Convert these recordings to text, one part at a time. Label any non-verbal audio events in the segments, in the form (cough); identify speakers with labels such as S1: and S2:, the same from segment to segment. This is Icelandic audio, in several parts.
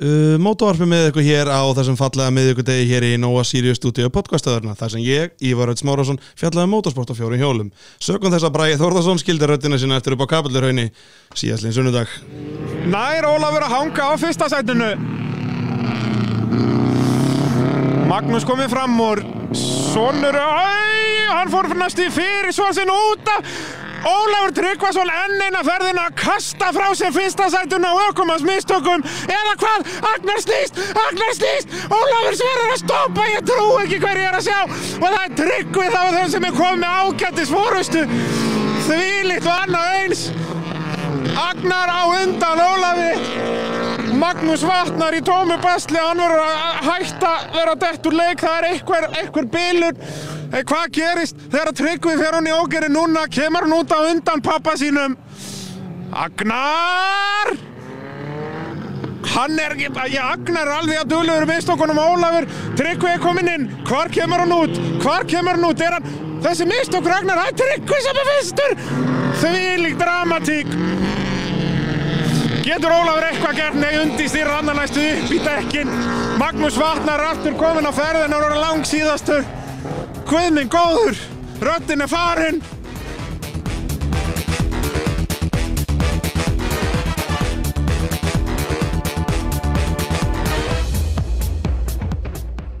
S1: uh, mótavarpi með ykkur hér á þessum fallega miðvikudegi hér í Nóa Sirius stúdíu podcastöðurna þar sem ég, Ívar Öld Smárásson, fjallaði um mótorsport á fjórum hjólum. Sökum þess að Bræði Þórðarsson skildi röddina sinna eftir upp á kapillurhaunni síðastlinn sunnudag.
S2: Nær Ólafur að hanga á fyrsta sætinu Magnús komið fram úr Sónur Æ, hann fór næst í fyrir svo sinn út af Ólafur Tryggvason enn eina ferðina að kasta frá sér fyrsta sætinu á ökumans mistökum eða hvað, Agnar snýst, Agnar snýst Ólafur sverður að stoppa, ég trú ekki hverju ég er að sjá og það er Tryggvið þá þeim sem er komið með ágættis fórustu þvílitt og annað eins Agnar á undan Ólafi Magnús Vatnar í tómu basli hann verður að hætta vera dett úr leik það er einhver, einhver bilur Eh, hvað gerist þegar Tryggvi fer hún í ógeri núna kemur hún út á undan pappa sínum Agnar Hann er ekki, ég agnar alveg að duglegur mistökunum á Ólafur, Tryggvi er kominn inn, hvar kemur hann út, hvar kemur hann út, er hann, þessi mistökur agnar, það er Tryggvi sem er fyrstur, þvílík dramatík. Getur Ólafur eitthvað gert, nei, undistýr annar næstu upp í dekkin, Magnús Vatnar er aftur kominn á ferðin, hann var langsíðastur, Guðminn góður, röddin er farinn,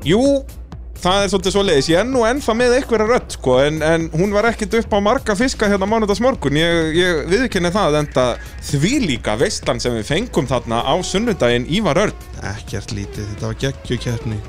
S3: Jú, það er svolítið svo leiðis Ég er nú ennþá með einhverja rödd sko, en, en hún var ekkit upp á marga fiska hérna mánudagsmorgun Ég, ég viðkynni það enda þvílíka veistlan sem við fengum þarna á sunnudaginn Ívar Örn
S1: Ekkert lítið, þetta var geggju keppni.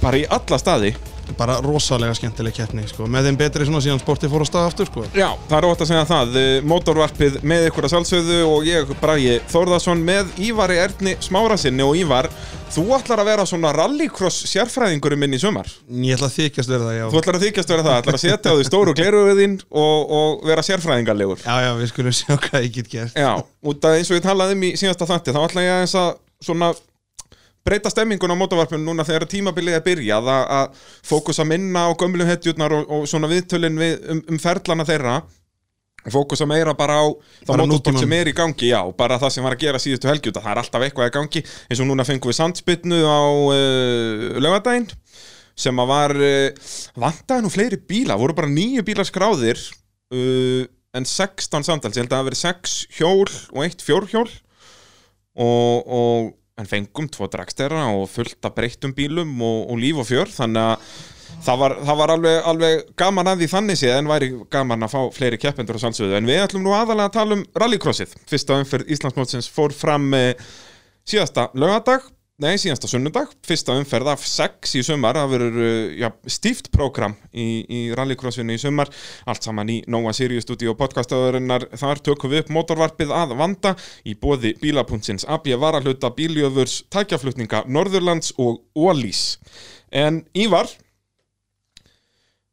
S3: Bara í alla staði
S1: Bara rosalega skemmtileg keppni, sko. Með þeim betri svona síðan sportið fór á stað aftur, sko.
S3: Já, það er ótt að segja það Eh, Mótorvarpið með ykkur að sjálfsögðu og ég, Bragi Þórðarsson með Ívari Erni Smárasinni og Ívar Þú ætlar að vera svona rallycross sérfræðingurinn minn í sumar
S1: Ég ætla að þykjast verið það, já.
S3: Þú ætlar að þykjast vera það, ætlar að setja á því stóru gleruðin og, og vera sérfræðingarlegur
S1: Já, já, við skulum sjá hvað ég get gert.
S3: Já, út að eins og ég talaði um í síðasta þætti þá ætla ég aðeins að svona breyta stemmingun á mótavarpinu núna þegar tímabilið er byrjað að, að fókusa minna á gömlu hetjurnar og, og svona viðtölin við, um, um ferlana þeirra og fókusa meira bara á það
S1: Bara
S3: mótorsport sem
S1: nútímann.
S3: er í gangi, já, bara það sem var að gera síðustu helgjúta, það er alltaf eitthvað í gangi eins og núna fengum við sandspinnu á uh, lögadaginn sem að var, uh, vantaði nú fleiri bíla, voru bara nýju bílar skráðir uh, en 16 samtals, ég held að það hafi verið 6 hjól og eitt fjórhjól og, og en fengum tvo dragstera og fullt af breyttum bílum og, og líf og fjör þannig að það var, það var alveg, alveg gaman að því þannig séð en væri gaman að fá fleiri keppendur og sannsöðu en við ætlum nú aðalega að tala um rallycrossið fyrsta umferð Íslandsmótsins fór fram eh, síðasta lögadag Nei, síðasta sunnudag, fyrsta umferð af sex í sumar, það verður uh, já, stíft prógram í, í rallycrossinu í sumar, allt saman í Nóa Sirius Studio podcastöðurinnar, þar tökum við upp motorvarpið að vanda í bóði bílapuntsins AB Varahluta, Bíljöfurs, Tækjaflutninga, Norðurlands og Ólís. En Ívar,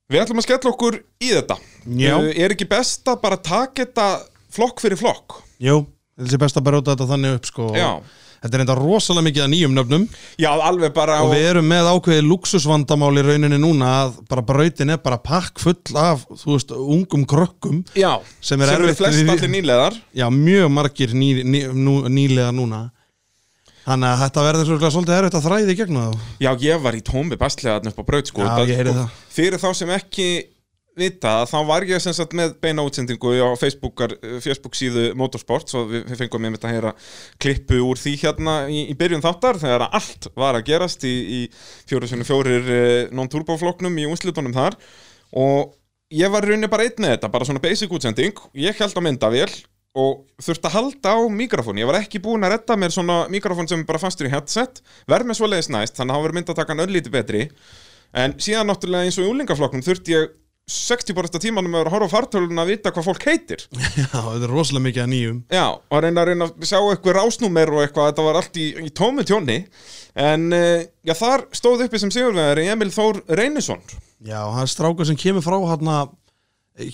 S3: við ætlum að skella okkur í þetta.
S1: Já.
S3: Uh, Er ekki best að bara taka þetta flokk fyrir flokk?
S1: Jú, þetta er best að bara ráta þetta þannig upp, sko.
S3: Já.
S1: Þetta er enda rosalega mikið af nýjum nöfnum
S3: Já, alveg bara...
S1: og við erum með ákveðið luxusvandamál í rauninni núna að bara brautin er bara pakk full af, þú veist, ungum krökkum
S3: Já,
S1: Sem er
S3: eru
S1: erfitt
S3: flest
S1: við-
S3: allir nýleðar
S1: Já, mjög margir ný, ný, nú, nýlega núna Þannig að þetta verður svolítið svolítið erfitt að þræði í gegnum þá
S3: Já, ég var í tómi bastlegaðan upp á braut sko,
S1: Já,
S3: Það-
S1: ég heyri
S3: sko,
S1: það.
S3: Fyrir þá sem ekki vita það, þá var ég sem sagt með beina útsendingu á Facebookar, eh, Facebook síðu Motorsport svo við, við fengum einmitt að heyra klippu úr því hérna í, í byrjun þáttar þegar að allt var að gerast í, í 404 eh, non-turbo flokknum í únslutunum þar og ég var í rauninni bara einn með þetta bara svona basic útsending, ég held að mynda vel og þurfti að halda á mikrofón ég var ekki búinn að redda mér svona mikrofón sem er bara fastur í headset, verð með svoleiðis næst þannig að hafa verið myndatakan öllítið betri En síðan náttúrulega eins og í úlingaflokknum þurfti ég 60% af tímanum að vera að horfa á fartölun að vita hvað fólk
S1: (laughs)
S3: heitir
S1: (laughs) Já, þetta er rosalega mikið af nýjum
S3: Já, og að reyna að reyna að sjá eitthvað rásnúmer og eitthvað, þetta var allt í, í tómu tjónni En uh, já, þar stóð uppi sem sigurvegari Emil Þór Reynisson
S1: Já, og það er strákur sem kemur frá hann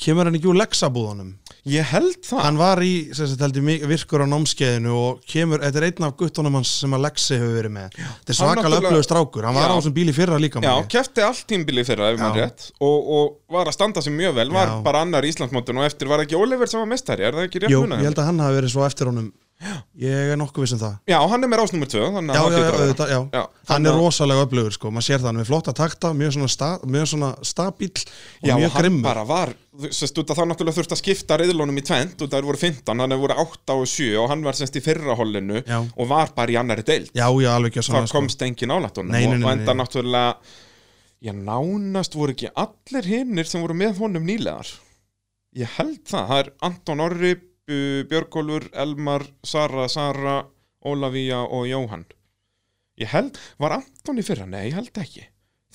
S1: kemur hann ekki úr leksabúðunum
S3: Ég held það
S1: Hann var í, sem sagt, heldur, mi- virkur á námskeiðinu og kemur, þetta er einn af guttunum hans sem að Lexi hefur verið með. Þetta er
S3: Hann
S1: svakalega
S3: náttúrulega-
S1: upplöðu strákur, hann var
S3: Já.
S1: á þessum bíl í fyrra líka
S3: Já,
S1: manni.
S3: kefti allt tímbili fyrra ef maður
S1: Já.
S3: rétt og, og var að standa sér mjög vel, var
S1: Já.
S3: bara annar í Íslandsmótun og eftir var ekki Oliver sem var mestari, er það ekki rétt
S1: Jú,
S3: munað?
S1: ég held að hann hafi verið svo á eftir honum Ég er nokkuð viss um það
S3: Já, hann er með rásnúmer 2
S1: Já, já, já,
S3: já,
S1: auðvitað, já.
S3: Já,
S1: Hann
S3: þannig
S1: er
S3: að-
S1: rosalega öflugur, sko, maður sér það hann er með flotta takta, mjög svona, sta, mjög svona stabíl og
S3: Já,
S1: mjög
S3: hann
S1: grimmur
S3: bara var sest, út, af Þá náttúrulega þurfti að skipta reyðlunum í tvent og það voru 15, hann voru 8 og 7 og hann var semst í fyrra hollinu
S1: Já.
S3: og var bara í annari deild
S1: Já, já, alveg ekki að
S3: það
S1: sanna,
S3: komst engin nálægt honum
S1: sko. Nei, nei, nei,
S3: og enda
S1: nei.
S3: náttúrulega já, nánast voru ekki allir hinnir sem voru með honum nýlegar ég held það, það er Anton Orri Bu- Björgólfur, Elmar Sara, Sara, Ólafía og Jóhann ég held, var Anton í fyrra? Nei, ég held ekki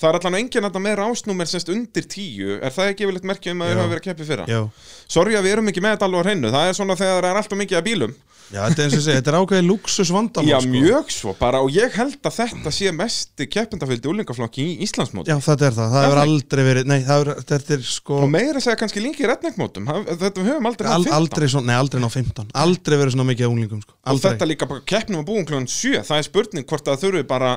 S3: það er allan engin að það með rásnúmer semst undir tíu, er það ekki yfirleitt merkja um að
S1: Já.
S3: það hafa verið að keppi fyrra?
S1: Já,
S3: Sorry að við erum ekki með þetta alveg á hreinu, það er svona þegar það er alltaf mikið að bílum
S1: já, þetta er eins og segja, þetta er ákveðið luxus vandamál,
S3: Já,
S1: sko
S3: mjög svo bara og ég held að þetta sé mesti keppendafyldi úlingaflokki í Íslandsmóti
S1: Já, þetta er það, það hefur aldrei verið, nei, það hefur, þetta er sko
S3: og meira að segja kannski líka í retningmótum þetta við höfum aldrei
S1: al,
S3: haft 15.
S1: Aldrei svona, nei, aldrei ná 15 Aldrei verið svona mikið af unglingum, sko
S3: og
S1: Aldrei
S3: þetta líka bara keppnum að búin kljóðan 7 það er spurning hvort að þurfi bara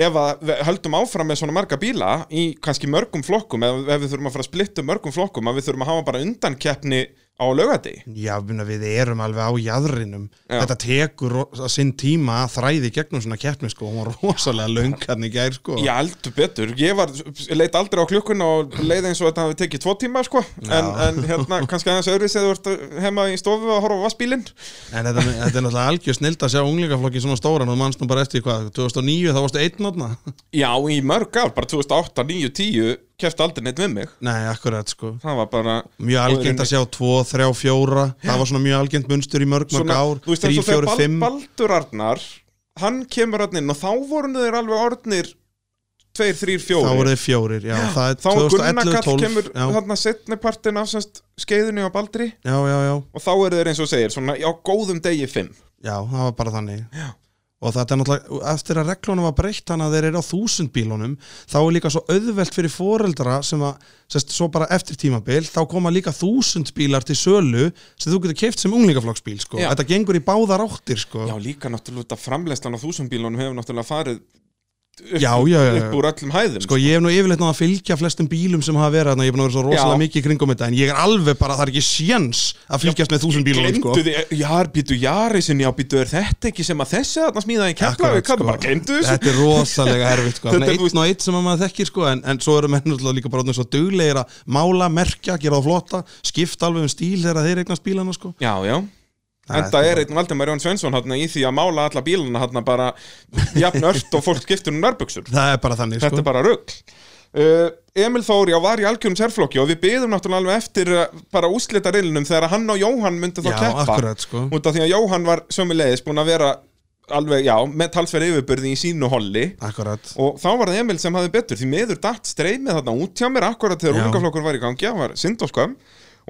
S3: ef að við höldum áfram með svona marga bíla í kannski mörgum flokkum ef, ef við þurfum að fara að splitta mörgum flokkum að við þurfum að hafa bara undan keppni á lögati
S1: Já, ég meina, við erum alveg á jaðrinum
S3: Já.
S1: Þetta tekur ro- að sinn tíma að þræði í gegnum svona keppni, sko Hún var rosalega löngarn í gær, sko
S3: Já, heldur betur, ég var, leit aldrei á klukkun og leið eins og þetta hafi tekið tvo tíma sko. en, en hérna, kannski aðeins öðru sem þú ert heima í stofu að horfa á vassbílinn
S1: En þetta, þetta er náttúrulega algjör snild að sjá unglingaflokki svona stóran og mannst nú bara eftir hvað, 2009 þá varstu einn átna?
S3: Já, í mörg ár, bara 2008, 9, 10 kefti aldrei neitt við mig
S1: (laughs) Nei, akkurat sko.
S3: Það var bara
S1: Mjög algjönd að sjá 2, 3, 4, það var svona mjög algjönd munstur í mörg, mörg ár,
S3: Þú veist
S1: 3,
S3: eins og
S1: 4,
S3: þegar Bal
S1: 5.
S3: Baldur Arnar Hann kemur hann inn og þá voru þeir alveg orðnir 2, 3, 4
S1: Þá voru þið fjórir, já, það er
S3: Þá Gunnar
S1: 2011,
S3: Kall
S1: 12,
S3: kemur
S1: já,
S3: þarna setni partin af semst skeiðunni á Baldri
S1: já, já, já,
S3: og þá eru þeir eins og þú segir svona á góðum degi 5
S1: já, það var bara þannig. Og þetta er náttúrulega, eftir að reglunum var breytt þannig að þeir eru á þúsund bílunum, þá er líka svo auðvelt fyrir foreldra sem að, sérst, svo bara eftir tímabil, þá koma líka þúsund bílar til sölu sem þú getur keift sem unglingaflokksbíl, sko.
S3: Já.
S1: Þetta gengur í báðar áttir, sko.
S3: Já, líka náttúrulega framleyslan á þúsumbílunum hefur náttúrulega farið
S1: já, já, já.
S3: upp úr öllum hæðum
S1: Eh, Sko ég hef nú yfirleitt náða að fylgja flestum bílum sem hafa verið þarna, ég er búin að vera svo rosalega
S3: Já.
S1: mikið í kringum þetta en ég er alveg bara, það er ekki sjens að fylgjast með þúsund bílum
S3: Glemdu
S1: sko.
S3: sko. þið, já, býtu Jarisin, já, býtu er þetta ekki sem að þessi þarna smíðaði í Keflavík,
S1: Akkurat,
S3: sko. bara glemdu þessu
S1: Þetta er rosalega erfitt sko.
S3: Þetta
S1: Þannig
S3: er, þú
S1: einn og einn sem að maður þekkir sko, en, en svo eru menn náttúrulega líka bara orðnir svo duglegir að mála, merkja, gera það flotta skipta alveg um stíl þegar þeir eignast bílana sko.
S3: Já, já
S1: Það
S3: Enda
S1: er
S3: er einn Valdemar Jón Svensson hann, í því að mála alla bíluna hann, bara jafn ört og fólk skiptur um nærbuxur
S1: Það er bara þannig
S3: Þetta
S1: sko.
S3: er bara rugg uh, Emil Þór, já, var í algjörum sérflokki og við byðum náttúrulega alveg eftir uh, bara úslita reylinum þegar hann og Jóhann myndu þá
S1: Já,
S3: keppa
S1: akkurat sko.
S3: Út af því að Jóhann var sömulegis búin að vera alveg, já, með talsverð yfirbyrði í sínu holli
S1: Akkurat
S3: og þá var það Emil sem hafði betur því miður datt streymið þarna út hjá mér akkurat þegar
S1: Já.
S3: úlingaflokkur var í gangi, það var synd og skömm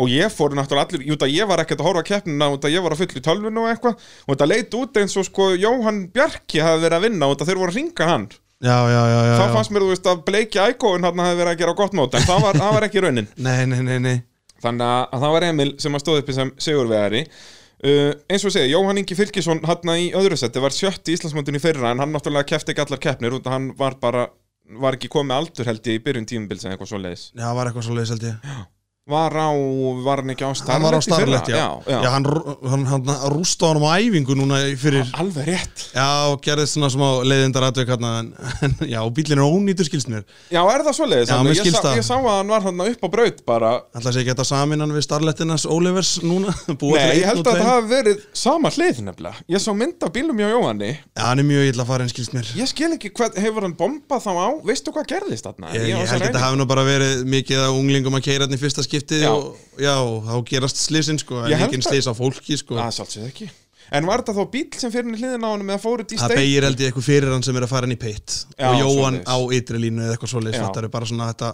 S3: og ég fór náttúrulega allir, jú það ég var ekkert að horfa að keppnina og það ég var að fullu í tölvinu og eitthvað og það leit út eins og sko Jóhann Bjarki hafði verið að vinna og það þeir voru að ringa hann
S1: Já, já, já, já,
S3: þá
S1: já.
S3: fannst mér þú veist að bleiki ækóin hann hafði verið að gera gott mót en það var, það var ekki raunin
S1: Nei, nei, nei, nei
S3: þannig að- að það var Emil sem að stóð uppi sem sigurvegari uh, eins og segja, Jóhann Ingi Fylkisson hann í öðru seti var sjött í Íslandsmóndinu fyrra en hann náttúrulega kefti ekki allar keppnir út að hann var bara, var ekki komið aldur held ég í byrjun tímubils eða eitthvað svoleiðis
S1: Já, var eitthvað svo leiðis held ég
S3: var á, var hann ekki á
S1: Hann var á
S3: starlet
S1: starlet, já.
S3: já, já,
S1: hann, rú- hann, hann rústa honum á æfingu núna í- fyrir
S3: alveg rétt
S1: Já, gerðist svona smá leiðindar atveg hérna, en, en já, bílinn er ónýtur skilst mér
S3: já, er það svoleiðis
S1: Já, mér
S3: Þannig að ég,
S1: skilst
S3: sá,
S1: það.
S3: ég sá að hann var hann upp á braut bara
S1: Ætla að segja geta saminan við starlettinas Olivers núna (laughs) Búa til
S3: Nei, ég
S1: einn
S3: held
S1: og
S3: að það
S1: tveim.
S3: hafi verið sama hlið nefnilega Ég sá mynd af bílum hjá Jóhanni
S1: Já, hann er mjög illa farin skilst mér
S3: Ég skil ekki hvað, hefur hann bombað þá á Veistu hvað gerðist þarna?
S1: Ég,
S3: var
S1: ég held að
S3: svo reiður.
S1: þetta hafi nú bara verið mikið að unglingum að keira hann í fyrsta skipti
S3: Já.
S1: og já, þá gerast slisinn sko
S3: Ég
S1: en
S3: held
S1: ekki
S3: að-
S1: slis á fólki sko
S3: Það er sálsveit ekki En var þetta þá bíl sem fyrir hliðin á honum eða fóruð í
S1: Það
S3: steik?
S1: beigir held ég eitthvað fyrir hann sem er að fara hann í peitt
S3: Já,
S1: og Jóhann
S3: svoleiðis.
S1: á ytri línu eða eitthvað svoleiðis
S3: Já.
S1: þetta er bara svona þetta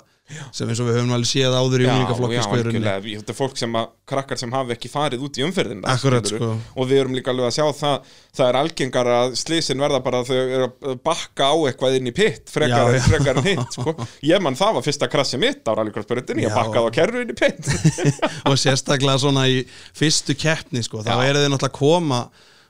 S1: sem eins og við höfum alveg séð áður í unglingaflokki sko í rauninni.
S3: algjörlega. Ég- Þetta er fólk sem að, krakkar sem hafi ekki farið út í umferðin
S1: Akkurat, sko.
S3: Og við erum líka alveg að sjá það Það er algengar að slisin verða bara að þau eru að bakka á eitthvað inn í pitt Frekar,
S1: Já, já.
S3: frekar en hitt, sko Ég mann það var fyrsta krassi mitt á rallycrossbröndinni Ég
S1: Já.
S3: bakkaði á kerru inn í pitt
S1: (laughs) og sérstaklega svona í fyrstu keppni sko, þá
S3: Já.
S1: eru þau náttúrulega að koma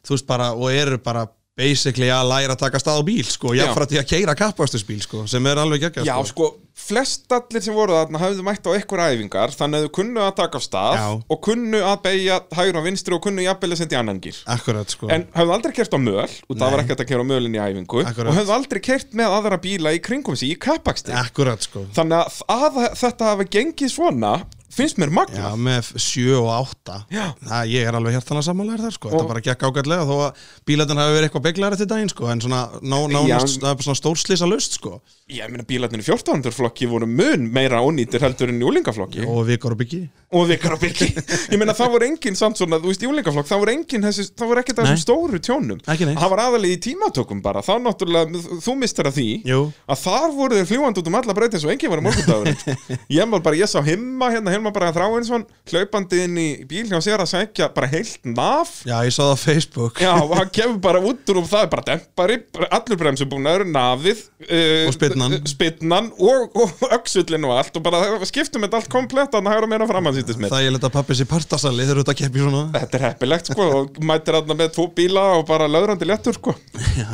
S1: þú veist bara, og eru bara basically að læra að taka stað á bíl sko,
S3: Já.
S1: jáfnfra til að keira kappakstusbíl sko, sem er alveg geggjað
S3: Já,
S1: sko.
S3: sko, flest allir sem voru þarna hafðu mætt á einhverja æfingar þannig að þau kunnu að taka af stað
S1: Já.
S3: og kunnu að beigja hægur og vinstri og kunnu jafnvel að senda í annan gýr
S1: Akkurat sko
S3: en hafðu aldrei kert á möl og
S1: Nei.
S3: það var ekkert að kera á mölin í æfingu
S1: Akkurat.
S3: og hafðu aldrei kert með aðra bíla í kringum sig í kappaksti
S1: Akkurat sko
S3: þannig að, að þetta hafa gengið svona finnst mér
S1: Já,
S3: magna
S1: með 7 og 8
S3: Já.
S1: Það, ég er alveg hjartanlega sammálaður þar sko Þetta
S3: Og-
S1: bara gekk ágætlega þó að bílarnir hafi verið eitthvað beglari til daginn sko En svona, ná, nánast, það er bara svona stórslýsa löst sko
S3: ég meina bílarnir í 14. flokki voru mun meira ónýtir heldur en í úlingaflokki
S1: Og vikar og byggi
S3: og vikar á byggi ég meina það voru engin samt svona, þú veist í úlingaflokk það voru engin, þessi, það voru ekkert þessum
S1: Nei.
S3: stóru tjónum
S1: Ekki neitt.
S3: það var aðalegi í tímatökum bara þá náttúrulega, þú mistar að því
S1: Jú.
S3: að þar voru þeir fljúandi út um alla breytin svo engin var um morgundagur
S1: (laughs)
S3: ég var bara, ég sá himma hérna, himma bara þráinsson hlaupandi inn í bíl hjá sér að sækja bara heilt naf
S1: Já, ég sá það á Facebook
S3: Já,
S1: (laughs)
S3: og hann kemur bara út úr og það er bara dempari, bara allur bremsubúnaður, nafið uh,
S1: Og spyrnan.
S3: Spinnan og, og öxullin og allt og bara skiptum þetta allt komplett að það er að meira framann sýttist með
S1: Það ég leta pappis í partasali þegar þetta keppi svona
S3: Þetta er heppilegt sko og mætir aðna með tvo bíla og bara löðrandi léttur sko
S1: Já,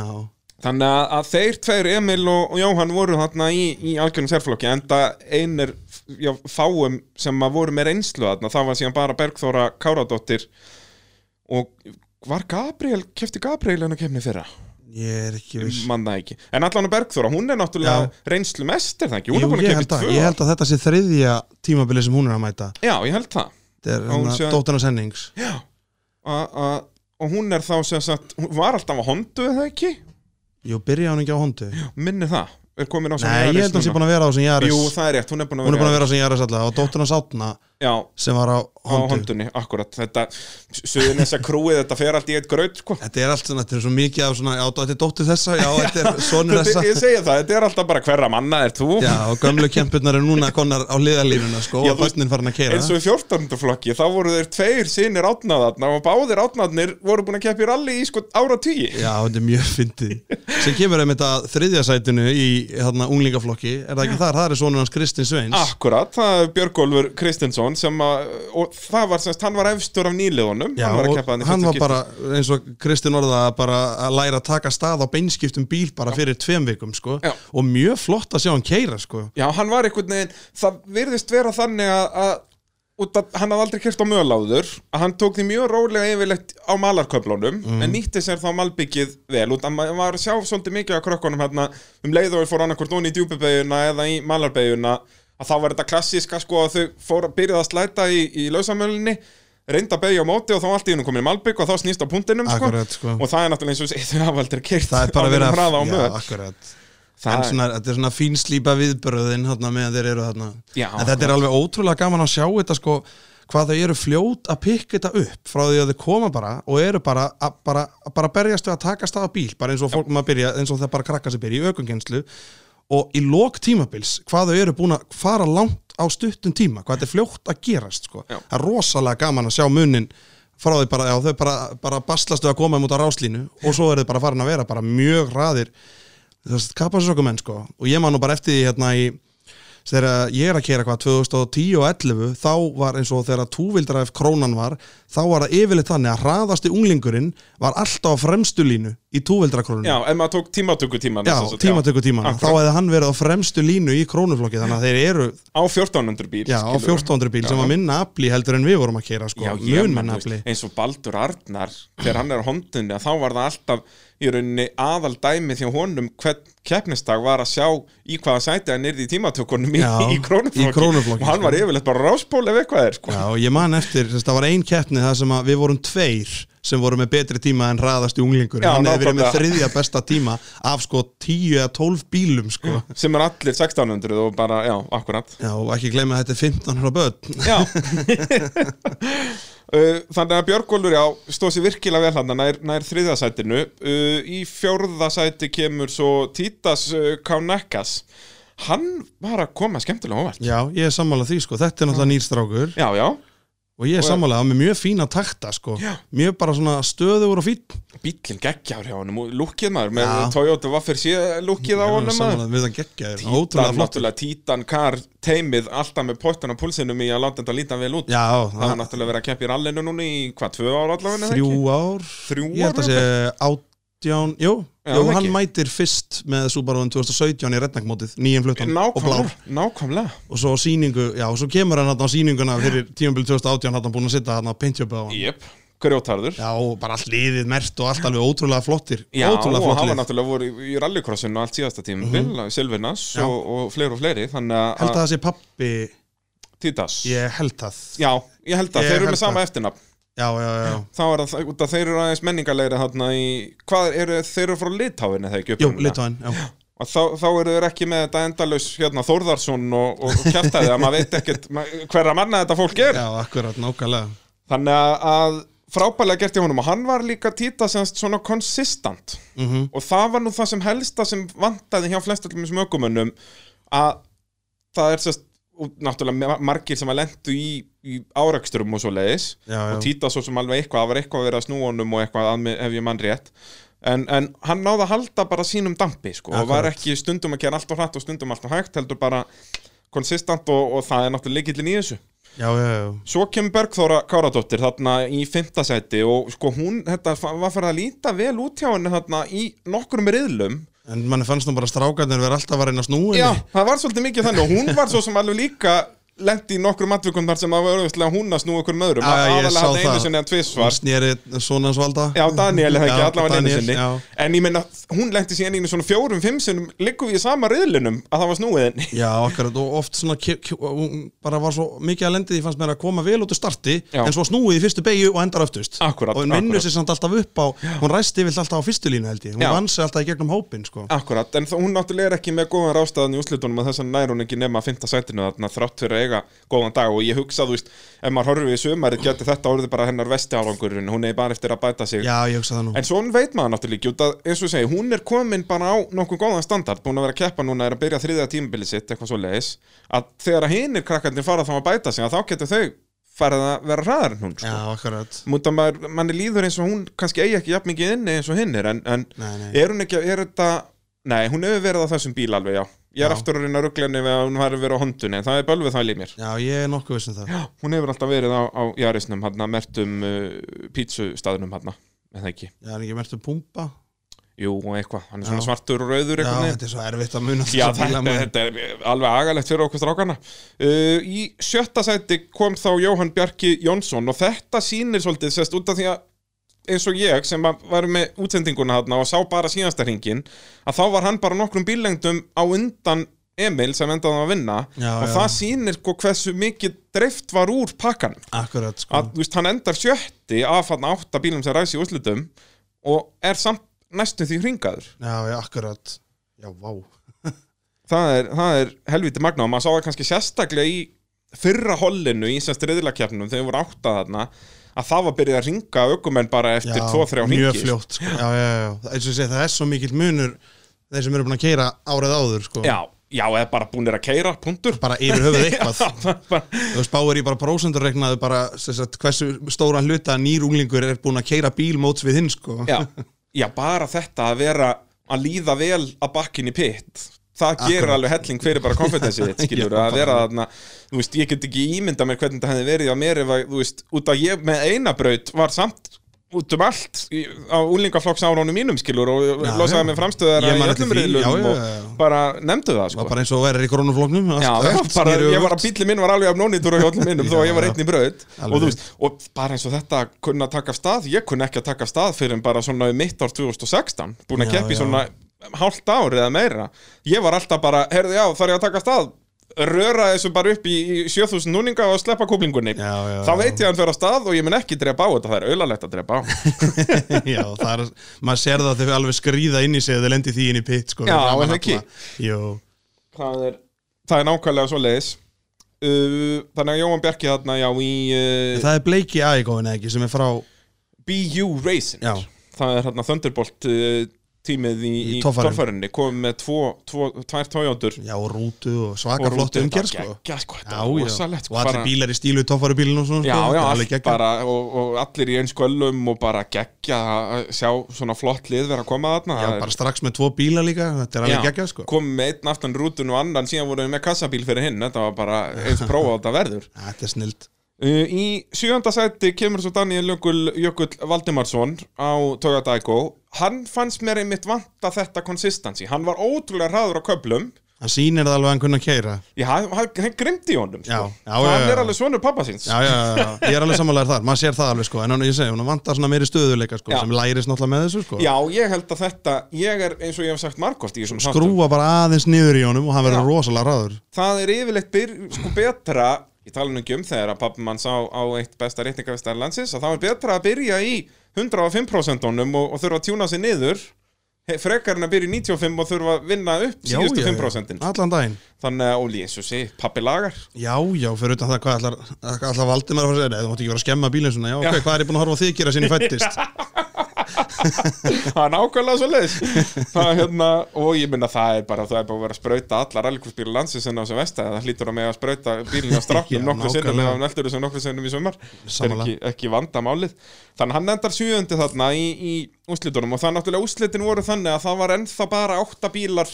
S3: Þannig að, að þeir tveir Emil og, og Jóhann voru þarna í, í algjörnum sérflokki enda einir já, fáum sem að voru með reynslu þarna það var síðan bara Bergþóra Káradóttir og var Gabriel, kefti Gabriel hennar kemni fyrra?
S1: ég er ekki viss
S3: mann það ekki en allan að Bergþóra, hún er náttúrulega
S1: Já.
S3: reynslu mest er það ekki, hún
S1: Jú,
S3: er búin að
S1: ég
S3: keppa í
S1: held, að,
S3: tvö
S1: ég held að þetta sé þriðja tímabili sem hún er að mæta
S3: já, ég held það
S1: Þetta er
S3: Og hún sé-
S1: hérna dóttirnas hennings
S3: já. A, a, og hún er þá sem sagt, hún var alltaf á hondu eða ekki,
S1: Jú, byrja hún ekki á hondu
S3: minni það er komin á sem
S1: Nei, ég held að hún sé búin að vera á sem Jaris
S3: Jú, það er rétt, hún er búin að
S1: Hún er
S3: vera,
S1: búin að vera á sem Jaris alltaf og dóttirnas átna
S3: já,
S1: sem var á
S3: á
S1: hondu
S3: hondunni, akkurat þetta, suðin þessa krúið, þetta fer allt í eitt graut sko.
S1: Þetta er allt svona, þetta er svo mikið af svona, já, þetta er dóttir þessa, já, þetta er sonur
S3: Þetta- ég
S1: þessa.
S3: segi það, þetta er alltaf bara hverra manna er þú
S1: Já, og gömlu kempurnar er núna konar á liðalínuna, sko,
S3: Já,
S1: og
S3: þú veist,
S1: börnin farin að keira.
S3: eins og í 14. flokki, þá voru þeir tveir sinir átnaðarna og báðir átnaðarnir voru búin að keppa í rally í sko ára tíi
S1: Já, þetta er mjög fyndið. Sem kemur einmitt að þriðja sætinu í þarna unglingaflokki, er það ekki þar, það er sonur hans Kristinn Sveins.
S3: Akkurat, það er Björgólfur Kristinsson sem að, og það var semst, hann var efstur af nýliðunum,
S1: Já,
S3: hann var að
S1: og
S3: keppa þarna í
S1: hann
S3: fyrsta
S1: var
S3: skipti.
S1: bara, eins og Kristinn orða, bara að læra að taka stað á beinskiptum bíl bara fyrir tveim vikum, sko.
S3: Já.
S1: Og mjög flott að sjá hann keira, sko.
S3: Já, hann var einhvern veginn, það virðist vera þannig að, að út að hann hafði aldrei kert á möláður, að hann tók því mjög rólega yfirleitt á malarköflunum
S1: Mm.
S3: en nýtti sér þá malbyggið vel út að maður var að sjá svolítið mikið af krökkunum hérna, um leið og við fór annarkvort núna í djúpibegjuna eða í malarbegjuna að þá var þetta klassíska sko að þau fór að byrjað að slæta í, í lausamölinni reynda að beigja á móti og þá allt í hennu komin í malbygg og þá snýst á puntinum sko.
S1: Akkurat, sko.
S3: og það er náttúrulega eins og þú segir, þau hafa aldrei kert
S1: Það er bara verið
S3: að hraða á
S1: já,
S3: mög
S1: akkurat.
S3: Það
S1: en
S3: er-
S1: svona, þetta er svona fínslýpa viðbröðin hérna, meðan þeir eru þarna
S3: Já, sko.
S1: en þetta er alveg ótrúlega gaman að sjá þetta sko, hvað þau eru fljót að pikka þetta upp frá því að þau koma bara og eru bara að bara, bara berjast við að taka stað á bíl bara eins og fólk maður byrja, eins og það bara krakka sér byrja í aukungenslu og í lok tímabils hvað þau eru búin að fara langt á stuttum tíma, hvað þetta er fljótt að gerast sko.
S3: Já.
S1: það er rosalega gaman að sjá munin frá því bara, já, þau bara, bara baslastu að koma um út á ráslínu og svo eru þau bara farin að vera bara mjög raðir þess að kapasinsokkumenn sko og ég man nú bara eftir því hérna í þegar ég er að kera hvað 2010 og 11 þá var eins og þegar túvildræf krónan var þá var það yfirleitt þannig að hraðasti unglingurinn var alltaf á fremstu línu í túvildræf
S3: Já,
S1: krónunum
S3: ef maður tók tímatöku tíman
S1: já tímatöku tímana þá
S3: Akkurat.
S1: hefði hann verið á fremstu línu í krónuflokki þannig að þeir eru
S3: á 1400 bíl
S1: já, á
S3: skilurðu.
S1: 1400 bíl sem var minna afli heldur en við vorum að kera
S3: Já,
S1: sko,
S3: ég
S1: mun
S3: man,
S1: minna
S3: þú
S1: afli
S3: veist, eins og Baldur Arnar þegar hann er á hondunni að þá var það alltaf í rauninni aðal dæmi því að honum hvern keppnistag var að sjá í hvaða sæti hann yrði í tímatökunum í,
S1: Já,
S3: í krónuflokki
S1: í krónuflokki,
S3: og hann var
S1: sko.
S3: yfirleitt bara rásból ef eitthvað er sko.
S1: Já, og ég man eftir, þess, það var ein keppni það sem að við vorum tveir sem voru með betri tíma en raðasti unglingur
S3: Já,
S1: hann hefði verið með
S3: nákvæmlega.
S1: þriðja besta tíma af sko 10 eða 12 bílum sko.
S3: sem er allir 1600 og bara, já, akkurat
S1: Já, og ekki gleyma að þetta er 15 ára börn
S3: Já (laughs) Uh, Þannig að Björgólfur, já, stóð sér virkilega vel hann nær, nær þriðasætinu uh, Í fjórðasæti kemur svo Títas uh, Kaunekas Hann var að koma skemmtilega á óvart
S1: Já, ég er sammála því sko, þetta er náttúrulega nýrstrákur
S3: Já, já,
S1: og ég er
S3: Mm. Og-
S1: sammála það með mjög fína takta sko
S3: Já.
S1: mjög bara svona stöðugur og fín
S3: bíllinn geggjár hjá honum og Lúkið maður með
S1: Já.
S3: Toyota Vaffer sé lúkið á
S1: Ég er
S3: honum maður
S1: sammála, við það geggja þér,
S3: Títan,
S1: ótrúlega flott
S3: náttúrulega Títan, Kar, teimið Alltaf með pottan á púlsinum í að láta þetta líta vel út
S1: Já,
S3: Það var
S1: það-
S3: náttúrulega verið að keppa í rallinu núna í hvað, tvö ára allavega er það
S1: þrjú
S3: ekki?
S1: ár
S3: Þrjú
S1: Ég held að
S3: ára?
S1: sé át 17, jú,
S3: Já,
S1: jú
S3: það
S1: hann
S3: ekki.
S1: mætir fyrst með Subaru 2017 í rednækmótið, nýjum fluttan og blár
S3: Nákvæmlega, nákvæmlega
S1: og svo á sýningu, já, og svo kemur hann þarna á sýninguna fyrir tímabili 2018 hann búin að sitta hann að pintjöpa á hann
S3: Jep, grjótarður
S1: já, og bara allt liðið mert og allt alveg ótrúlega flottir
S3: Já,
S1: ótrúlega
S3: og
S1: flott lið
S3: hann var
S1: Mhm.
S3: náttúrulega voru í í rallycrossinu allt síðasta tíma, mm Silvernas og, og fleiri og fleiri, þannig að
S1: held að það sé pappi,
S3: Títas
S1: ég held það já,
S3: Já, ég held
S1: Ég
S3: að þeir eru
S1: held
S3: með sama
S1: að.
S3: eftirnafn
S1: já, já, já.
S3: þá er það, út að þeir eru aðeins menningarlegri þarna í, hvað eru, þeir eru frá Litáin eða ekki
S1: jú,
S3: upprunalega?
S1: litóin, já
S3: og þá, þá eru þeir ekki með þetta endalaus hérna Þórðarsson og, og kjæftæði að maður veit ekkert ma- hverra manna þetta fólk er
S1: já, akkurat, nákvæmlega
S3: þannig að- að frábælega gert í honum og hann var líka títa semst svona konsistant
S1: Mhm.
S3: og það var nú það sem helsta sem vantaði hjá flestallum þessum ökumönnum að það er semst og náttúrulega ma- margir sem að lendu í, í áraksturum og svo leiðis
S1: Já, já.
S3: og títa svo sem alveg eitthvað, það var eitthvað að vera að snúa honum og eitthvað að, ef ég mann rétt en, en hann náði að halda bara sínum dampi sko, og var
S1: Akkurat.
S3: ekki stundum að gera allt og hratt og stundum allt og hægt, heldur bara konsistant og, og það er náttúrulega leikillin í þessu
S1: já, já, já,
S3: Svo kemur Bergþóra Káradóttir þarna í fymtasæti og sko hún þetta, var fyrir að líta vel út hjá henni þarna í nokkrum riðlum
S1: en manni fannst nú bara strákarnir vera alltaf að reyna að snúa
S3: Já,
S1: henni.
S3: það var svolítið mikið þannig og hún var svo sem alveg líka lendi í nokkrum atvikum þar sem að var auðvitað hún að snúa okkur með öðrum
S1: Já, já, ég
S3: aðalega
S1: sá
S3: hann einu
S1: það.
S3: sinni en
S1: Hún
S3: tvisvar
S1: sneri svona svalda
S3: Já, Daniel hefði ekki
S1: Já,
S3: allavega einu
S1: Daniel,
S3: sinni
S1: já.
S3: En ég meina, hún lendi síðan einu svona fjórum, fimm sinnum liggum við í sama riðlunum að það var snúið henni
S1: Já, akkurat, og oft svona ki- ki- hún bara var svo mikið að lendið, ég fannst mér að koma vel út úr starti,
S3: Já.
S1: en svo snúið í fyrstu beigju og endar öftust
S3: Akkúrat,
S1: og hún vinnur
S3: akkúrat.
S1: sér samt alltaf upp á, hún ræsti vilt alltaf á fyrstu línu held ég, hún
S3: Já.
S1: vann sér alltaf í gegnum hópin sko.
S3: Akkurat, en þó- hún náttúrulega er ekki með góðan rástaðan í úslitunum að þess að nær hún ekki nema að finta sætinu þarna þrátt fyrir að eiga góðan dag og ég hugsa, þú veist, ef maður horfir við sumarið geti þetta orðið bara hennar vesti árangur en hún er bara eftir að bæta sig
S1: Já, ég hugsa það nú
S3: En svo veit maður náttúrulega ekki, út að, eins og ég segi, hún er komin bara á nokkuð góðan standard, búin að vera að keppa núna, er að byrja þriðja tímabili sitt, eitthvað svo leiðis, að þegar að hinir krakkarnir fara þá að bæta sig, að þá getur þau farið að vera hraðar en hún, sko.
S1: Já, akkurat
S3: Múnt að maður, manni líður eins og hún kannski eigi ekki jafn mikið inni eins og hinnir en, en
S1: Nei, nei.
S3: er hún ekki, er þetta nei, hún hefur verið á þessum bíl alveg, já ég er
S1: Já.
S3: aftur að reyna rugglenni við að hún hefur verið á hondunni en það er bölvið það í mér
S1: Já, ég er nokkuð vissum það
S3: hún hefur alltaf verið á, á jarisnum hann að mertum uh, pítsustaðnum hann en það ekki,
S1: Já, er ekki um mertu pumpa
S3: jú og eitthvað hann er svona
S1: Já.
S3: svartur og rauður
S1: Já,
S3: eitthvað
S1: þetta er svo erfitt að muna
S3: Já,
S1: þessa
S3: þetta,
S1: bíla, maður.
S3: þetta er alveg agalegt fyrir okkur strákana uh, Í sjötta sæti kom þá Jóhann Bjarki Jónsson og þetta sýnir svolítið sest út af því að eins og ég sem að var með útsendinguna þarna og sá bara síðasta hringin að þá var hann bara nokkrum bíllengdum á undan Emil sem endaði á að vinna
S1: Já,
S3: og
S1: já.
S3: það sýnir sko hversu mikið dreift var úr pakkan
S1: Akkurat, sko
S3: að þú veist, hann endar sjötti af hann átta bílum sem ræsi í úrslitum og er samt næstum því hringaður
S1: Já, já, akkurat Já, vá
S3: það er, það er helviti magna og maður sá það kannski sérstaklega í fyrra hollinu í semst reyðlakefnum þegar voru átta þarna að það var byrjað að ringa aukumenn bara eftir
S1: Já,
S3: 2-3
S1: Mjög
S3: hringi
S1: fljótt, sko Já, já, já, eins og ég segi, það er svo mikill munur þeir sem eru búin að keira árið áður, sko
S3: já, já, eða bara búinir að keira, punktur
S1: bara yfir höfuð
S3: (laughs)
S1: eitthvað
S3: bara,
S1: Þú spáir í bara prósendurreiknaðu bara sem sagt, hversu stóran hluta nýrunglingur er búin að keira bíl móts við hinn sko.
S3: já, já, bara þetta að vera að líða vel að bakkin í pitt það gerir
S1: Akkurat.
S3: alveg helling fyrir bara konfidensið
S1: (laughs)
S3: þitt skilur,
S1: Já,
S3: að vera þarna þú veist, ég get ekki ímynda mér hvernig þetta hefði verið á mér ef að, þú veist, út að ég með eina braut var samt út um allt í- á úlingaflokksárunum mínum skilur og
S1: Já, já.
S3: losaði með framstöðar
S1: Ég
S3: í
S1: man eftir
S3: öllum
S1: því, já,
S3: riðlum
S1: já,
S3: og
S1: já, já.
S3: bara nefndu það
S1: var
S3: sko.
S1: bara eins og verður í koronaflóknum allt-
S3: Já, það var
S1: allt
S3: bara,
S1: snerist
S3: ég
S1: öfugt.
S3: var að bíli minn var alveg af nónýtur og hjólum minnum þó að ég var
S1: Já,
S3: einn í braut
S1: Alveg
S3: og, þú
S1: rétt.
S3: veist, og bara eins og þetta kunna taka af stað, ég kunna ekki að taka af stað fyrir en bara svona um mitt ár 2016 búin að
S1: Já,
S3: keppi
S1: já.
S3: svona hálft ár eða meira ég var alltaf bara, heyrðu já, þarf ég að taka af stað röra þessu bara upp í í 7000 núninga og sleppa kúplingunni
S1: Já, já,
S3: þá
S1: já.
S3: veit ég að hann fer af stað og ég mun ekki drepa á þetta það er auðalegt að drepa á
S1: (laughs) já, það er, maður sér það að þau alveg skrýða inn í sig eða lendi því inn í pitt sko,
S3: Já,
S1: Framan
S3: en
S1: alla.
S3: ekki.
S1: Jú,
S3: það er, það er nákvæmlega svo leiðis uh, þannig að Jóhann Bjarki þarna já í uh,
S1: það er bleiki aðeikóin ekki sem er frá
S3: BU Racing
S1: Já.
S3: það er hérna Thunderbolt uh, tímið í,
S1: Í
S3: í
S1: torfærinu.
S3: torfærinni komið með tvo, tvo, tvær tójóndur
S1: já, og rútu og svaka flott umgerð sko.
S3: já, sko,
S1: Já,
S3: þetta
S1: já,
S3: er rosalegt sko,
S1: og allir
S3: bara-
S1: bílar í stílu toffari bílinu og svona sko,
S3: Já, já,
S1: þetta er alveg
S3: allt
S1: geggjað.
S3: bara og, og allir í eins göllum og bara geggja að sjá svona flott lið vera að koma þarna
S1: Já,
S3: Það er-
S1: bara strax með tvo bíla líka, þetta er alveg
S3: Já,
S1: geggjað sko.
S3: komið með einn aftan rútun og annan síðan voru við með kassabíl fyrir hinn, þetta var bara eins prófa á þetta verður
S1: Þetta er snilt
S3: Uh, Uh, Í sjöönda sæti kemur svo Daniel Jökul, Jökull Valdimarsson á Toyota Igo Hann fannst mér einmitt vanta þetta konsistansi Hann var ótrúlega hraður á köplum
S1: Hann sýnir það alveg að hann kunna keira
S3: Já, hann, hann- hann grimdi í honum sko.
S1: Já, já,
S3: Það
S1: já, já.
S3: er alveg svonur pappasins
S1: Já, já, já, já, ég er alveg samanlegar þar, maður sér það alveg sko En hann, ég segi, hún vantar svona meiri stöðuleika sko
S3: Já.
S1: Sem læris náttúrulega með þessu sko
S3: Já, ég held að þetta, ég er eins og ég hef sagt margótt í þessum þáttum
S1: Skrúa bara aðeins niður í honum og hann verður
S3: Já.
S1: rosalega ráður
S3: Það er yfirleitt byr, sko, betra, ég tala nú ekki um þegar að pappi mann sá á eitt besta réttingavistar landsins að það er betra að byrja í 105% og, og þurfa að tjúna sig niður he- frekar en að byrja í 95 og þurfa að vinna upp
S1: Já,
S3: síðustu
S1: já, já.
S3: 5%
S1: Allan daginn
S3: Þannig að Óli, eins og sé, pappi lagar
S1: Já, já, fyrir utan það hvað allar, allar valdi maður að fara að segja, "Nei, þú mátt ekki vera að skemma bílinn svona, já, ok,
S3: Já.
S1: hvað er ég búin að horfa á þig gera sinni fættist?
S3: (laughs) Það er nákvæmlega svo leiðis Það er hérna, og ég minna það er bara það er bara að vera að sprauta allar algjörspílu landsins en á sem vest það hlýtur að með að sprauta
S1: (laughs)
S3: bílinn á
S1: Já,
S3: strafnum nokkuð sinnum
S1: nákvæmlega.
S3: eða neldur þessum nokkuð sinnum í sumar Það er
S1: Sammála.
S3: ekki, ekki vandamálið Þannig að hann endar sjöundi þarna í, í úslitunum og það er náttúrulega úslitin voru þannig að það var ennþá bara átta bílar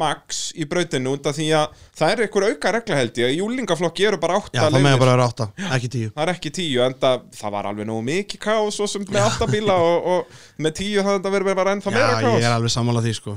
S3: max í brautinu undan því að það er einhver auka regla held ég í júlingaflokki eru bara átta
S1: Já, það
S3: leiðir.
S1: meða bara að vera átta, ekki tíu.
S3: Það er ekki tíu, enda það var alveg nógu mikið kaos og sem með átta bíla og, og með tíu það þetta verið bara ennþá meira
S1: Já,
S3: kaos
S1: ég er alveg sammála því, sko.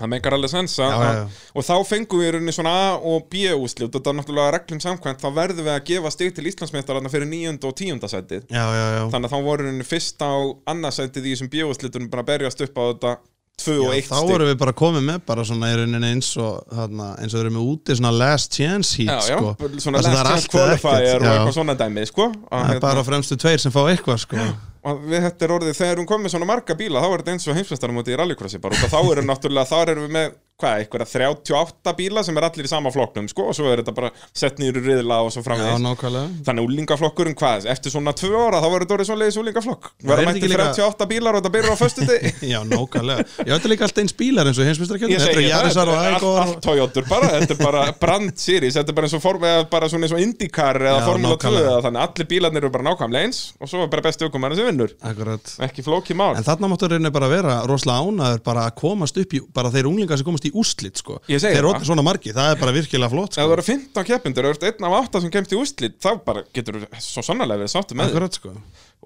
S3: Það meikar alveg sens að,
S1: Já, já, já.
S3: að- og þá fengum við í rauninni svona A og B úslit og það er náttúrulega reglum samkvæmt þá verðum við að gefa stig til Íslandsmeistarana fyrir níunda og tíunda sætið
S1: Já, já, já.
S3: þannig að þá voru henni fyrst á annarsætið í þessum B úslitunum bara að berjast upp á þetta tvö og
S1: já
S3: eitt
S1: þá
S3: stig
S1: vorum við bara komið með bara svona í rauninni eins og, þarna, eins og við erum með úti svona last chance
S3: já,
S1: heat,
S3: já,
S1: sko. Þar sem
S3: svona
S1: það er
S3: last
S1: allt eða
S3: chance
S1: ekkert,
S3: qualifier og
S1: já.
S3: eitthvað svona dæmi sko. að,
S1: Það er
S3: hérna,
S1: bara fremstu tveir sem fá eitthvað, sko.
S3: að við þetta er orðið þegar hún kom með svona marga bíla þá er þetta eins og heimsvestarumóti í rallycrossi bara út að þá eru náttúrulega, þá erum við með hvað, einhverja 38 bíla sem er allir í sama flokknum sko, og svo er þetta bara sett nýru riðla og svo
S1: Já,
S3: framvegis
S1: nákvæmlega.
S3: Þannig úlingaflokkurinn hvað, eftir svona tvö ára þá verður þetta orðið svona leiðis úlingaflokk
S1: er
S3: Verða
S1: þetta
S3: mætti
S1: ekki líka-
S3: 38 bílar og þetta byrjar á föstu
S1: (laughs)
S3: degi
S1: Já, nákvæmlega. Já, þetta er líka allt eins bílar eins og hinsmestrakjöndin.
S3: Ég
S1: Þetta eru
S3: segi það,
S1: Jarisar
S3: þetta
S1: og
S3: er allt,
S1: Ægor.
S3: allt Toyotur bara, þetta er bara brand series, þetta er bara eins og, form, eða bara svona eins og IndyCar eða
S1: Já,
S3: Formula 2
S1: nákvæmlega.
S3: eða þannig, allir bílarnir eru bara nákvæmlega eins og svo er bara bestu aukumæri sem vinnur,
S1: Akkurat.
S3: ekki flókið mál
S1: En þarna máttu rauninni bara vera rosalega ánæður bara að komast upp í, bara þeir unglingar sem komast í úslit sko.
S3: Ég segi
S1: Þeir
S3: það.
S1: rótni svona margi, það er bara virkilega flott
S3: Ef
S1: sko.
S3: það eru 15 keppindur og þú ert einn af 8 sem kemst í úrslit þá bara getur þú svo sannarlega verið sáttu með þig
S1: Akkurat sko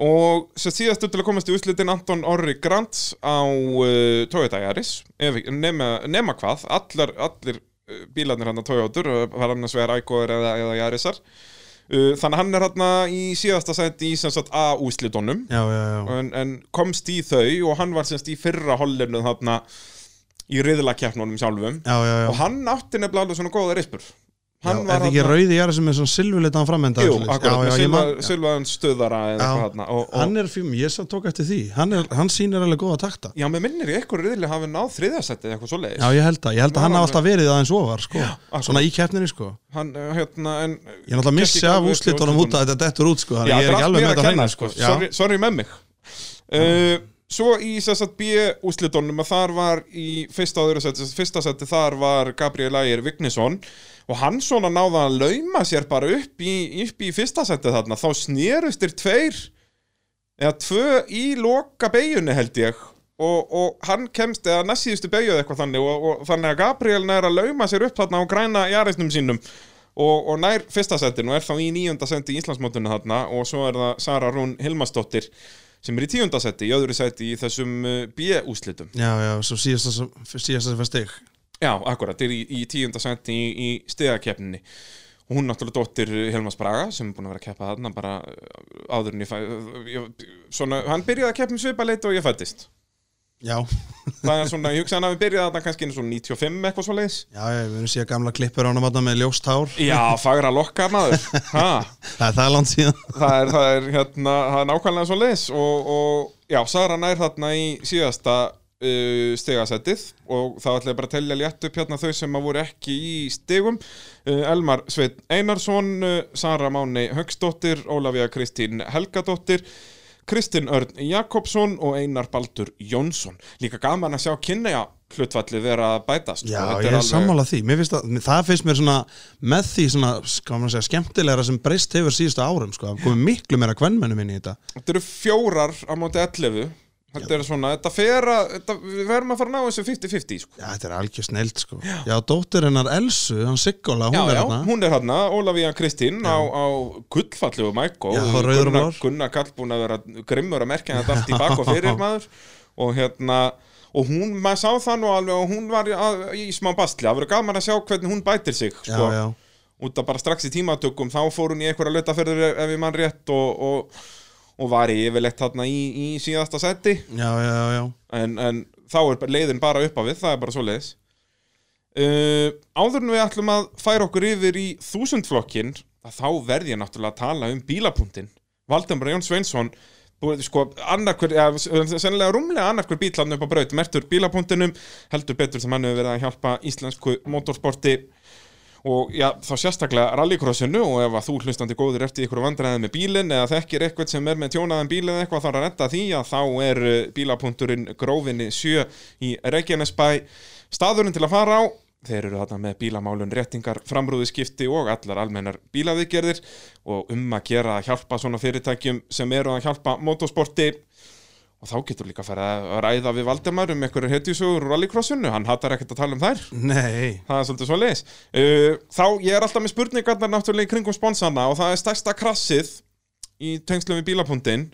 S3: og sem síðastu til að komast í úrslitin Anton Orri Grants á uh, Toyota Yaris Ef- nema, nema hvað, allar, allir uh, bílarnir hann að Toyotur var annars vegar Aikoður eða, eða Yarisar uh, þannig að hann er hann í síðasta sæti í sem sagt A-úrslitunum
S1: Já, já, já,
S3: en, en komst í þau og hann var semst í fyrra hollinu þarna í riðlakeppnunum sjálfum
S1: já, já, já.
S3: og hann átti nefnilega alveg svona góða reispur
S1: já Er það ekki rauði jæra sem er svona silvulitan framenda
S3: Jú, akkurat,
S1: já,
S3: með
S1: já, ég
S3: Silva,
S1: man- já.
S3: Silvaðan stöðara eða
S1: Já.
S3: eitthvað þarna og, og,
S1: Hann er fjum, ég sá tók eftir því Hann, er, hann sýnir alveg góða takta
S3: Já, mér minnir ég eitthvað riðli hafi náð þriðasætti eða eitthvað svoleiðis
S1: Já, ég held það, ég held að hann hafa alltaf verið aðeins ofar sko.
S3: akkurat.
S1: Svona í keppninni sko
S3: Hann, uh, hérna, en
S1: Ég náttúrulega missi af úslitunum út að þetta dettur út sko Þannig
S3: Já,
S1: ég er
S3: þetta
S1: ekki
S3: er allt
S1: alveg með
S3: mér að
S1: þetta
S3: kenna,
S1: hreina
S3: sko
S1: sko Já,
S3: sorry, sorry með mig uh, Svo í sessat B-úslitunum að þar var í fyrsta og öðru seti, fyrsta seti þar var Gabriel Ægir Vignisson og hann svona náða að lauma sér bara upp í, upp í fyrsta seti þarna þá snerustir tveir eða tvö í loka beigjunni held ég og, og hann kemst eða næssíðustu beigjuð eitthvað þannig og, og þannig að Gabriel nær að lauma sér upp þarna á græna jarisnum sínum og, og nær fyrsta sendin og er þá í nýjunda sendi í Íslandsmótinu þarna og svo er það Sara Rún Hilmarsdóttir sem er í tíunda seti, í öðru seti í þessum uh, B-úslitum
S1: já, já, svo síðast að síðast að stig
S3: Já, akkurat, er í, í tíunda senti í, í stigakeppninni og hún náttúrulega dóttir Helmas Braga sem er búin að vera að keppa þarna bara uh, áður en ég fæ uh, ég, svona, hann byrjaði að keppa um svipaleit og ég fættist
S1: Já, (laughs) já,
S3: það er svona, ég hugsa hann að við byrjaði þarna kannski eins og 95 eitthvað svo leiðis
S1: já, við erum síðan gamla klippur á hann með ljóst hár
S3: Já, fagra lokka maður ha,
S1: Það er það er langt síðan
S3: það, er, það, er, hérna, það er nákvæmlega svo leiðis og, og já, Sara nær þarna í síðasta uh, stigasettið og þá ætla ég bara að telja létt upp hérna þau sem að voru ekki í stigum uh, Elmar Sveit Einarsson uh, Sara Máni Högsdóttir Ólafía Kristín Helgadóttir Kristinn Örn Jakobsson og Einar Baldur Jónsson líka gaman að sjá kynneja hlutfallið vera að bætast
S1: Já,
S3: og þetta
S1: ég er
S3: alveg-
S1: sammála því, mér finnst að það finnst mér svona með því svona, skal maður segja, skemmtilegra sem breyst hefur síðustu árum, sko, það komið miklu meira kvennmennum inn í þetta
S3: Þetta eru fjórar á móti 11 Þetta er svona, þetta fer að, þetta, við verðum að fara að ná þessu 50-50 sko.
S1: Já, þetta er algjör sneld sko Já, dóttir hennar Elsu, hann Siggola, hún
S3: Já,
S1: er
S3: já,
S1: hérna
S3: hún er hérna, Ólafía Kristín á, á gullfallu og Mækó
S1: Já, og rauður og
S3: Gunnar,
S1: blár.
S3: Gunnar Kall búin að vera grimmur að merkja þetta allt í bak og fyrir maður og hérna og hún, maður sá það nú alveg og hún var í, að, í smá bastli, það verður gaman að sjá hvernig hún bætir sig
S1: Já,
S3: sko.
S1: já,
S3: út af bara strax í tímatökum þá fór hún í einhverja lötaferður ef ég mann rétt og, og, og var yfirleitt þarna í, í síðasta seti
S1: já, já, já, já.
S3: en, en þá er bara- leiðin bara upp á við, það er bara svo leiðis uh, áður en við ætlum að færa okkur yfir í þúsundflokkin þá verð ég náttúrulega að tala um bílapunktin Valdemar Jón Sveinsson búið, sko, annarkur, ja, sennilega rúmlega annarkur bíl hann upp á braut, mertur bílapunktinum heldur betur sem hann hefur verið að hjálpa íslensku motorsporti og já, þá sérstaklega rallycrossinu og ef að þú hlustandi góður ert í ykkur vandræði með bílinn eða þekkir eitthvað sem er með tjónaðan bíl eða eitthvað þarf að retta því að þá er uh, bílapunkturinn grófinni 7 í Reykjanesbæ staðurinn til að fara á Þeir eru þarna með bílamálun, réttingar, framrúðiskipti og allar almennar bílaviðgerðir og um að gera að hjálpa svona fyrirtækjum sem eru að hjálpa motorsporti og þá getur líka að fara að ræða við Valdemar um einhverjar hetjusögur úr rallycrossinu, hann hattar ekkert að tala um þær
S1: Nei,
S3: það er svolítið svo leiðis uh, þá ég er alltaf með spurningarnar náttúrulega í kringum sponsana og það er stærsta krassið í tengslum við bílapunktin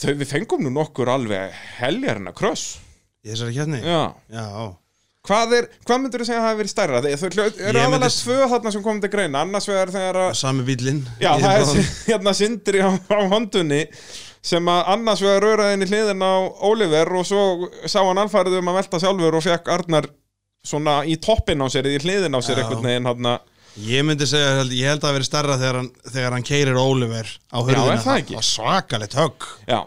S3: þau við fengum nú nokkur alveg heljarna kross
S1: ég sér ekki hérna
S3: já
S1: Já,
S3: Hvað, er, hvað myndur þú segja að það hefur verið stærra? Þau þau hljó- eru
S1: Ég myndi
S3: aðalega
S1: s-
S3: tvö þarna sem komum til greina annars vegar þegar að
S1: sami bíllinn
S3: Já,
S1: Ég
S3: það er
S1: bara-
S3: sy- (laughs) hérna sindri á, á hondunni sem að annars vegar rauraðin í hliðin á Oliver og svo sá hann alfærið um að velta sjálfur og fekk Arnar svona í toppin á sér, í hliðin á sér
S1: Já.
S3: einhvern veginn hann
S1: Ég myndi segja, ég held að það veri stærra þegar hann, þegar hann keirir Oliver á hurðina
S3: er það ekki?
S1: var svakalegt högg
S3: Já,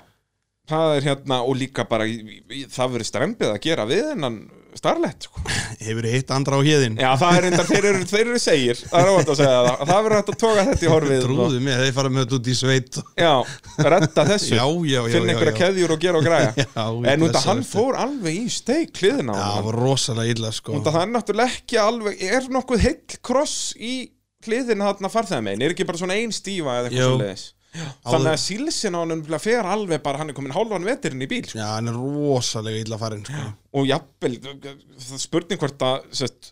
S3: það er hérna og líka bara, í- í- það verður strempið að gera við hennan starlett sko.
S1: Hefur hitt andra á hérðin
S3: Já, það er reyndar, þeir eru, þeir eru segir það er óvænt að segja það, það verður hægt að toga þetta í horfið og,
S1: Trúðu mig, þeir fara með þetta út í sveit
S3: Já, redda þessu
S1: Já, já, já, já,
S3: finn einhverja
S1: já.
S3: keðjur og gera og (laughs) græja
S1: Já, ég
S3: en út að
S1: blessaður
S3: hann
S1: þetta.
S3: fór alveg í steik hliðina á
S1: Já, það
S3: honum.
S1: var rosalega illa sko
S3: út að það er náttúrulega ekki alveg er nokkuð heill kross í hliðina þarna farþæðamein, er ekki bara svona ein stífa eða eitthvað
S1: Jú.
S3: svo leiðis þannig að sílsin á hann fer alveg bara, hann er komin hálfan veturinn í bíl
S1: Já, hann er rosalega illa farin sko.
S3: og jafnvel, það er spurning hvort að sest,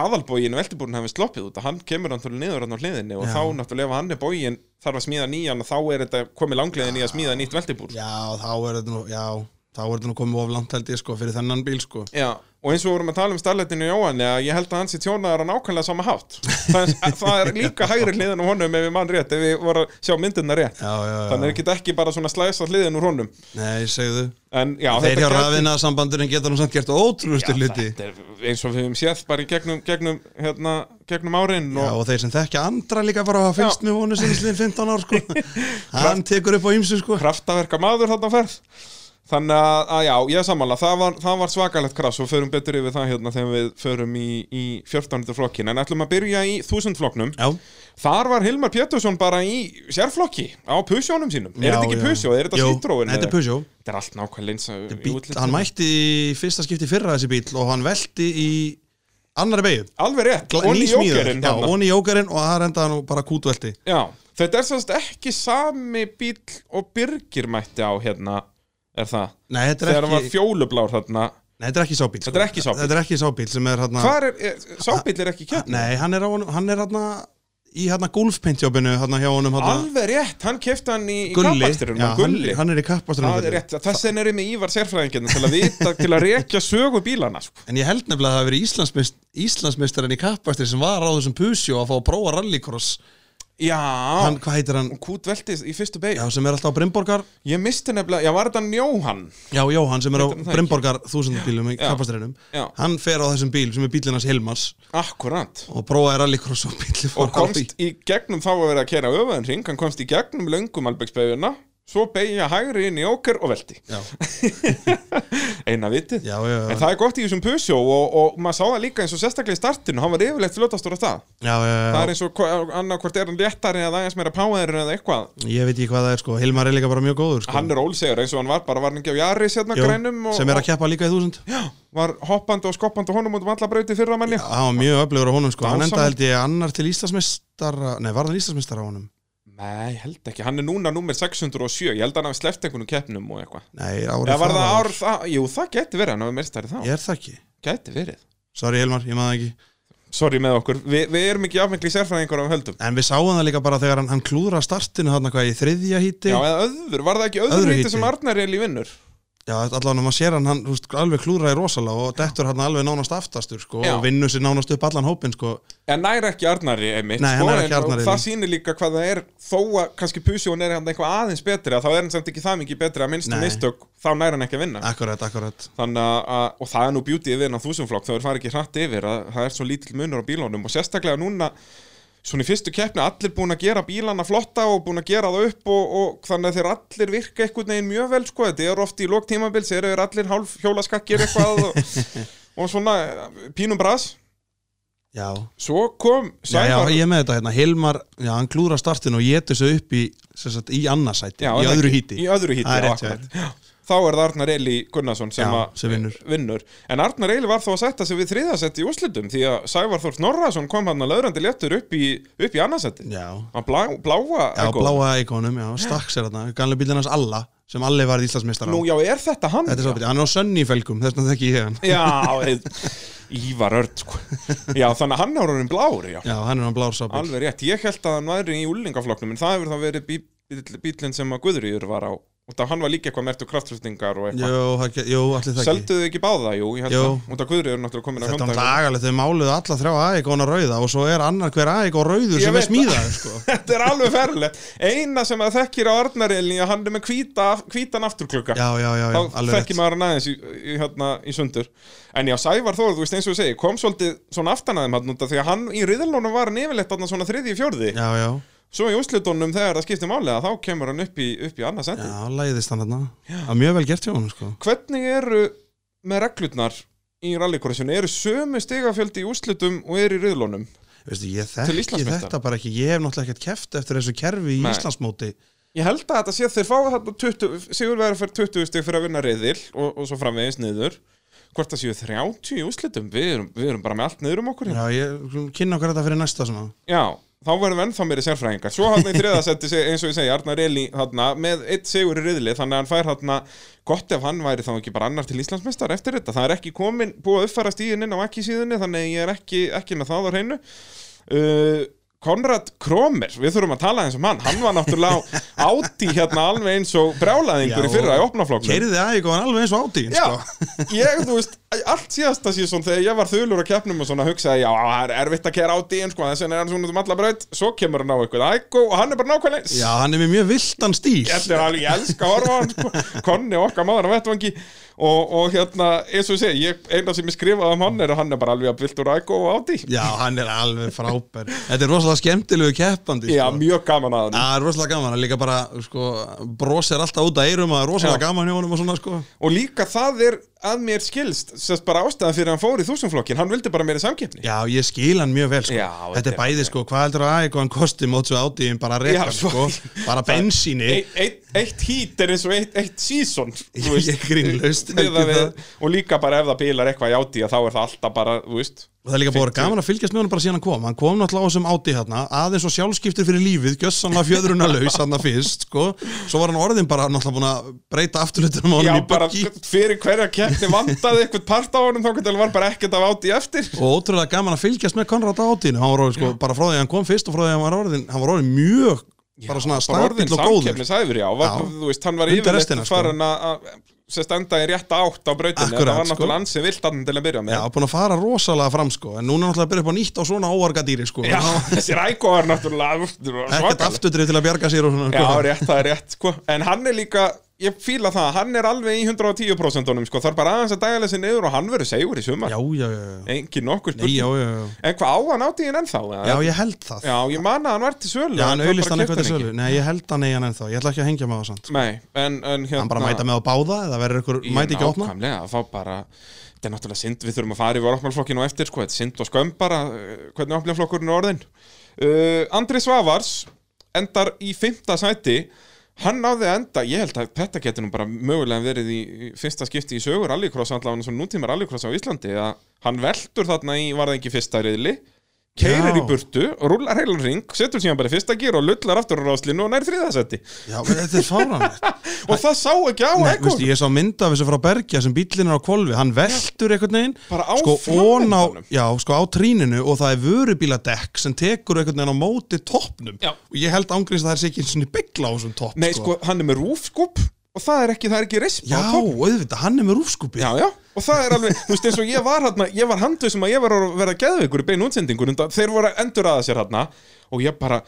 S3: aðalbógin veltibúrin hefði sloppið út að hann kemur náttúrulega niður hann á hliðinni og
S1: Já.
S3: þá náttúrulega ef hann er bógin þarf að smíða nýjan og þá er þetta komið langleiðin í að smíða nýtt veltibúr
S1: Já, þá er þetta nú, já Þá er þetta nú komið of langt held ég sko fyrir þennan bíl sko
S3: Já, og eins og við vorum að tala um starleitinu Jóhanni að ég held að hans í tjónaðar á nákvæmlega sama hátt það er, það er líka hægri hliðin á honum ef við mann rétt, ef við vorum að sjá myndina rétt
S1: Já, já, já
S3: þannig er ekki ekki bara svona slæsa hliðin úr honum
S1: Nei, segðu
S3: en já,
S1: Þeir hjá
S3: gæti-
S1: rafina sambandurinn geta nú samt gert ótrúlustu
S3: Já,
S1: hluti
S3: þetta er eins og við höfum séð bara í gegnum, gegnum, hérna, gegnum árin
S1: Já, og þeir sem þekkja andra líka bara hafa fylgst með vonu sinni sliðin 15 ár
S3: (laughs)
S1: sko Hann tekur upp á ýmsu sko
S3: kraftaverka maður þarna á ferð þannig að, að já, ég er sammála það var, það var svakalegt krass og förum betur yfir það hérna þegar við förum í, í 14. flokkin en ætlum að byrja í 1000 flokknum
S1: Já,
S3: þar var Hilmar Pétursson bara í sérflokki á pusjónum sínum er
S1: Já,
S3: þetta ekki
S1: já.
S3: pusjó, er þetta
S1: Jú,
S3: sítróin
S1: þetta er Peugeot.
S3: þetta er allt nákvæmlega eins að- í
S1: bíl,
S3: útliti.
S1: hann mætti í fyrsta skipti í fyrra þessi bíl og hann velti í annari beigju
S3: alveg rétt, onni jókerinn þarna.
S1: onni jókerinn og það renda hann bara kútvelti
S3: já, þetta er sérst ekki sami bíl og Birgir mætti á hérna, er það
S1: nei þetta, er
S3: þegar hann var
S1: ekki,
S3: fjólublár þarna
S1: nei, þetta er ekki sábíl
S3: Þetta er ekki sá bíll.
S1: þetta er ekki sábíl sem er hérna
S3: hvað er, er sábíl er ekki kjöpn
S1: nei hann er, á, honum- hann er hérna í hérna gólfpintjópinu hérna hjá honum hérna
S3: Alveg rétt, hann kefti hann í, í
S1: Gulli, já,
S3: kappaksturinn
S1: hann,
S3: Gulli,
S1: hann er í kappasturinn
S3: það er rétt Þess vegna er ég með Ívar sérfræðingirna til að vita til að rekja sögu bílana sko.
S1: en ég held nefnilega að það hafi verið Íslandsmeist, Íslandsmeistarinn í kappastur sem var á þessum pusjó að fá að prófa rallycross
S3: Já,
S1: hann, hvað heitir hann,
S3: og kút veltið í fyrstu beig
S1: já sem er alltaf á Brimborgar
S3: Ég misti nefnilega, já var þetta Njóhann
S1: Já, Jóhann sem er á
S3: Heitir hann það
S1: Brimborgar þúsundabílum í kappastriðinum
S3: Já.
S1: Hann fer á þessum bíl sem er bílinn hans Hilmars
S3: Akkurant
S1: og prófaði rallycross og bíli fór
S3: Og komst í gegnum þá að vera að kera öfaðin ring Hann komst í gegnum löngum albegsbeiguna Svo beigja hægri inn í okkur og velti
S1: Já,
S3: (laughs) Eina vitið
S1: já, já,
S3: En
S1: já,
S3: það er gott í þessum pusjó og, og maður sá það líka eins og sérstaklega í startinu Hann var yfirleitt fljótastur á stað
S1: já, já,
S3: Það
S1: já.
S3: er eins og annarkvort er hann léttari eða aðeins meira power eða eitthvað
S1: Ég veit ekki hvað það er sko, Hilmar er líka bara mjög góður sko.
S3: hann er ólsegur eins og hann var bara var hann ekki á Jaris hérna
S1: Jú,
S3: grænum og,
S1: sem er að keppa líka í þúsund Já,
S3: og var hoppandi og skoppandi honum út um alla brauti fyrra manni
S1: hann var mjög öflugur á honum sko Hann
S3: Dásamlegt.
S1: enda held ég annar til Íslandsmeistar Nei, var það Íslandsmeistar á honum?
S3: Nei, ég held ekki, hann er núna nummer 607 Ég held að hann hafi sleppt einhvernum keppnum og eitthvað
S1: Nei, árið
S3: Eða var það
S1: þar
S3: ár, það, jú það gæti verið hann hafi meistari þá
S1: Ég er það ekki
S3: Gæti verið
S1: Sorry Elmar, ég maður ekki
S3: Sorry með okkur, Vi, við erum ekki afmengli sérfræðingur af höldum
S1: En við sáum það líka bara þegar hann, hann klúðra startinu hann hvað í þriðja híti
S3: Já,
S1: Já,
S3: eða öðru, var það ekki öðru,
S1: Öðru
S3: öðru
S1: hiti.
S3: sem Arnar er í vinnur?
S1: allan að maður sér hann, hann þú veist, alveg klúðraði rosalega og dettur hann alveg nánast aftast sko,
S3: Já.
S1: og vinnur sér nánast upp allan hópin sko.
S3: En nær ekki Arnari einmitt
S1: Nei, hann
S3: sko,
S1: nær ekki
S3: en- og
S1: Arnari,
S3: Það
S1: nei.
S3: sýnir líka hvað það er Þó að kannski pusi hún er hann eitthvað aðeins betri að Þá er hann samt ekki það mikið betri að minnstu
S1: Nei.
S3: mistök Þá nær hann ekki að vinna
S1: Akkurat, akkurat
S3: Þannig að, að- og það er nú bjútið við hennan þúsumflokk Þá er farið ekki hratt yfir að það er svo lítill munur á bílunum Og sérstaklega núna Svona í fyrstu keppni allir búin að gera bílana flotta Og búin að gera það upp og, og þannig að þeir allir virka einhvern veginn mjög vel sko. Þetta er oft í lok tímabils Þeir eru allir hálf hjólaskakkir eitthvað
S1: (laughs)
S3: og, og svona pínum bras
S1: Já,
S3: Svo kom
S1: já, já
S3: Sævar
S1: ég er með þetta hérna Hilmar, já, hann klúðra startinu og getur sér upp í, sem sagt, í annarsæti
S3: Já,
S1: Í
S3: er það
S1: öðru
S3: ekki?
S1: híti
S3: Í öðru híti,
S1: Það er
S3: já,
S1: rétt hjá
S3: akkurat. Já. Þá er það Arnar Eli Gunnarsson sem,
S1: Já,
S3: að-
S1: sem vinnur.
S3: En Arnar Eli var þá að setja sig við þriðasetti í úrslitum Því að Sævar Þór Snorrason kom hann að löðrandi léttur upp í, upp í annarsetti
S1: Já,
S3: Að blá, bláa
S1: já
S3: Eggó.
S1: bláa eikonum, já, stakks er þarna Ganlega bílinn hans Alla, sem Alli var í Íslandsmeistar
S3: Nú, já, er þetta hann?
S1: Þetta er svo
S3: Já.
S1: betið, hann er á sönni í felgum, þess vegna þekki ég hann
S3: Já, heið, Ívar Örd sko. Já, þannig að hann er orðin blár já.
S1: Já, hann er á blár sábíl
S3: Alveg rétt, ég held að hann væri í úlingaflokknum En það hefur þá verið bí, bí, bílinn sem að Guðrýður var á Og það hann var líka eitthvað mertu kraftlöftingar og eitthvað
S1: Jó, það ge- jú, allir þekki
S3: Selduðu ekki báða, jú, ég held
S1: Jú.
S3: að Út af Guðrýður er náttúrulega komin að
S1: Þetta er
S3: Hyundai.
S1: lagalegt, þau máluðu alla þrjá aðeikóna rauða og svo er annar hver aðeikó rauður
S3: Ég
S1: sem
S3: veit
S1: er smíðaður sko.
S3: (laughs) (laughs) Þetta er alveg ferlegt Eina sem að þekkir á Arnarelni að hann er með hvíta, hvítan afturklukka
S1: Já, já, já, já,
S3: Þá
S1: alveg rétt
S3: þekkir maður hann aðeins í, í, hérna, í sundur En já, Sævar Þór, þú veist eins og ég segi Kom svolítið svona aftan aðeim hann út af Því að hann í riðalónum var hann yfirleitt þarna svona þriði í fjórði
S1: Já, já,
S3: Svo í úslitónum þegar það skiptir máli að Þá kemur hann upp í, upp í annað sendi
S1: já, læðist hann þarna Það er mjög vel gert hjá hann sko.
S3: Hvernig eru með reglurnar í rallykorsinu? Eru sömu stigafjöldi í úslitum og eru í riðalónum?
S1: Veistu, Ég
S3: Til
S1: þekki
S3: Íslandsmeistara.
S1: þetta bara ekki Ég hef náttúrulega ekkert keft eftir þessu kerfi í
S3: Nei.
S1: Íslandsmóti
S3: Ég held að þetta sé að þeir fá þarna 20, Sigurverðar fyrir 20 stig fyrir að vinna reyðil og, og svo framvegis niður hvort það séu 30 í úrslitum við erum, við erum bara með allt niður um okkur hérna.
S1: Já, ég kynna okkur þetta fyrir næsta svona
S3: Já, þá verðum við ennþá meiri sérfræðingar Svo hann í þriðasetti, se- eins og ég segi, Arnar Eli þarna, með eitt sigur í reyðli þannig að hann fær þarna, gott ef hann væri þá ekki bara annar til Íslandsmeistar eftir þetta það er ekki komin, búið að uppfæra stíðin inn á ekki síðunni þannig að ég er ekki, ekki með það á hreinu uh, Konrad Kromer, við þurfum að tala eins um hann hann var náttúrulega á áti hérna alveg eins og
S1: Já,
S3: brjálaðingur í fyrra í
S1: og
S3: opnaflokknum
S1: Keiriði aðeikóan alveg eins og átíðin
S3: Já,
S1: sko.
S3: (laughs) ég, þú veist, allt síðasta síðan þegar ég var þulur á keppnum og svona hugsaði, já, það er erfitt að kera á dýinn, sko, þess vegna er hann svona út um alla braut, svo kemur hann á eitthvað ægó og hann er bara nákvæmlega eins.
S1: Já, hann er með mjög viltan stíl
S3: Þetta er alveg, ég elska að horfa á hann, sko, konni okkar maður á vettvangi og, og hérna, eins og ég segi, ég, eina sem ég skrifaði um hann er að hann er bara alveg að viltur ægó og á dý.
S1: Já, hann er alveg frábær Þetta er rosalega skemmtilegu keppandi
S3: Já,
S1: sko.
S3: mjög gaman að hann.
S1: Það er rosalega gaman, hann líka bara sko, brosir alltaf út að eyrum og það er rosalega
S3: Já.
S1: gaman hjá honum og svona sko.
S3: Og líka það er að mér skilst, sérst bara ástæðan fyrir að hann fór í þúsumflokkin, hann vildi bara meira samkeppni.
S1: Já, ég skil hann mjög vel sko.
S3: Já,
S1: Þetta er bæði sko, hvað heldur að eitthvað hann kosti mót svo átíðin bara að
S3: Já,
S1: reka hann, sko.
S3: svo-
S1: bara bensíni
S3: Eitt- eitt, eitt hít er eins og eitt, eitt
S1: (laughs)
S3: season
S1: Ég-
S3: þú veist.
S1: ég grínlaust
S3: Miðað
S1: heldur
S3: við-
S1: það.
S3: og líka bara ef það bílar eitthvað í átíða þá er það alltaf bara, þú veist
S1: og það er líka bara gaman að fylgjast með hann bara síðan hann kom hann kom náttúrulega á þessum átíð hérna aðeins og sjálfskiptir fyrir lífið, gjössanlega fjöðruna laus hann fyrst, sko svo var hann orðin bara náttúrulega búin að breyta afturlutunum á
S3: Já,
S1: hann í
S3: bara
S1: böggi
S3: fyrir hverja keppni vandaði eitthvað part á honum þá var bara ekkert af átíð eftir
S1: og ótrúlega gaman að fylgjast með Konrad á átíðinu hann var orðin, sko, bara frá því að hann kom fyrst og frá því að hann var orðin hann var orðin mjög, bara svona
S3: Bara orðin
S1: stabill og góður
S3: samkeppnishæfur, já, var,
S1: Já.
S3: þú veist, hann var
S1: Undir
S3: yfirleitt
S1: restina, sko.
S3: farin að- að sérst enda í rétta átt á brautinni
S1: Akkurat,
S3: það var
S1: sko.
S3: náttúrulega ansið vilt annan til að byrja með
S1: Já, búin að fara rosalega fram sko En núna er náttúrulega að byrja upp á nýtt á svona óargadýri sko
S3: Já,
S1: Hann á
S3: þessi rækó var náttúrulega
S1: (laughs) Ekkert
S3: svakalegt.
S1: afturdrif til að bjarga sér og svona
S3: Já,
S1: sko.
S3: rétt, það er rétt, sko En hann er líka, ég fíla það, hann er alveg í 110%-unum, sko Það er bara aðeins að dæla sér niður og hann verður segur í sumar
S1: já, já, já, já.
S3: Engin nokkur
S1: Nei, já,
S3: spurning
S1: já, já.
S3: En hvað á hann átti hinn ennþá? eða?
S1: já, ég held það
S3: já, ég man að hann var til sölu
S1: Já, hann
S3: en það
S1: auðlist
S3: bara
S1: hann eitthvað
S3: keypti
S1: til
S3: hann
S1: sölu Nei, ég held hann eigin ennþá, ég ætla ekki að hengja með það samt
S3: ekki. Nei, en, en hérna
S1: Hann bara mæta með á báða, eða verður ykkur, mæti ekki að opna
S3: Nákvæmlega, þá bara Þetta er náttúrulega synd, við þurfum að fara yfir opnaflokkinu á eftir, sko Þetta er synd og skömm bara, eh, hvernig opnaflokkurinn er orðin uh, Andri Svavars endar í fymta sæti Hann náði að enda, ég held að þetta getur nú bara mögulega verið í í fyrsta skipti í sögur rallycross, allavega svona nútíma rallycross á Íslandi að hann veldur þarna í, var það ekki fyrsta riðli keirir
S1: Já.
S3: í burtu, rúlar heilan ring setur síðan bara í fyrsta gýr og lullar aftur á ráslinu og nær þriðasetti
S1: Já, men þetta er
S3: (laughs)
S1: fáránlegt
S3: og það sá ekki á
S1: Nei,
S3: ekkur
S1: veistu, Ég sá mynd af þessu frá Bergja sem bíllinn er á kvolfi Hann veltur einhvern veginn
S3: Bara á
S1: sko, ofan á,
S3: framvindanum.
S1: já, sko á tríninu og það er vörubíladekk sem tekur einhvern veginn á móti toppnum
S3: Já.
S1: og ég held ángriðs að það er ekki einu sinni byggla á þessum topp
S3: Nei, sko, hann er með rúfskúp og það er ekki, það er ekki resp
S1: Já, auðvitað, hann er með rúfskúpi
S3: Já, já, og það er alveg, þú veist eins og ég var hann ég var handu sem að ég var að vera geðveikur í beinu útsendingun, undan- þeir voru að endur aða sér hann og ég bara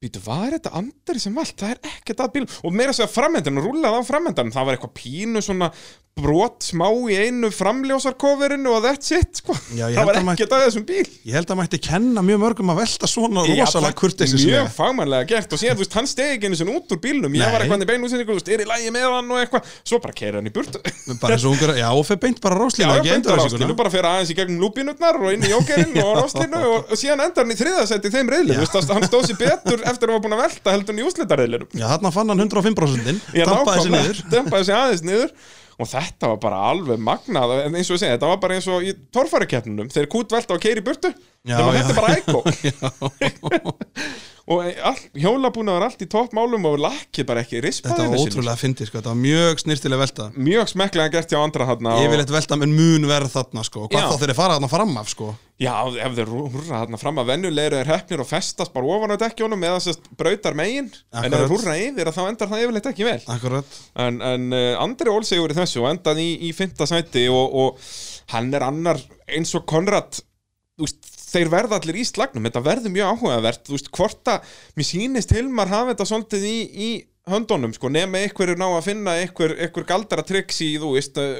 S3: býtu, var þetta andari sem vald, það er ekkert að bíl og meira að segja framhendan, rúlaði á framhendan það var eitthvað pínu svona brot smá í einu framljósarkoverinu og that's it, sko,
S1: Já, ég
S3: það
S1: held
S3: var
S1: að maður-
S3: ekkert að þessum bíl
S1: Ég held að mætti kenna mjög mörgum að velta svona
S3: Ég,
S1: rosalega
S3: það-
S1: kurteisislega
S3: Mjög fagmannlega gert og síðan, þú veist, hann stegi ekki einu sinni út úr bílnum Ég
S1: Nei.
S3: var eitthvað í beinu útsendingu, þú veist, er í lægi með hann og eitthvað Svo bara keira hann í burtu
S1: bara eins og ungur, já, og fyrir beint bara
S3: Já,
S1: ráslínu ekki
S3: beint á
S1: endur
S3: ráslinu, bara fyrir aðeins í gegnum lúpinutnar og inn í jókerinn og á ráslinu og, og síðan endar hann í þriðasetti í þeim reyðlinu, þú veist, það- hann stóð sér betur eftir að hann var búin að velta heldur hann í úslitareðlinum
S1: Já, þarna fann hann 105%-in
S3: Ég
S1: Dampaði sér
S3: nákvæmlega-
S1: niður
S3: Dampaði sér aðeins niður Og þetta var bara alveg magnað En eins og ég segi, þetta var bara eins og í torfærakeppnunum Þeir kút velta og keiri burtu
S1: Já,
S3: Þegar
S1: já.
S3: þetta er bara ekko
S1: (laughs)
S3: (laughs) Og all, hjólabúnaður allt í toppmálum Og lakki bara ekki
S1: Þetta var
S3: rispaðinu
S1: ótrúlega fyndið, sko, þetta var mjög snirtilega velta
S3: Mjög smekklega gert hjá andra hann
S1: Ég vil eitt velta með mun verð þarna, sko og
S3: Já.
S1: Hvað þá þeir fara þarna fram af, sko
S3: Já, ef þeir rú- húrra þarna fram að venjulegir er hefnir og festast bara ofan á dekkjónum eða sérst brautar megin en ef
S1: Akkurat.
S3: þeir húrra yfir að þá endar það yfirleitt ekki vel
S1: Akkurat
S3: en, en uh, Andri Olsegur í þessu og endaði í, í fymta sæti og, og hann er annar eins og Konrad þú veist, þeir verða allir í slagnum þetta verður mjög áhugavert þú veist, hvort að mér sýnist Hilmar hafa þetta svolítið í, í höndunum sko, nema einhverju ná að finna einhver, einhver galdara triks í þú veist uh,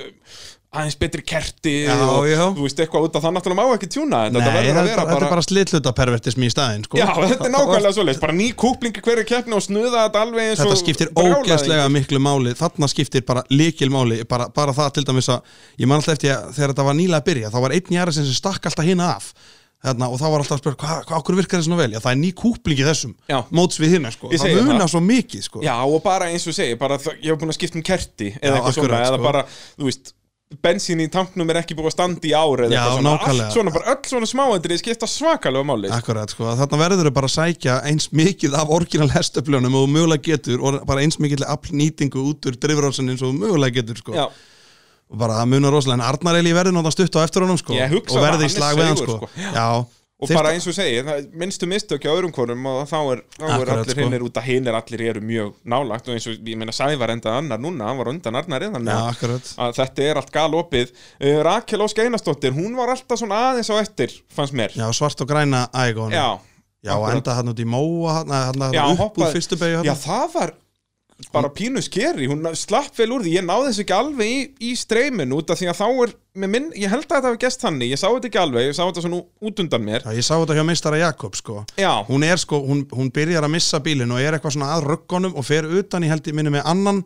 S3: aðeins betri kerti
S1: Já,
S3: og
S1: já.
S3: þú veist eitthvað út af það náttúrulega má ekki tjúna þetta, þetta
S1: Nei,
S3: verður
S1: þetta
S3: að vera
S1: þetta
S3: bara,
S1: er bara slithlutapervertismi í staðinn sko.
S3: Já, þetta er nákvæmlega svoleiðis, bara ný kúplingi hverju keppni og snuða þetta alveg eins
S1: Þetta
S3: og
S1: skiptir
S3: brjálæðingur.
S1: ógeðslega miklu máli Þarna skiptir bara líkilmáli bara, bara það til dæmis að Ég man alltaf eftir að þegar þetta var nýlega að byrja Þá var einn jæra sem stakk alltaf hina af Þarna, og þá var alltaf að spyrja, hvað, hvað okkur virkar þessu nú vel? Já, það er ný kúplingi þessum,
S3: Já.
S1: móts við hina sko.
S3: Ég
S1: Það
S3: segi það.
S1: munar svo mikið sko.
S3: Já, og bara eins og ég segi, bara það- ég hef búin að skipta um kerti eða
S1: Já,
S3: eitthvað svona,
S1: akkurat,
S3: eða
S1: sko.
S3: bara, þú veist bensín í tanknum er ekki búið að standa í ár eða
S1: Já,
S3: eitthvað svona,
S1: nákvæmlega.
S3: allt svona, bara öll svona smáendri skipta svakalega máli sko.
S1: Akkurat, sko, þarna verður þau bara að sækja eins mikið af orginal hestöfljónum og þú mögulega getur og bara eins mikið nýtingu út úr drifrósaninn og mögulega getur sko.
S3: Já,
S1: og bara það munar rosalega en Arnar Eli verður náttúrulega stutt á eftir honum sko,
S3: Ég hugsa
S1: og
S3: það,
S1: verði í
S3: hann er
S1: slag við hann
S3: seigur,
S1: sko.
S3: sko.
S1: Já,
S3: og
S1: Þeir-
S3: bara eins og ég segi, það, minnstu mistök á öðrum konum og þá er, þá er
S1: Akkurat,
S3: allir
S1: sko.
S3: hinnir út að hinnir allir eru mjög nálagt og eins og, ég meina, Sævar endað annar núna, hann var undan Arnar eða
S1: Já, akkurat
S3: að þetta er allt galopið uh, Rakel Ósk Einarsdóttir, hún var alltaf svona aðeins á eftir, fannst mér
S1: Já, svart og græna ægón
S3: Já,
S1: Já, og
S3: akkurat.
S1: enda hann út í móa hann, hann,
S3: Já,
S1: hann upp úr
S3: hoppaði-
S1: fyrstu hérna. beigju
S3: Já,
S1: hann
S3: það var bara pínu skeri, hún slapp vel úr því ég náði þessu ekki alveg í, í streymin út af því að þá er, með minn, ég held að þetta hafi gest þannig, ég sá þetta ekki alveg, ég sá þetta svona út undan mér,
S1: Já, ég sá þetta hjá meistara Jakob sko.
S3: já,
S1: hún er sko, hún, hún byrjar að missa bílinn og er eitthvað svona að röggunum og fer utan í held í minni með annan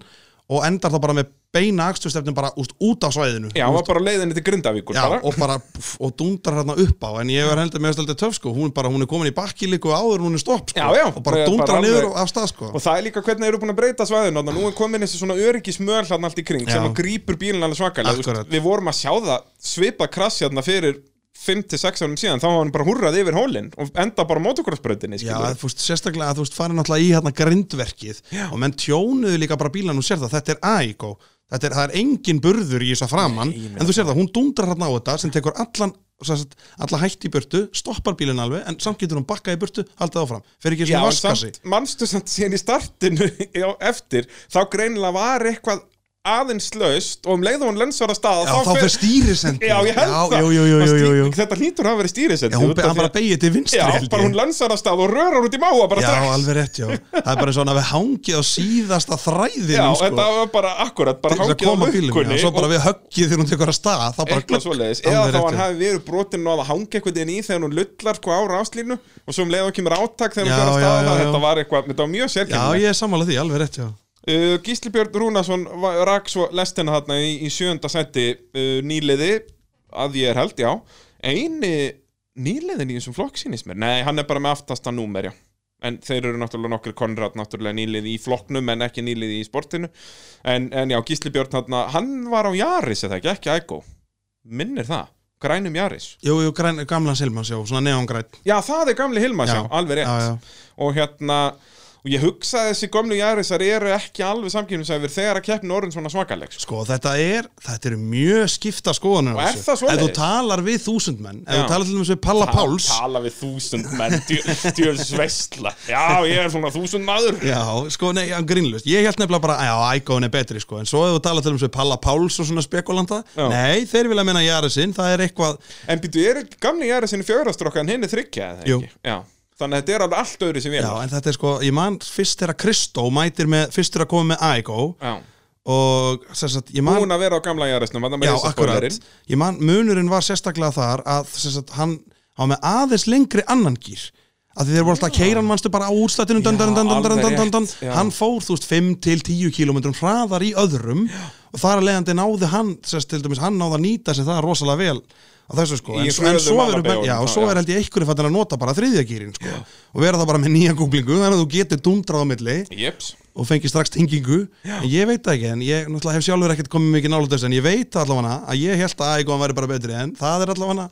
S1: og endar þá bara með beina akstustefnum bara út, út á svæðinu
S3: já, hún var bara á leiðinni til Grindavíkur
S1: Já,
S3: bara,
S1: og bara, pff, og dundrar hérna upp á en ég er heldur með að stöldi töf sko hún, bara, hún er komin í bakki líku áður en hún er stopp sko,
S3: Já, já,
S1: og bara
S3: bara-
S1: dundrar
S3: bara
S1: niður
S3: alveg-
S1: af stað sko
S3: og það er líka hvernig þeir eru búin að breyta svæðinu, þannig að nú er komin þessi svona öryggismöl hann allt í kring, sem
S1: Já.
S3: að grípur bílinn alveg svakalega, Þú
S1: Akkurat.
S3: veist, við vorum að sjá það svipað krass hérna fyrir 5-6 árum síðan, þá var hann bara húrrað yfir hólinn og enda bara á mótokrossbrautinni,
S1: Já,
S3: skilurðu.
S1: þú veist, sérstaklega að þú veist farin náttúrulega í hérna grindverkið og menn tjónuðu líka bara bílan og sér það, þetta er Aiko þetta er, það er engin burður í þessa framann
S3: Nei, ég meina
S1: en þú sér það, hún dundrar hérna á þetta sem tekur allan sagt, alla hætt í burtu, stoppar bílinn alveg en samt getur hún bakkað í burtu, haldið áfram fer ekki
S3: Já,
S1: svona
S3: en
S1: vaskassi
S3: samt, manstu samt síðan í startinu (laughs) á eftir, þá greinilega var eitthvað aðeins laust og um leið og hún lensar að staða
S1: Já, þá fer stýrisendi
S3: Já, ég held það
S1: jú, jú, jú,
S3: Hann
S1: jú,
S3: stý-
S1: jú, jú.
S3: Þetta hlýtur að vera
S1: Já,
S3: stýrisendi
S1: hún,
S3: út af
S1: hann
S3: því
S1: bara
S3: að-
S1: beigir til vinstri
S3: Já,
S1: held ég.
S3: bara hún lensar að stað og rörar út í máa bara
S1: Já,
S3: strax.
S1: alveg rétt, já Það er bara eins og hann hafi hangið á síðasta þræðinu
S3: Já,
S1: sko,
S3: þetta var bara akkurat, bara
S1: til þess að
S3: hangið á
S1: koma bílum já,
S3: lukkunni
S1: Svo bara
S3: og
S1: við höggið þegar hún tekur að stað þá bara
S3: eitthvað
S1: glögg.
S3: svoleiðis eða
S1: Alveg
S3: þá
S1: rétt, já.
S3: hann hafi verið brotinn og að hanga eitthvað inn í þegar hún lullar sko á ráslínu og svo um leið og kemur átak þegar
S1: Já,
S3: hún fyrir að
S1: já, já,
S3: staða
S1: já.
S3: þetta var eitthvað, þetta var mjög
S1: Já,
S3: sérkennilegt
S1: ég er sammála því, alveg rétt, já
S3: Uh, Gísli Björn Rúnarsson va- rak svo lestina þarna í, í sjönda seti uh, nýliði, að ég er held, já eini nýliðin í þessum flokk sínist mér, nei, hann er bara með aftasta númer, já, en þeir eru náttúrulega nokkur konrad, náttúrulega nýliði í flokknum en ekki nýliði í sportinu en, en já, Gísli Björn þarna, hann var á Jaris eða ekki, ekki Ægó minnir það, grænum Jaris
S1: Jú, jú, græn, gamla Silmans, já, svona neongræn
S3: Já, það er gamli Hilmas, já,
S1: Já,
S3: alveg rétt
S1: já, já.
S3: Og hérna, og ég hugsa að þessi gömlu Jarisar eru ekki alveg samkjöfnisæfir þegar að keppni orðin svona svakaleg sko.
S1: Sko, þetta er, þetta eru mjög skipta skoðanir á
S3: Og er
S1: þessu.
S3: það svoleiðis?
S1: Ef þú talar við þúsund menn, ef
S3: Já.
S1: þú talar til dæmis við Palla Páls
S3: Tala við þúsund menn, djöfis veistla Já, ég er svona þúsund maður
S1: Já, sko, nei, já, grínlust Ég held nefnilega bara, já, Ægóin er betri, sko En svo ef þú talar til dæmis við Palla Páls og svona spekulanta
S3: Já.
S1: Nei, þeir vilja meina Jarisinn, það er eitthvað
S3: En býtu, er ekki gamli Jarisinn fjögrastróka en henni þryggja eða
S1: Jú.
S3: ekki? Já, þannig að þetta er alveg allt öðru sem við
S1: Já, en þetta er sko, ég man fyrst þegar Kristó mætir með, fyrst þegar að koma með Ægó
S3: Já,
S1: Og, sem sagt, ég man
S3: búin að vera á gamla Jarisnum, þannig að
S1: Já,
S3: með
S1: akkurat
S3: risaspoilerinn.
S1: Ég man, munurinn var sérstaklega þar að sem sagt, hann á með aðeins lengri annan gýr að þeir voru alltaf að keira hann mannstu bara á útstættinu dun, dun, dun, dun, dun, dun, dun, dun.
S3: alveg rétt, já.
S1: hann fór þú veist 5 til 10 kilometrum hraðar í öðrum og þar að leiðandi náði hann sérst, til dæmis hann náði að nýta sig það rosalega vel á þessu sko
S3: Í
S1: en,
S3: hröðum
S1: en svo, er,
S3: Alabama-unum,
S1: já, og
S3: þá,
S1: svo
S3: já.
S1: er held ég einhverju fættin að nota bara þriðja gýrin sko og vera það bara með nýja googlingu þannig að þú getur dundrað á milli
S3: Jeps.
S1: og fengi strax tengingu en ég veit það ekki, en ég náttúrulega hef sjálfur ekkert komið mikið nála þess, en ég veit allavega að ég held að Aegon væri bara betri, en það er allavega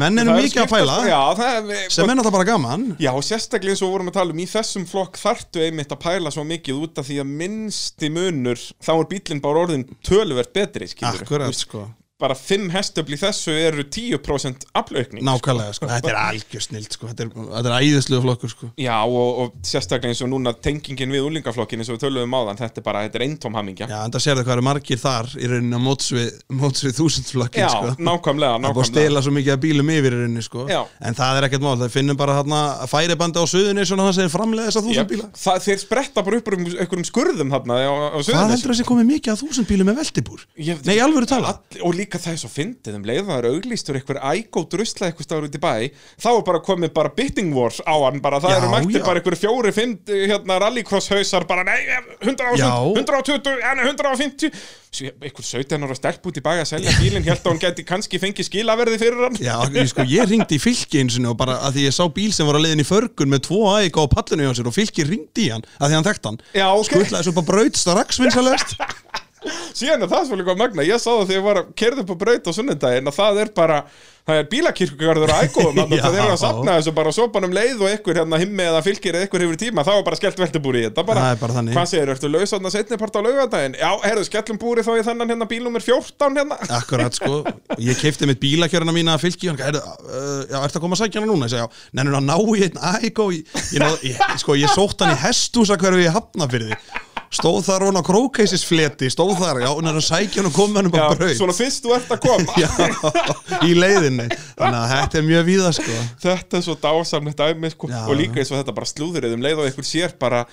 S1: menn eru
S3: Það er
S1: mikið að
S3: skiptast-
S1: pæla
S3: Já, það er...
S1: sem er náttúrulega bara gaman
S3: Já, og sérstaklega eins og við vorum að tala um í þessum flokk þartu einmitt að pæla svo mikið út af því að minnsti munur þá er bílinn bara orðin töluvert betri skilur.
S1: akkurat, sko,
S3: bara 5 hestöfl í þessu eru 10% aflaukning
S1: nákvæmlega sko. þetta er algjör snilt, sko. þetta er, þetta er æðislu flokkur, sko,
S3: Já, og, og sérstaklega eins og núna tengingin við úlingaflokkin eins og við töluðum á þann þetta er bara, þetta er eintóm hamingja
S1: já, en það sérðu hvað eru margir þar í rauninni á móts við, móts við þúsundflokkin,
S3: Já,
S1: sko
S3: nákvæmlega,
S1: Það er búið að
S3: nákvæmlega
S1: stela svo mikið að bílum yfir í rauninni, sko.
S3: Já.
S1: En það er ekkert mál, það finnum bara hérna færibandi á suðunni svona það segir framlega þess þúsund
S3: Jöp,
S1: bíla.
S3: það, þeir spretta bara upp úr einhverjum- einhverjum skurðum þarna á, á
S1: Hvað
S3: Suðurnesjum.
S1: heldur þessi komið mikið að þúsund bílum með veltibúr?
S3: Ég-
S1: Nei, í alvöru tala
S3: All, og líka það er svo fyndið um leið og það er auglýstur einhver ægó drusla eitthvað stáður út í bæ þá er bara komið bara bitting war á hann bara það
S1: Já,
S3: eru mættir
S1: já.
S3: bara einhver fjóri, fimm hérna rallycross hausar bara nei, eh, 100
S1: Já.
S3: 120, en 150 Svo ég- einhver 17 ára stelp út í bæ að selja bílinn held að hún geti kannski fengið skilaverði fyrir hann
S1: Já, ég, sko, ég ringdi í fylki eins og bara að því ég sá bíl sem var að leiðin í förgun með tvo æg á pallinu hjá sér og fylki ringdi í hann að því hann þekkt hann
S3: Já, ok.
S1: Skutlaði svo bara braut strax vinsalegst
S3: síðan er það svolítið góð magna ég sá það þegar ég var að kerða upp á braut á sunnudaginn að það er bara það er bílakirkugarður að ægóðum
S1: (laughs)
S3: þannig að
S1: Já.
S3: þeir eru að sapna þessu bara sopanum leið og einhver hérna himmi eða fylgir eða einhver hefur tíma þá er bara skellt veltubúri í þetta bara,
S1: Það er bara þannig.
S3: hvað segir, ertu laus þarna setni part á laugadaginn já, herðu, skellum búri þá í þennan hérna bíl nummer 14 hérna
S1: Akkurat sko, ég keipti mitt bílakjörna mína að fylki og hann gæði, uh, já, ertu að koma að sækja hana núna? Ég sagði, já, nennur að ná í einn æg og ég, ég, náð- ég, sko, ég sótt hann í hestúsa hverfi ég hafna fyrir því Stóð þar hún á krókeisisfleti, stóð þar, já, nennur að sækja hann og koma hann um
S3: já,
S1: að braut
S3: svona fyrst þú ert að koma
S1: (laughs) Já, í leiðinni þannig að þetta er mjög víða sko
S3: þetta er svo dásamlegt dæmi sko.
S1: Já.
S3: og líka eins og þetta bara slúðrið um leið og einhver sér bara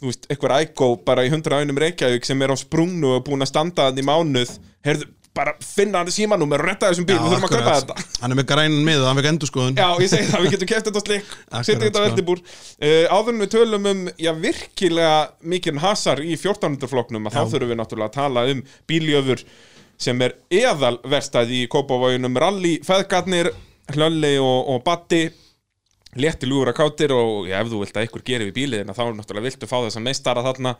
S3: þú veist, einhver ægó bara í hundra ánum Reykjavík sem er á sprungnu og búin að standa þannig í mánuð heyrðu, bara finna hann símanúmer og retta þessum bíl, við þurfum að kaupa
S1: akkurat.
S3: þetta
S1: hann er með grænan miða, hann fekk endur skoðun
S3: Já, ég segi það, við getum keft þetta á slik
S1: (laughs) Akkurat,
S3: setjum þetta á
S1: sko.
S3: eldibúr uh, áður en við tölum um, já, virkilega mikinn hasar í 1400 flokknum að þá þurfum við náttúrulega að tala um bíljöfur sem er eðal verstað í Kópavóginum rally, feðgarnir hlölli og, og batti létti ljúra kátir og já, ef þú vilt að ykkur geri við bíliðina þá náttúrulega viltu fá þessa meistara þarna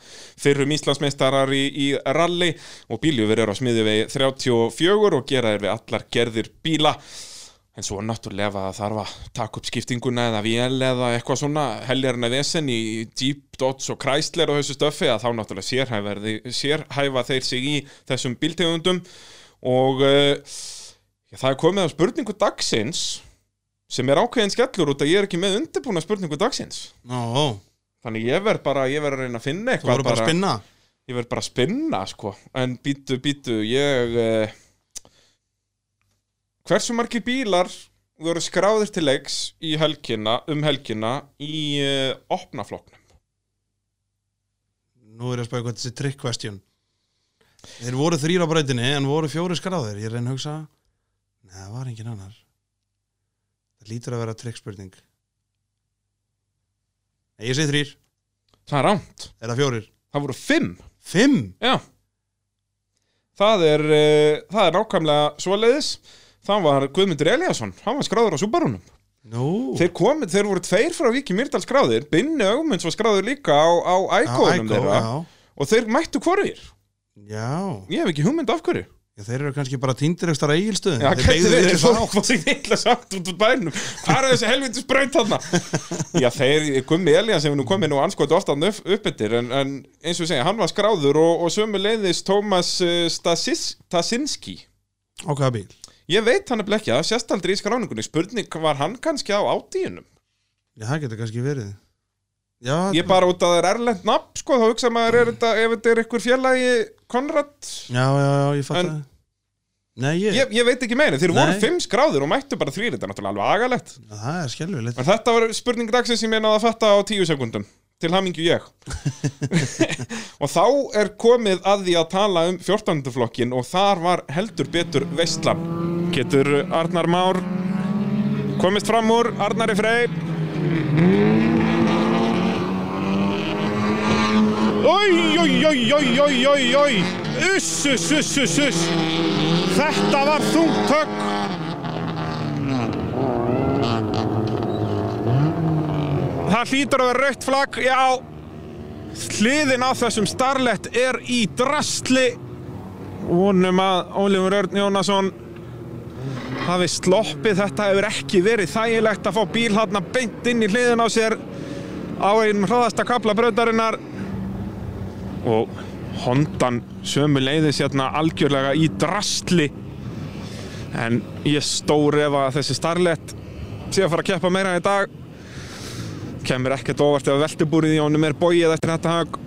S3: fyrrum Íslandsmeistarar í, í rally og bíljöfur eru á smiðjuvegi 34 og gera þeir við allar gerðir bíla en svo náttúrulega var að þarf að taka upp skiptinguna eða vél eða eitthvað svona heljarna vesen í Jeep, Dodge og Chrysler og þessu stöffi að þá náttúrulega sérhæfa, sérhæfa þeir sig í þessum bíltegundum og uh, já, það er komið að spurningu dagsins sem er ákveðin skellur út að ég er ekki með undirbúna spurningu dagsins
S1: Ó, ó,
S3: þannig ég verð bara, ég verð að reyna að finna
S1: þú
S3: eitthvað
S1: voru bara að spinna
S3: ég verð bara að spinna sko en býtu, býtu, ég uh, hversu margir bílar voru skráðir til leiks í helgina, um helgina í uh, opnafloknum
S1: nú er ég að spæða hvað þessi trick question þeir voru þrýra á breytinni en voru fjóri skráðir, ég reyna að hugsa Nei, það var engin annar það lítur að vera trick spurning Nei, ég segi þrýr,
S3: það er rámt,
S1: er það fjórir
S3: það voru fimm
S1: fimm,
S3: já það er, uh, það er nákvæmlega svoleiðis það var Guðmundur Eliasson hann var skráður á Subarunum
S1: nú
S3: Þeir komið, þeir voru tveir frá Viki Myrdal skráðir Binni Ögmunds var skráður líka á, á ægóðunum
S1: Aiko,
S3: þeirra
S1: já.
S3: og þeir mættu hvorir
S1: já,
S3: Ég hef ekki hugmynd af hverju
S1: Já, þeir eru kannski bara týndiregstar að eigilstöðum
S3: Já, hvernig þeir ekki fá hvað sem illa sagt út úr bænum Hvað er þessi helvitis braut þarna? Já, þeir, Gummi Elías hefur nú komið nú anskotu oft hann upp, uppbyttir en, en eins og við segja, hann var skráður og, og sömu leiðis Tómas eh, Stasis- Stasinski
S1: Á hvaða bíl?
S3: Ég veit hann er ekki það sést aldrei í skráningunni Spurning var hann kannski á átíunum?
S1: Já, það getur kannski verið Já,
S3: Ég bara út að það er erlend nafn, sko þá hugsa maður er þetta, ef þetta er ykkur félagi Konrad
S1: já, já, já, ég fatt
S3: En-
S1: Nei, ég,
S3: Ég, ég veit ekki meina, þeir voru
S1: Nei.
S3: fimm skráður og mættu bara þrýr, þetta er náttúrulega alveg agalegt
S1: það er skelfilegt
S3: En þetta var spurning dagsins sem ég náði að fatta á tíu sekundum Til hamingju ég Og þá er komið að því að tala um 14. flokkin Og þar var heldur betur veistlan Getur Arnar Már komist fram úr Arnari Frey
S2: Oj, oj, oj, oj, oj, oj, oj Uss, uss, uss, uss, uss Þetta var þungt högg Það hlýtur að vera rautt flagg, já Hliðin á þessum starlett er í drastli Vonum að Ólífur Örn Jónasson hafi sloppið þetta hefur ekki verið þægilegt að fá bíl hann beint inn í hliðin á sér á einum hraðasta kapla brautarinnar og Hondan sömu leiðis hérna algjörlega í drastli en ég stór ef að þessi starlett sé að fara að keppa meira í dag kemur ekkert óvart ef veltibúrið í honum er bóið eftir þetta hag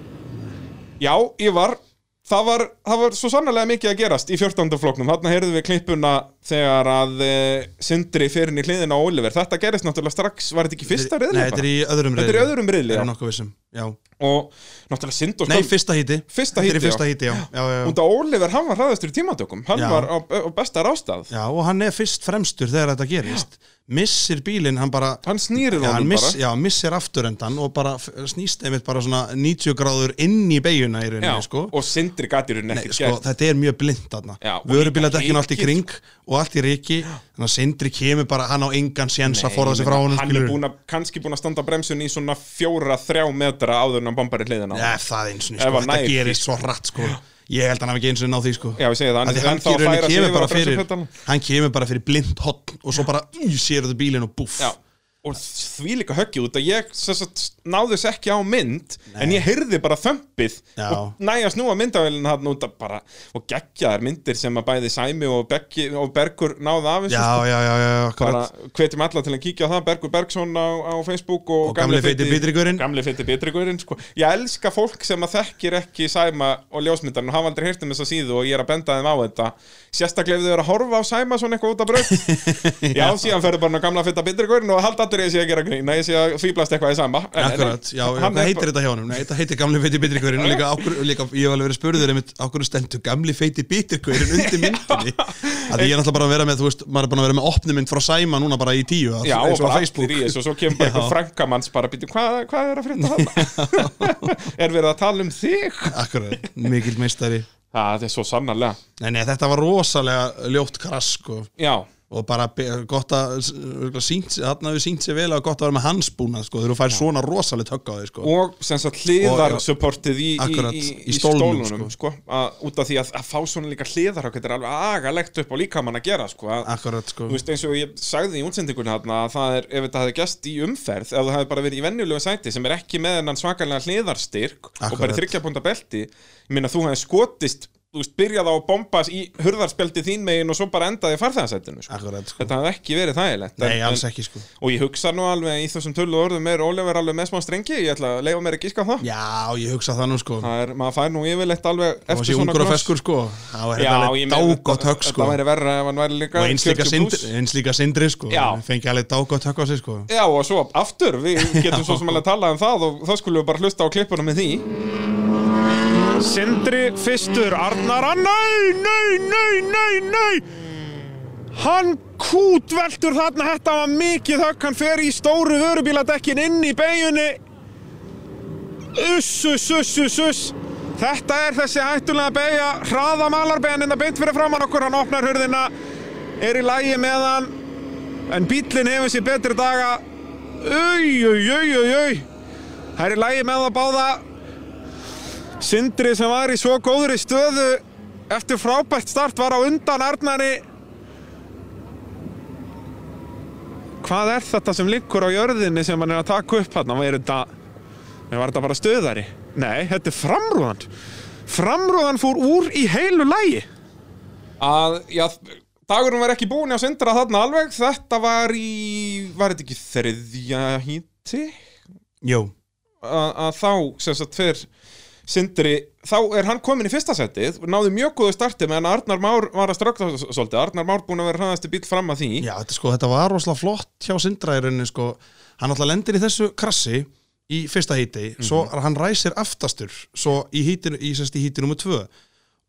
S3: Já, Ívar Það var, það var svo sannlega mikið að gerast í 14. flokknum, þarna heyrðum við klippuna þegar að e,
S2: eh,
S3: Sindri fer inn í hliðina á Oliver, þetta gerist náttúrulega strax, var þetta ekki fyrsta
S1: Nei,
S3: reyðlega?
S1: þetta er í öðrum
S3: Þetta er í öðrum riðli,
S1: Ég
S3: já.
S1: er nokkuð vissum, já
S3: og náttúrulega Sindri
S1: Nei, fyrsta híti
S3: Fyrsta
S1: Þetta er
S3: híti,
S1: í fyrsta híti, já, já, já, já.
S3: Út af Oliver, hann var hraðastur í tímatökum Hann
S1: Já.
S3: var á, á besta rástað
S1: Já, og hann er fyrst fremstur þegar þetta gerist Missir bílinn, hann bara
S3: Hann snýrir
S1: Já, hann
S3: honum
S1: miss,
S3: bara
S1: já, missir afturendan og bara f- snýst einmitt bara svona 90 gráður inn í beiguna í
S3: já,
S1: rauninni, sko
S3: Og Sindri gæti hún
S1: Nei,
S3: ekkert
S1: sko,
S3: gert
S1: þetta er mjög blind þarna
S3: Já, og
S1: Vörubíladekkin
S3: líka
S1: allt í
S3: rykið,
S1: kring og allt í riki Þannig að Sindri kemur bara, hann á engan séns að
S3: Nei,
S1: forða sig frá
S3: ég
S1: honum
S3: meina, Hann er búin að, kannski búin að standa á bremsunni í svona fjóra, þrjá metra áður en hann bombar í hliðina á honum.
S1: Ef það eins og ný,
S3: Ef
S1: sko,
S3: hann
S1: þetta
S3: nær því,
S1: gerist svo hratt sko Ég held hann hafi ekki eins og ná því sko
S3: Já, ég segi það,
S1: Af
S3: en-
S1: því hann,
S3: en þá
S1: hann,
S3: færa sig
S1: kemur
S3: yfir
S1: bara
S3: á
S1: fyrir,
S3: bremsupedalana.
S1: hann kemur bara fyrir blind hotn og svo bara mm, sér þetta bílinn og búff
S3: Já, og því líka höggið út að ég sem sagt, náðis ekki á mynd en ég heyrði bara þömpið
S1: Já.
S3: og næja snúa myndavélina hann út að bara og geggjaðar myndir sem að bæði Sæmi og, Beggi, og Bergur náðu af þessu,
S1: já,
S3: sko.
S1: já, já, já,
S3: bara
S1: akkurat
S3: hvetjum alla til að kíkja á það Bergur Bergsson á, á Facebook og,
S1: Og gamli feiti bitrigurinn.
S3: gamli feiti bitrigurinn sko. ég elska fólk sem að þekkir ekki Sæma og ljósmyndarinn og hafa aldrei heyrt um þessa síðu og ég er að benda þeim á þetta sérstaklega ef þau eru að horfa á Sæma svona eitthvað út af
S1: (laughs)
S3: braut já, síðan ferðu bara á gamla feita bitrigurinn og halda allir ég sé að gera grín Nei, ég sé að fýblast eitthvað í Sæma En- en-
S1: Akkurat, já, já,
S3: hann
S1: hvað
S3: er
S1: heitir þetta hjá honum? Nei, þetta heitir gamli feiti bitirkurinn og líka, ákvör, líka, ég hef alveg verið spurður einmitt, ákvörðu stendur gamli feiti bitirkurinn undir myndinni að því ég er náttúrulega bara að vera með, þú veist, maður er búin að vera með opnumynd frá Sæma núna bara í tíu að-
S3: Já, og
S1: eins á
S3: bara
S1: Facebook.
S3: allir í þessu og svo kemur bara
S1: Já.
S3: eitthvað frankamanns bara býtum, hvað, hvað er að frétta
S1: (laughs)
S3: þarna? (laughs) er verið að tala um þig?
S1: Akkurat, mikill meistari
S3: Það er svo sannarlega
S1: Nei, nei, þetta var rosalega ljótt krass, sko
S3: Já,
S1: og bara be- gott að örugglega sýnt, hann hafði sínt sér vel að gott að vera með hans búna sko, þegar þú fær svona rosalegt högg á þig sko.
S3: og sem sagt hliðarsupportið í, í,
S1: Akkurat,
S3: í,
S1: í
S3: í
S1: stólnum,
S3: stólunum sko. að, út af því að, að fá svona líka hliðarhögg þetta er alveg agalegt upp á líkamann að gera sko. að,
S1: akkurat sko.
S3: þú veist eins og ég sagði í útsendingunni þarna að það er, ef þetta hefði gæst í umferð ef það hefði bara verið í venjulegu sæti sem er ekki með hennan svakalega hliðarstyrk og bara
S1: Akkurat.
S3: þryggjapunta belti ég minna þú hefði skotist þú veist, byrjað á að bomba í hurðarspeldi þín megin og svo bara endaði í farþæðasætinu sko.
S1: akkurat sko.
S3: þetta hefði ekki verið þægilegt en-
S1: nei,
S3: en-
S1: alls ekki sko.
S3: Og ég hugsa nú alveg að í þessum tölu orðum er Ólefur alveg með smá strengi, ég ætla að leifa mér að gíska á það.
S1: já, ég hugsa það nú sko.
S3: Það er, maður fær nú yfirleitt alveg
S1: og
S3: eftir
S1: sé
S3: svona
S1: ungur og
S3: kross.
S1: feskur sko. það var
S3: Já,
S1: hérna
S3: ég
S1: alveg
S3: meina,
S1: dágott
S3: þetta-
S1: högg sko.
S3: Þetta væri verra ef hann væri líka
S1: og eins líka,
S3: 40
S1: sindri,
S3: plús.
S1: eins líka sindri sko.
S3: Já.
S1: Hann fengi alveg dágott högg á sig sko.
S3: Já, og svo
S1: (laughs)
S3: aftur, við getum svo sem alveg að tala um það og þá skulum við bara hlusta á klippuna með því.
S2: Sindri fyrstur, Arnar að nei, nei, nei, nei, nei Hann kútveltur þarna, þetta var mikið högg, hann fer í stóru vörubíladekkin inn í beigjunni Uss, uss, uss, uss, uss Þetta er þessi hættulega beigja, hraða malarbeigjan innan beint fyrir framann okkur, hann opnar hurðina, er í lægi með hann En bíllinn hefur sér betri daga Új, új, új, új, új Það er í lægi með það báða Sindri sem var í svo góðri stöðu eftir frábært start var á undan Arnari Hvað er þetta sem liggur á jörðinni sem hann er að taka upp hann? Var þetta, Nei, var þetta bara stöðari? Nei, þetta er framrúðan Framrúðan fór úr í heilu lægi
S3: að, já, dagurinn var ekki búin á sindra þarna alveg, þetta var í var þetta ekki þriðja híti
S1: Jó,
S3: að að þá, sem sagt, fyrr Sindri, þá er hann komin í fyrsta setið náði mjög góðu starti meðan Arnar Már var að ströggla svolítið, Arnar Már búin að vera hraðasti bíl fram að því
S1: já, þetta, sko, þetta var rosalega flott hjá Sindra í rauninni sko. Hann alltaf lendir í þessu krassi í fyrsta híti,
S3: Mhm.
S1: svo hann ræsir aftastur, svo í híti, í, sérst, í híti nummer tvö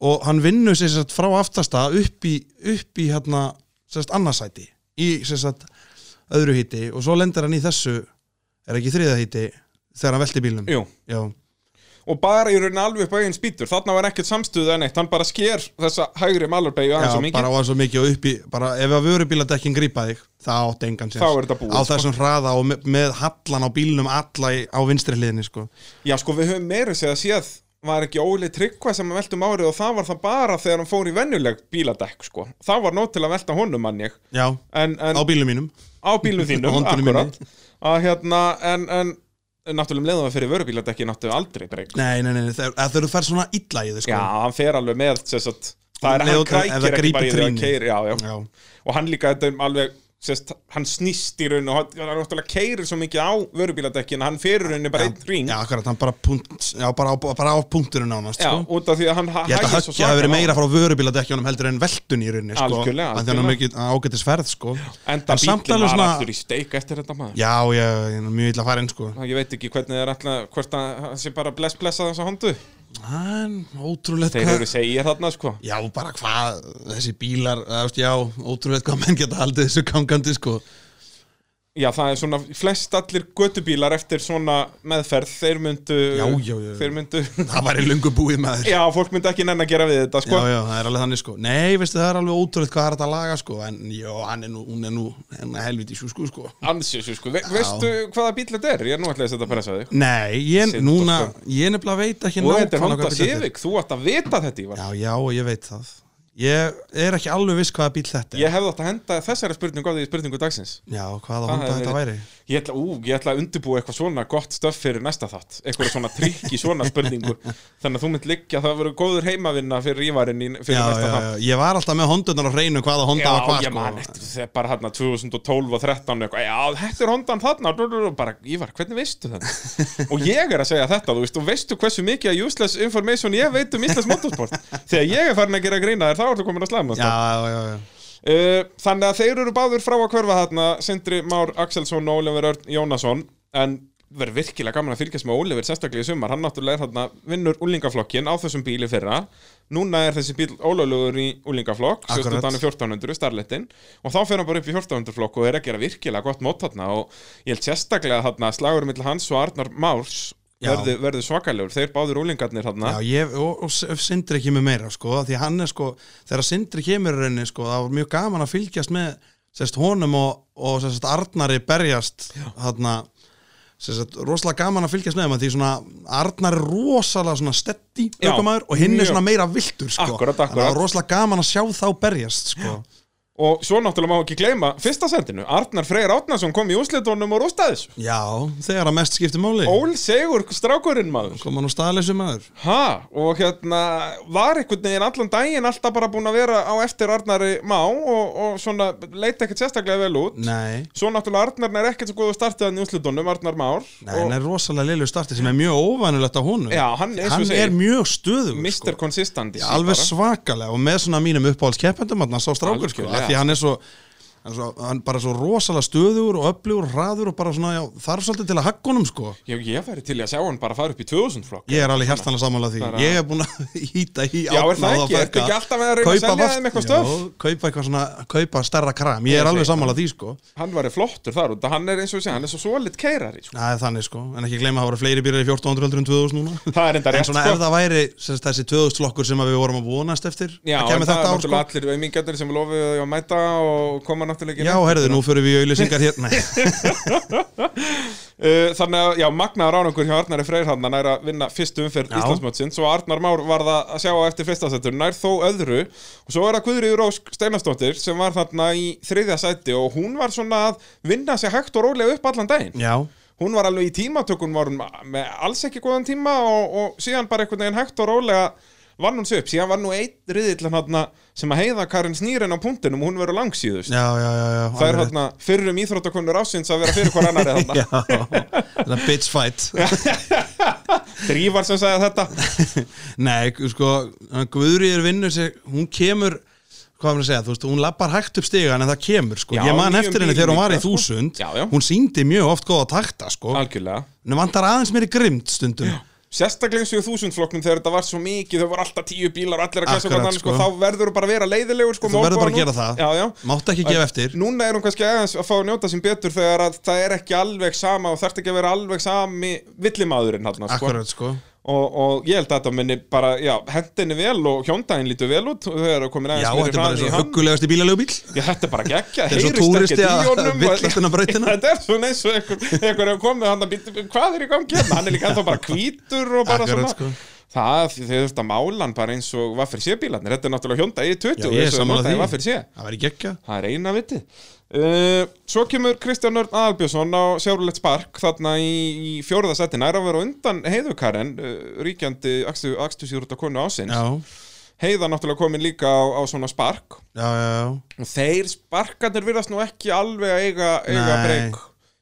S1: og hann vinnur sér sérst frá aftasta upp í, upp í hérna, sérst, annarsæti í sérst, öðru híti og svo lendir hann í þessu er ekki þriða híti þegar hann velti bílnum
S3: Jú,
S1: Já,
S3: og bara í rauninni alveg upp á eigin spýtur þarna var ekkert samstuðu en eitt, hann bara sker þessa hægri malarbegju aðeins
S1: já
S3: og mikið
S1: bara á hann svo mikið og upp í, bara ef að vörubíladekkin grípa þig, það átti engan sér
S3: Þá er þetta búið,
S1: Á
S3: sko.
S1: þessum hraða og með, með hallan á bílnum alla í, á vinstri hliðinni, sko
S3: Já, sko, við höfum meira segja séð var ekki óli tryggva sem að veltum árið og það var það bara þegar hann fór í venjuleg bíladekk, sko. Það var nót til að velta honum, mann ég.
S1: Já,
S3: En, en
S1: á bílnum mínum
S3: á
S1: (laughs)
S3: bílum
S1: Á
S3: þínum,
S1: hondunum
S3: akkurat. Að hérna, en, en náttúrulega um leiðum við fyrir vörubíladekki, náttúrulega aldrei breyk.
S1: Nei, nei, nei, þegar eða þegar þú fær svona illa í þig,
S3: Já,
S1: sko
S3: hann fer alveg með, sess að, það er,
S1: Leið
S3: hann
S1: og- ef það
S3: krækir ekki
S1: grípur
S3: bara í því að
S1: trýnið.
S3: keiri, já, já.
S1: Já,
S3: Og hann líka, þetta er alveg, sess, hann snýst í raun og hann, hann náttúrulega keirir svo mikið á vörubíladekkin, hann fer í rauninu bara einn ring.
S1: já akkurat, hann bara, punkt, já, bara, á, bara á punkturinn nánast,
S3: Já,
S1: sko
S3: út af því að hann
S1: Ég held að
S3: hægir svo
S1: höggja hafi verið
S3: svakalega á.
S1: meira frá vörubíladekkjónum heldur en veltun í rauninni, sko
S3: Algjörlega,
S1: Af því hann er
S3: algjörlega.
S1: mikið ágætis ferð, sko
S3: Enda
S1: samt
S3: bílinn
S1: alveg
S3: var
S1: svona-
S3: aftur í steik eftir þetta maður
S1: Já, já, ég er mjög illa farin, sko
S3: Ég veit ekki hvernig það er alltaf, hvort að það sé bara bless blessa þessa hondu
S1: Hann, ótrúlegt
S3: Þeir
S1: hvað-
S3: eru segir þarna sko
S1: Já, bara hvað, þessi bílar, eða, þú veist, já, ótrúlega hvað menn geta haldið þessu gangandi, sko.
S3: Já það er svona, flest allir götubílar eftir svona meðferð Þeir myndu
S1: Já, já, já.
S3: Þeir myndu (laughs)
S1: Það var í lungu búið maður.
S3: Já, fólk myndi ekki nenn að gera við þetta
S1: Já,
S3: sko
S1: já, það er alveg þannig, sko. Nei, veistu, það er alveg ótrúlega hvað er þetta að laga, sko, en já, hann er nú, hún er nú, henn er helviti sjúsku, sko.
S3: Ansjössu sko, Ve veistu hvaða bíl þetta er? Ég er nú ætlaði að setja að pressa þig
S1: Nei, ég,
S3: Sitt og
S1: núna,
S3: sko.
S1: ég nefnilega veit ekki
S3: Og þetta er
S1: nákvæmlega
S3: Honda
S1: hvað bíll þetta er.
S3: Civic, þú átt að vita þetta Ívar
S1: Já, já, ég veit það. Ég er ekki alveg viss hvaða bíl þetta er.
S3: Ég hefði átt að henda þessari spurningu af því í spurningu dagsins
S1: Já, hvaða
S3: Það
S1: honda
S3: hefði
S1: þetta væri.
S3: Ég ætla, ú, ég ætla að undirbúa eitthvað svona gott stöf fyrir næsta þátt eitthvað svona trikk í svona
S1: (laughs)
S3: spurningu þannig að þú mynd liggja að það verður góður heimavinna fyrir ívarinn í, fyrir
S1: Já, já,
S3: næsta
S1: já, ég var alltaf með hondunar á hreinu hvaða honda var
S3: þátt
S1: hvað,
S3: Já, ég man
S1: sko.
S3: eftir þegar bara hérna 2012 og 13 eitthvað, já, þetta er hondan þarna og bara, Ívar, hvernig
S1: (laughs)
S3: veistu þetta? og ég er að segja þetta, þú veist, og veistu hversu mikið að useless information ég veit um Íslands motorsport þegar ég er farin að gera grína þér, þá ertu komin að slæma sko.
S1: Já, já, já, já.
S3: Uh, þannig að þeir eru báður frá að hverfa þarna Sindri Már Axelsson og Ólefur Örn Jónasson en verður virkilega gaman að fylgjast með Ólefur sérstaklega í sumar, hann náttúrulega er þarna vinnur úlingaflokkin á þessum bíli fyrra núna er þessi bíl ólöglegur í úlingaflokk,
S1: Akkurat.
S3: sérstu þannig 1400 starletin og þá fer hann bara upp í 1400 flokk og er að gera virkilega gott mót þarna og ég held sérstaklega þarna að slagur mittl hans og Arnar Márs
S1: Já.
S3: verður verður svakalegur, þeir báður úlingarnir þarna
S1: Já, ég, og, og S- Sindri kemur meira sko, því hann er sko, þegar Sindri kemur í rauninni sko, það var mjög gaman að fylgjast með sérst honum og, og sérst Arnari berjast þarna sérst, rosalega gaman að fylgjast með þeim, af því svona Arnar er rosalega svona stetti
S3: Já,
S1: ökumæður og hinn
S3: mjög.
S1: er svona meira viltur sko,
S3: Akkúrat,
S1: Þannig að það
S3: akkúrat.
S1: var rosalega gaman að sjá þá berjast sko.
S3: og svo náttúrulega má ekki gleyma fyrsta sendinu, Arnar Freyr Átnason kom í úslitunum og rústaði þessu
S1: Já, þegar að mest skipti máli
S3: Ól Sigur strákurinn maður
S1: koma nú staðleysu maður
S3: ha, og hérna var einhvern veginn allan daginn alltaf bara búin að vera á eftir Arnari Má og, og svona leita ekkert sérstaklega vel út
S1: Nei,
S3: svo náttúrulega Arnar er ekkert svo góð að starta þannig úslitunum, Arnar Már
S1: nei,
S3: og
S1: hann er rosalega leilu starti sem er mjög óvanulegt á honum
S3: Já, hann er, eins og
S1: hann
S3: segir,
S1: er mjög stöðug
S3: Mr. Consistent
S1: sko. Já, alveg svakalega og með svona mínum uppáhaldskeppendum hann sá strákur sko,
S3: Algjörlega.
S1: af því hann er svo hann, er svo, hann bara svo rosalega stöðugur og öflugur, hraður og bara svona, já, þarf svolítið til að hagga honum sko.
S3: Já, ég væri til í að sjá hann bara fara upp í 2000 flokk
S1: Ég er alveg hjartanlega sammála því
S3: Bara-
S1: Ég er búin að (laughs) hýta í
S3: Já, er það
S1: náða
S3: ekki?
S1: að
S3: Ertu
S1: fekka.
S3: ekki alltaf að reyna að
S1: Kaupa
S3: selja
S1: vast-
S3: þeim eitthvað stöf?
S1: Jó, kaupa eitthvað svona, kaupa stærra kram Ég
S3: Ég
S1: er alveg
S3: segi
S1: sammála því sko
S3: Hann væri flottur þar út, að hann er eins og sé, hann er svo solid keirari sko.
S1: Það er þannig sko, en ekki gleyma að það voru fleiri bílar í 1400 heldur en 2000 núna
S3: Það er
S1: (laughs)
S3: enda
S1: En
S3: rétt sko.
S1: svona ef það væri sem sagt, þessi 2000 flokkur sem að við vorum að vonast eftir
S3: Já,
S1: að
S3: en
S1: kemur
S3: það er
S1: þetta ár sko
S3: náttúrulega allir auðmingjarnir sem lofið að mæta og koma náttúrulega ekki
S1: Já,
S3: nefnt.
S1: herðu, nú fyrir við í auðlýsingar hérna Nei. (laughs)
S3: Uh, Þannig að, já, magnaður árangur hjá Arnari Freyrhanna nær að vinna fyrstu umferð
S1: Já.
S3: Íslandsmótsins og Arnar Már var það að sjá á eftir fyrstasettur nær þó öðru og svo er það Guðriður Ósk Steinastóttir sem var þarna í þriðja sæti og hún var svona að vinna sig hægt og rólega upp allan daginn
S1: Já,
S3: hún var alveg í tímatökun var hún með alls ekki góðan tíma og, og síðan bara einhvern veginn hægt og rólega vann hún sig upp, síðan var nú einn riðillan hana, sem að heiða Karin Snýren á punktinum og hún verður langsíðust
S1: já, já, já, já
S3: það er
S1: alveg rétt.
S3: hérna fyrrum íþróttakonur ásins að vera fyrir hvar annari þarna
S1: (laughs) Já, þetta bitch fight (laughs)
S3: Drívar sem sagði þetta
S1: Nei, sko, Guðrýður vinnur sig, hún kemur hvað var að segja, þú veist, hún lappar hægt upp stigan en það kemur, sko,
S3: Já,
S1: ég man
S3: nýjum
S1: eftir henni þegar hún var í
S3: bílum líka, sko.
S1: þúsund
S3: Já, já.
S1: hún síndi mjög oft góða takta, sko
S3: algjörlega
S1: en vantar aðeins meiri grimt stundum
S3: Sérstaklega eins og í þúsundflokknum þegar þetta var svo mikið þau voru alltaf tíu bílar og allir að kassa
S1: Akkurat,
S3: hvernig sko.
S1: sko.
S3: þá verður þú bara að vera leiðilegur sko,
S1: Þú
S3: með
S1: verður bara að
S3: olnboganum.
S1: gera það.
S3: já, já.
S1: Máttu ekki gefa eftir
S3: Núna er hún kannski aðeins að fá að njóta sín betur þegar að það er ekki alveg sama og þarf ekki að vera alveg sami villimaðurinn hann sko.
S1: Akkurat, sko
S3: og, og ég held að þetta minni bara já, hendinni vel og hjóndaginn lítur vel út og þegar það er komin
S1: Já,
S3: aðeins
S1: þetta er bara
S3: hraði
S1: svo
S3: hann.
S1: huggulegasti bílalegu bíl
S3: Já, þetta er bara geggja,
S1: Þetta er svo
S3: heyrist
S1: túristi
S3: ekki
S1: að-
S3: díónum
S1: að villast inn á brautina.
S3: (laughs) Þetta er svona eins og einhver, einhver hefur komið hann að býta, hvað er í gangi hérna? Hann er líka ennþá bara hvítur og bara
S1: Akkurat,
S3: svona
S1: sko.
S3: Það, þau þurft að mála hann bara eins og vaffir sé bílarnir Þetta er náttúrulega hjónda í 20
S1: Já, ég er sammála því.
S3: Vaffir sé
S1: Það væri geggja
S3: Það er eina viti uh, Svo kemur Kristján Örn Albjörnsson á Sjárulegt Spark þarna í, í fjórða seti nær að vera á undan heiðukarinn uh, ríkjandi axtusjúrta konu ásins
S1: Já,
S3: Heiða náttúrulega komin líka á, á svona spark
S1: já, já, já
S3: og þeir sparkarnir virðast nú ekki alveg að eiga, eiga
S1: Nei.
S3: breyk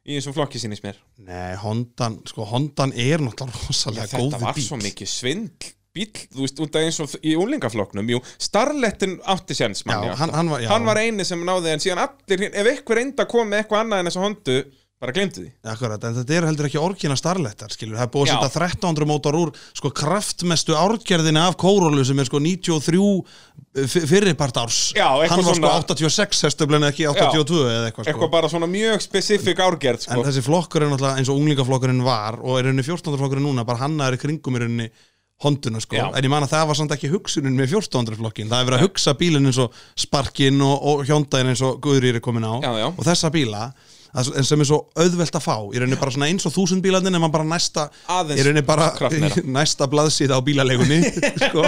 S3: í þessum flokki sínist mér
S1: Nei, Hondan, sko, Hondan er náttúrulega rosalega góð
S3: þetta var
S1: bíl
S3: svo mikið svindl bíl, þú veist, út af eins og í úlingaflokknum jú, starlettin átti séns mann
S1: Já,
S3: ég átta.
S1: hann- hann var- já.
S3: sko. hann var eini sem náði en síðan allir, hin- ef einhver enda kom með eitthvað annað en þessu hondu, bara glemdi því
S1: Akkurat, en þetta er heldur ekki orgina starlettar, skilur, það er búið
S3: Já.
S1: að setja 1300 mótar úr, sko, kraftmestu árgerðinni af Kórólu sem er sko 93 fyrirpart árs,
S3: Já, eitthvað
S1: hann var
S3: svona-
S1: sko 86 hestöflin ekki 82 eða eitthvað sko,
S3: eitthvað bara svona mjög spesifik árgerð
S1: en
S3: sko.
S1: þessi flokkur er náttúrulega eins og unglingaflokkurinn var og er henni 14. flokkurinn núna, bara hann er í kringum í henni honduna sko,
S3: Já.
S1: en ég man að það var samt ekki hugsunin með 14. flokkin, það er verið að hugsa bílinn eins og sparkin og, og hjóndaginn eins og guðrýr er komin á
S3: Já, já.
S1: og þessa bíla að- en sem er svo auðvelt að fá í rauninni bara svona eins og þúsund bílarnir en bara næsta
S3: Aðeins
S1: í rauninni bara
S3: kraftmeira.
S1: (laughs) næsta blaðsíða á bílalegunni (laughs) sko.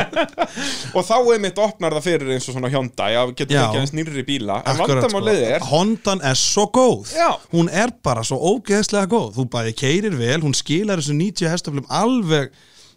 S3: og þá einmitt opnar það fyrir eins og svona hjónda já, getur
S1: Já.
S3: ekki aðeins nýrri bíla en
S1: Akkurat, sko.
S3: vandamálið er
S1: Hondan er svo góð
S3: Já.
S1: hún er bara svo ógeðslega góð þú bæði keirir vel, hún skilar þessu 90 hestaflum alveg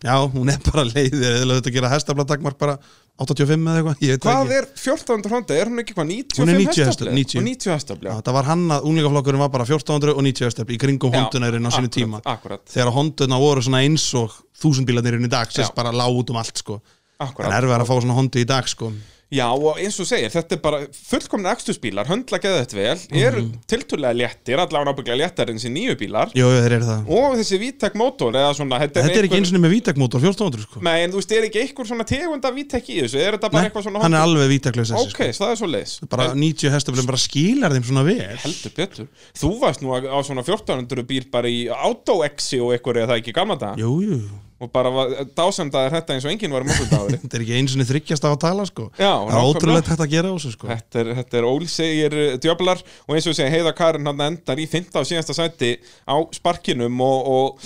S1: já, hún er bara leiðir eða þetta gera hestaflatakmark bara 85 eða eitthvað, ég veit það
S3: Hvað
S1: ekki
S3: er 1400 Honda? Er hún ekki hvað 95
S1: Hún er 90 hestöfl, 90.
S3: Og 90 hestöfl, já.
S1: Já, það var hann að unglingaflokkurinn var bara 1490 hestafl í kringum
S3: Já,
S1: hondunarinn á sínu
S3: akkurat,
S1: tíma
S3: akkurat.
S1: þegar honduna voru svona eins og þúsundbílarnirinn í dag, sérst
S3: Já.
S1: bara lág út um allt sko.
S3: Akkurat.
S1: en erfið að fá svona hondi í dag sko.
S3: Já, og eins og þú segir, þetta er bara fullkomna ekstusbílar, höndla geða þetta vel, eru
S1: Mhm.
S3: tiltölulega léttir, allavega nábygglega léttar en þessi nýju bílar
S1: jú, jú, þeir eru það
S3: og þessi vítek mótor eða svona, þetta
S1: þetta er ekki eins og með vítakmótor 1400 sko.
S3: Nei, en þú veist, er ekki einhver svona tegunda vítek í þessu, er þetta bara
S1: Nei,
S3: eitthvað svona
S1: hann er alveg vítaklaus þessi, sko.
S3: Ok, það er svo leis
S1: bara 90 hestaflum bara skilar þeim svona vel
S3: Heldur betur, þú varst nú á svona 1400 bíl bara í Auto-Exi og einhverju eða það ekki gamla dag
S1: Jú, jú,
S3: og bara var- dásamdaðir þetta eins og enginn var morgundagurinn
S1: þetta er ekki eins og niður þryggjast á að tala sko. það
S3: Já,
S1: er
S3: nákvæmlega.
S1: ótrúlega tætt að gera á þessu sko.
S3: Þetta er, þetta er ólsegir uh, djöflar og eins og segja Heiða Karin hann endar í fynda og síðasta sæti á sparkinum og, og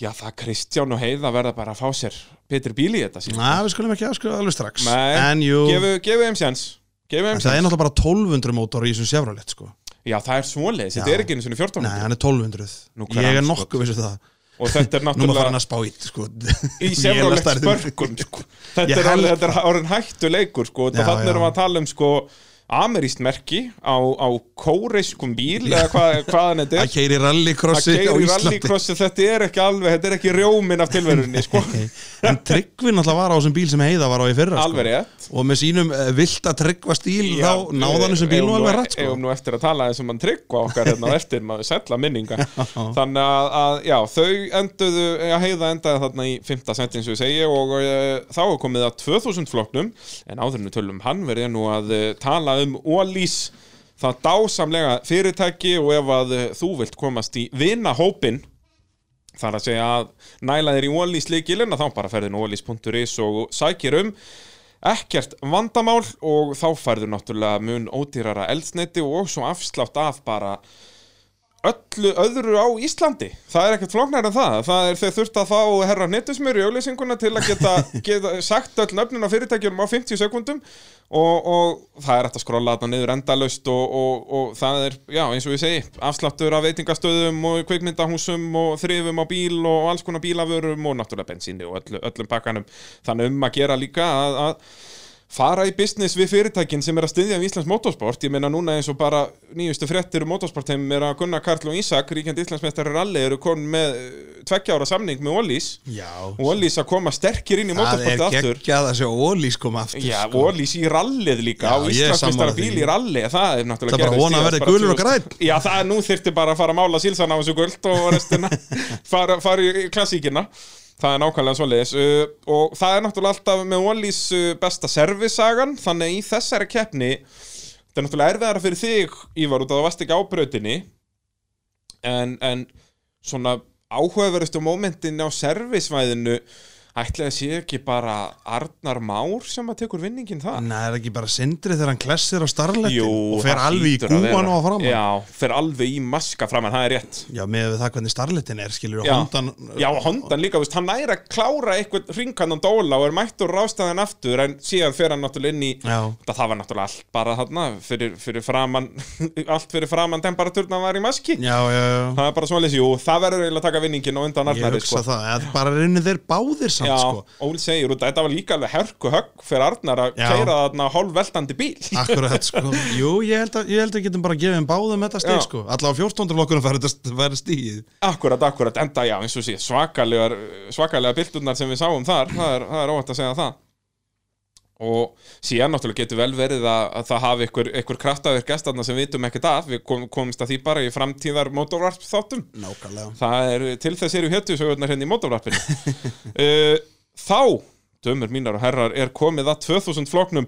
S3: já það Kristján og Heiða verða bara að fá sér betri bíl í þetta síðan.
S1: Na, við skulum ekki aðskuða alveg strax
S3: Nei,
S1: en jú,
S3: gefu, gefu þeim sjans. Gefu
S1: en það
S3: þeim
S1: er
S3: sjans.
S1: náttúrulega bara 1200 mótor í þessum Chevrolet sko.
S3: Já það er svoleiðis,
S1: Já.
S3: þetta er ekki einu sinni 14.
S1: Nei, hann er 1200
S3: Nú, hver
S1: Ég er
S3: andskot?
S1: nokkuð vissu það
S3: Og þetta er
S1: Nú maður farin
S3: náttúrulega
S1: að spá í sko.
S3: (laughs) í sefrálegt
S1: Vélastærðum.
S3: spörkum.
S1: (laughs)
S3: Sko. Þetta,
S1: Ég
S3: er alveg,
S1: held
S3: þetta er orðin hættu leikur sko.
S1: Já,
S3: Þetta þannig erum
S1: já.
S3: við að tala um sko ameríst merki á, á kóreiskum bíl eða hvað, hvaðan þetta
S1: Að
S3: er.
S1: keiri rallycrossi
S3: að
S1: á
S3: keiri
S1: Íslandi
S3: rallycrossi, þetta er ekki alveg, þetta er ekki rjóminn af tilverunni, sko
S1: (laughs) En Tryggvi náttúrulega var á þessum bíl sem Heiða var á í fyrra sko.
S3: Alveg rétt.
S1: Og með sínum eh, vilt að Tryggva stíl
S3: Já,
S1: þá náði hann þessum bíl
S3: eigum
S1: nú alveg rætt sko.
S3: Eigum nú eftir að tala eins og mann tryggva okkar hérna á eftir, maður sætla minninga
S1: (laughs)
S3: Þannig að, að, já, þau enduðu, já, heiða endaði þarna í 5. senti eins og ég segi og e, þá er komið að 2000 flokknum en áðurinu tölum hann verið nú að e, tala um Ólís það dásamlega fyrirtæki og ef að e, þú vilt komast í vinahópin Það er að segja að næla þér í Ólís leikilinn að þá bara ferðin ólís.is og sækir um ekkert vandamál og þá færðu náttúrulega mun ódýrara eldsneiti og svo afslátt af bara öllu öðru á Íslandi það er ekkert flóknar en það það er þau þurft að fá herra netusmjör í auðlýsinguna til að geta, geta sagt öll nöfnin á fyrirtækjum á 50 sekundum og, og það er hægt að skrolla þarna niður endalaust og, og, og það er, já eins og ég segi afsláttur af veitingastöðum og kveikmyndahúsum og þrifum á bíl og alls konar bílaförum og náttúrulega bensíni og öllu, öllum pakkanum þannig um að gera líka að, að fara í business við fyrirtækin sem er að styðja við Íslands motorsport, ég meina núna eins og bara nýjustu fréttir um motorsport heim er að Gunnar Karl og Ísak, ríkjandi Íslandsmeistari rally eru konum með eh, tveggja ára samning með Ólís,
S1: Já,
S3: og Ólís að koma sterkir inn
S1: Mm.
S3: í
S1: það er
S3: motorsportið aftur
S1: geggjað að sjá ólís koma aftur
S3: Já,
S1: sko.
S3: Ólís í rallið líka
S1: Já,
S3: á
S1: ég er sammála
S3: Íslandsmeistara
S1: því.
S3: bíl í rallið, það er náttúrulega
S1: Það er bara
S3: gerðist
S1: von að
S3: síðast
S1: verði
S3: bara
S1: gulur og
S3: 2000 Já, það er nú þyrfti bara að fara að mála sílsan á þessu guld og
S1: (laughs)
S3: restina fara, fara í klassíkina Það er nákvæmlega svoleiðis uh, og það er náttúrulega alltaf með Ólís uh, besta servisagan, þannig að í þessari keppni þetta er náttúrulega erfiðara fyrir þig Ívar út að það varst ekki á brautinni en, en svona áhugaverustu mómentin á servisvæðinu ætlaði sé ekki bara Arnar Már sem að tekur vinningin það
S1: Nei, er ekki bara sindri þegar hann klessir á starletin
S3: Jú,
S1: og fer
S3: það
S1: alveg í
S3: hlýtur að
S1: gúan
S3: vera.
S1: og fram
S3: Já, fer alveg í maska framan, það er rétt
S1: Já, með það hvernig starletin er, skilur
S3: Já.
S1: hondan,
S3: Já, Hondan líka, veist, hann næri að klára eitthvað ringandan dóla og er mættur rástaðan aftur en síðan fer hann náttúrulega inn í
S1: Já.
S3: það, það var náttúrulega allt bara þarna fyrir, fyrir framan, (laughs) allt fyrir framan temperaturna var í maski
S1: já, já, já.
S3: Það er bara svona lýsi, jú, það verður eiginlega að taka vinningin og undan
S1: Ég
S3: Arnari, sko.
S1: hugsa það, eða bara reynir þeir báðir samt,
S3: Já,
S1: sko
S3: Ól segir, og þetta var líka alveg hörku högg fyrir Arnar að
S1: Já.
S3: keira þarna hálfveltandi
S1: (laughs)
S3: bíl
S1: Akkurat,
S3: (laughs)
S1: sko Jú, ég held að, ég held að við getum bara að gefa þeim báðum þetta stíð,
S3: Já.
S1: sko Alla á 14. lokkunum færi þetta færi stíð
S3: Akkurat, akkurat, enda já, eins og sé, svakalegar, svakalega bildunar sem við sáum þar, það er, það er óvægt að segja það. Og síðan náttúrulega getur vel verið að, að það hafi einhver, einhver kraftaverk gestarna sem við vitum ekkert af, við kom, komumst að því bara í framtíðar mótorvarp þáttum.
S1: Nákvæmlega
S3: Það er, til þess eru héttu sögurnar henni í
S1: (laughs)
S3: mótorvarpinu. uh, þá, dömur mínar og herrar, er komið að 2000 floknum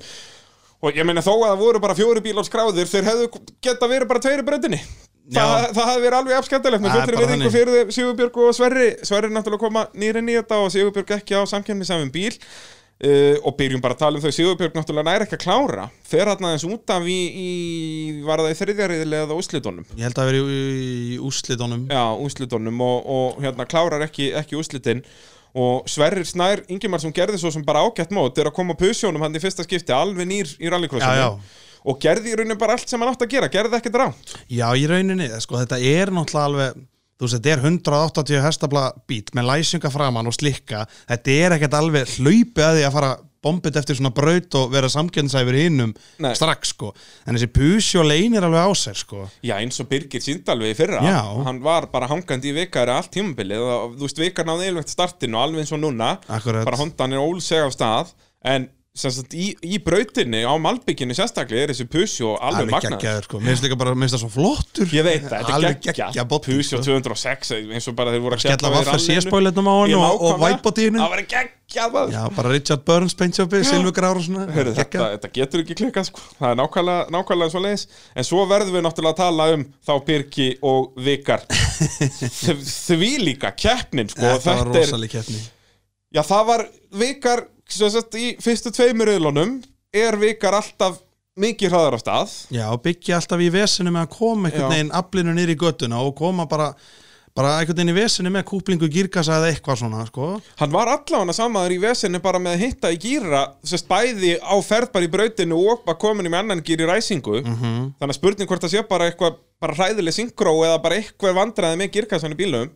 S3: og ég meina þó að það voru bara fjóri bílar skráðir, þeir hefðu geta verið bara tveiri breytinni. Það,
S1: Já.
S3: það hefði verið alveg afskemmtilegt með
S1: Það er
S3: fullri
S1: bara
S3: verðingu
S1: þannig.
S3: fyrir þeim, Sigurbjörg og Sverri Sverri náttúrulega koma nýrin í þetta og Sigurbjörg ekki á samkemni saman bíl uh, og byrjum bara að tala um þau Sigurbjörg náttúrulega næri ekki að klára fer hann aðeins út af í, í var það í þriðjariðilega úslitunum
S1: Ég held að vera í, í úrslitunum
S3: já, úslitunum og, og hérna klárar ekki, ekki úslitin og Sverrir Snær Ingimar sem gerði svo sem bara ágætt mót er að koma pusjónum hann í fyrsta skipti alveg nýr í
S1: Já,
S3: rallycrossinu
S1: já.
S3: og gerði í rauninu bara allt sem hann átt að gera gerði ekkert ránt
S1: Já, í rauninni, sko, þetta er náttúrulega alveg þú veist, þetta er 180 hestabla bít með læsinga framann og slikka þetta er ekkert alveg hlaupi að því að fara bombið eftir svona braut og vera samkjöndsæfur hinnum
S3: Nei.
S1: strax, sko en þessi pusjó leynir alveg á sér, sko
S3: Já, eins og Birgir Sindalvi í fyrra
S1: Já.
S3: Hann var bara hangandi í vikari allt tímabilið og þú veist, vikarn náði eilvægt startinu alveg eins og núna
S1: Akkurat.
S3: Bara hondan er ólseg á stað En sem sagt, í, í brautinni á Malbygginu sérstaklega er þessi pusjó alveg
S1: alveg
S3: magnað
S1: geggjaður, sko, mér finnst líka bara, mér finnst það svo flottur
S3: Ég veit það, þetta
S1: Alveg
S3: er geggja
S1: geggjað botn,
S3: Pusjó
S1: sko.
S3: 206, eins og bara þeir voru að
S1: skella
S3: keppa við
S1: vaffar
S3: rallinu.
S1: síðspólitum á hann og,
S3: Ég
S1: og
S3: nákvæmlega.
S1: vætbótíðinu
S3: Það var geggjað maður.
S1: Já, bara Richard Burns, Paintshoppi, Silvugrár og svona
S3: Heyrðu, þetta,
S1: geggjað.
S3: þetta getur ekki klikkað sko Það er nákvæmlega, nákvæmlega svo leiðis En svo verðum við náttúrulega að tala um þá Birki og
S1: (laughs)
S3: Vikar Þ- Því líka keppnin sko
S1: Þetta var
S3: Þetta er-
S1: rosaleg keppni
S3: Já það var Vikar sem sagt, í fyrstu tveimur auðlunum er Vikar alltaf mikið hraðar á stað
S1: Já, og byggja alltaf í vesinu með að koma einhvern
S3: Já.
S1: veginn aflinu niður í göttuna og koma bara, bara einhvern veginn í vesinu með kúplingu gírkassa eða eitthvað svona, sko.
S3: Hann var allavega samaður í vesinni bara með að hitta í gýra sérst bæði á ferð bara í brautinu og bara komin í með annan gýr í ræsingu -hmm. þannig að spurning hvort það sé bara eitthvað bara hræðileg synkró eða bara eitthvað vandræði með gýrkassan í bílum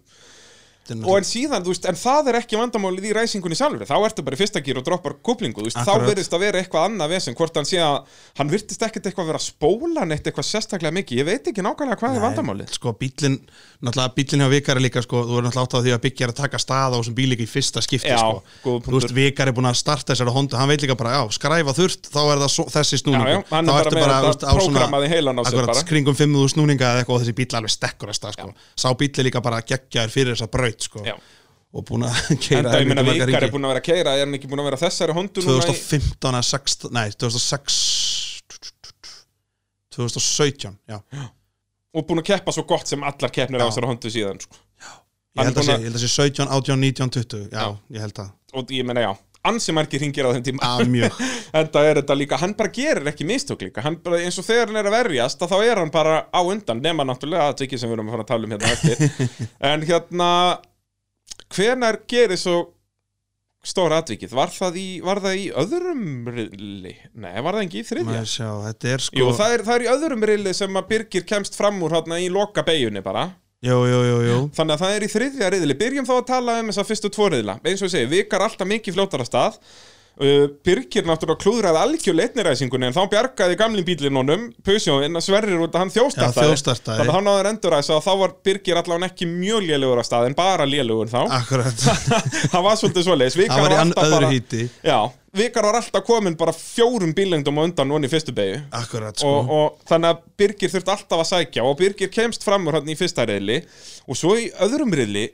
S1: Þetta er
S3: og
S1: náttúrulega-
S3: en síðan, þú veist, en það er ekki vandamálið í ræsingunni sjálfur, þá ertu bara í fyrsta gýr og droppar kúplingu, þú veist,
S1: Akkurat.
S3: þá virðist að vera eitthvað annað vesen, hvort hann sé að hann virtist ekkert eitthvað vera að spóla neitt eitthvað sérstaklega mikið, ég veit ekki nákvæmlega hvað er vandamálið
S1: Sko, bílinn, náttúrulega bílinn hjá Vikari líka, sko, þú er náttúrulega átt á því að byggja er að taka stað á þessum bíl líka í fyrsta skipti,
S3: Já,
S1: sko.
S3: góður
S1: Þú veist, Vikari er búin að starta þessari honda, hann veit líka bara, já, skræfa þurft, þá er það svo, þessi snúningur.
S3: Já, já, hann
S1: Þá
S3: er bara
S1: ertu
S3: með þetta
S1: þú veist, á svona-
S3: prógrammað í heilann á sér
S1: akkurat,
S3: bara.
S1: kringum 5.000 snúninga eða eitthvað og þessi bíl alveg stekkur að stað, sko. Sá bíl er líka bara geggjaður fyrir þessa braut, sko.
S3: Já.
S1: Og búin að (laughs) keyra
S3: Enda, ég meina,
S1: helmingi marga
S3: Vikar
S1: hringi.
S3: er búin að vera að keira, er hann ekki búin að vera á þessari hondu núna í-
S1: 2015 að 16, nei, 2006 2017, já
S3: og búin að keppa svo gott sem allar keppnir á þessari hondu síðan sko.
S1: ég held að
S3: búin
S1: sé,
S3: að- (laughs)
S1: ég held að sé 17, 18, 19, 20 já, ég held að
S3: og ég meina já ansi margir hringir á þeim tíma
S1: Já, mjög.
S3: en það er þetta líka, hann bara gerir ekki mistök líka hann bara, eins og þegar hann er að verjast að þá er hann bara á undan, nema náttúrulega að ekki sem við erum að fara að tala um hérna á
S1: (laughs)
S3: eftir en hérna hvenar gerir svo stóra atvikið, var það í, var það í öðrum rilli? Nei, var það ekki í þriðja?
S1: (laughs) Maður sjá, þetta er sko
S3: Jú, það er, það er í öðrum rilli sem að Birgir kemst fram úr hérna í loka beigjunni bara
S1: Jú, jú, jú, jú
S3: (laughs) Þannig að það er í þriðja riðli Byrjum þá að tala um þess að fyrstu tvo riðla Eins og ég segi, vikar alltaf mikið fljótara stað uh, Birgir náttúrulega klúðraði algjörlega einniræsingunni En þá bjargaði gamlin bílinn honum Pusjóin að sverrir út að hann þjóstartaði
S1: Já, þjófstartaði.
S3: Þannig að hann náður enduræsa og þá var Birgir allavega ekki mjög lélugur að stað En bara lélugur þá
S1: Akkurat
S3: (laughs) Það var svolítið svoleiðis Vikar
S1: Það Ah. var í ann-
S3: alltaf
S1: öðru
S3: bara-
S1: híti.
S3: Já, Vikar var alltaf komin bara fjórum bílengdum á undan Núna í fyrstu beigju
S1: Akkurat sko
S3: og, og þannig að Birgir þurft alltaf að sækja og Birgir kemst fram úr hann í fyrsta reyðli og svo í öðrum reyðli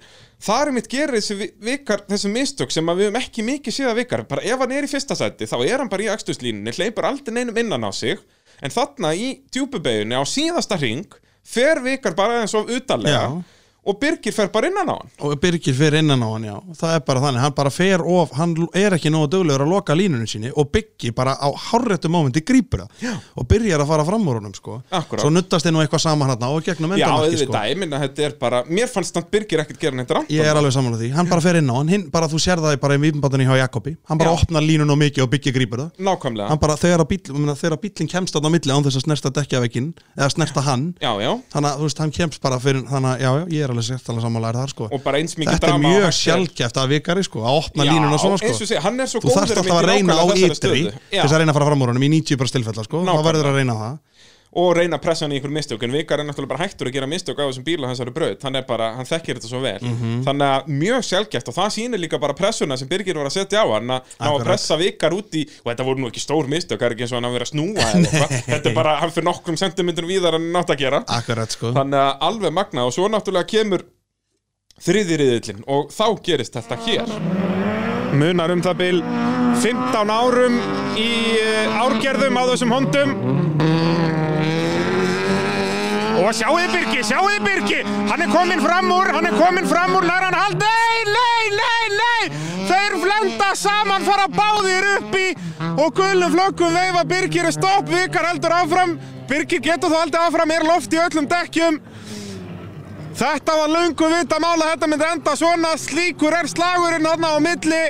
S3: þar er mitt gerir þessi vi- vikar þessu mistök sem að við höfum ekki mikið síða vikar bara ef hann er í fyrsta sæti þá er hann bara í axtuslínunni hleypur aldrei neinum innan á sig en þarna í djúpubeginni á síðasta ring fer vikar bara eins og utanlega
S1: Já.
S3: og Birgir fer bara innan á hann
S1: og Birgir fer innan á hann já það er bara þannig, hann bara fer of hann er ekki nógu döglegur að loka línunum sinni og Biggi bara á hárréttu mómenti grípur það já. og byrjar að fara fram úr honum sko
S3: Akkurát.
S1: svo nuttast þeir nú eitthvað saman hann og gegnum
S3: Já,
S1: endamarki sko
S3: auðvitað, ég minna þetta er bara mér fannst þannig Birgir ekkert gera neitt rátt
S1: ég er alveg samanlega því, hann bara fer inn á hann hinn, bara þú sér það bara í viðbandinni hjá Jakobi hann bara
S3: Já.
S1: opnar línun og mikið og Biggi grípur það
S3: Nákvæmlega,
S1: hann bara þegar að bíll- ég meina, þegar að bíllinn kemst þarna á milli án þess að snerta dekkjavegginn eða snerta hann
S3: já, já
S1: þannig að þú veist, hann kemst bara fyrir þannig að já, já, ég er alveg sérstæðan sammálaðir þar sko
S3: og bara eins mikið
S1: þetta er
S3: drama og
S1: mjög
S3: hægt er.
S1: sjálfgeft að vikari sko að opna línuna svona
S3: eins
S1: sko
S3: og segja, hann er svo
S1: þú
S3: góður
S1: þarft alltaf að
S3: einmitt í
S1: reyna á
S3: nákvæmlega þessari
S1: ytri
S3: stöðu.
S1: til þess
S3: Já,
S1: að reyna að fara fram úr honum í 90 bara stilfella sko
S3: Nákvæmlega.
S1: það verður að reyna það
S3: og reyna að pressa hann í einhver mistök en Vikar er náttúrulega bara hættur að gera mistök á þessum bíl og þessari braut, hann er bara, hann þekkir þetta svo vel
S1: Mhm.
S3: þannig að mjög sjálfgæft og það sýnir líka bara pressuna sem Birgir var að setja á hann að ná að
S1: Akkurat.
S3: pressa Vikar út í og þetta voru nú ekki stór mistök, það er ekki eins og hann að vera að snúa
S1: (laughs)
S3: eða eitthvað, þetta er bara, hann fyrir nokkrum sentimentur víðar en hann nátt að gera
S1: akkurat sko
S3: þannig að alveg magna og svo náttúrulega kemur þriðiriðillin og þá gerist þetta hér
S2: munar um það bil 15 árum í eh, árgerðum á þessum hondum og sjáuði Birgi, sjáuði Birgi hann er kominn fram úr, hann er kominn fram úr nær hann hald, nei, nei, nei, nei þeir flenda saman fara báðir upp í og gulum flöggum veifa Birgir er stopp, vikar heldur áfram Birgir getur þó aldrei áfram, er loft í öllum dekkjum Þetta var löngu vita mála, þetta myndi enda svona, slíkur er slagurinn hann á milli.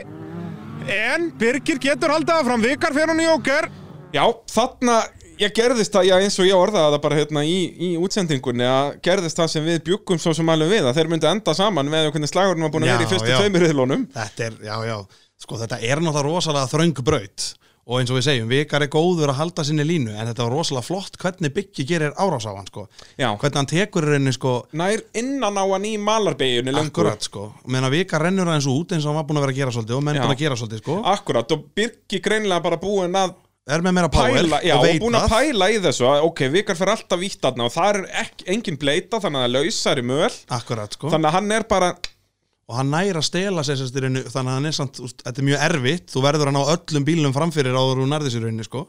S2: En Birgir getur haldið að fram vikar fyrir hún í óker.
S3: Já, þarna, ég gerðist það, já eins og ég orðaði það bara hérna í, í útsendingunni að gerðist það sem við bjuggum svo sem alveg við að þeir myndu enda saman með hvernig slagurinn var búin að
S1: Já,
S3: vera í fyrstu
S1: já.
S3: tveimur riðlunum
S1: þetta er, já, já, sko þetta er náttúrulega rosalega þröng braut og eins og við segjum, vikar er góður að halda sinni línu en þetta var rosalega flott hvernig byggi gerir árás á hann sko
S3: Já.
S1: hvernig hann tekur í rauninni sko
S3: Nær innan á hann í malarbeginni lengur
S1: akkurat sko, menna vikar rennur aðeins út eins og hann var búin að vera að gera svolítið og menn
S3: Já.
S1: búin að gera svolítið sko
S3: Akkurat, og Birgi greinlega bara búin að
S1: er með meira power
S3: pæla, já, og,
S1: veit
S3: búin að
S1: það.
S3: pæla í þessu að, ok, vikar fyrir alltaf vítt aðna og það er ekki, engin bleita þannig að það lausar í möl
S1: akkurat sko
S3: þannig að hann er bara,
S1: og hann næra að stela sér sérst í rauninu þannig að hann er samt, úst, þetta er mjög erfitt þú verður að ná öllum bílum framfyrir áður úr nærði sér rauninu sko,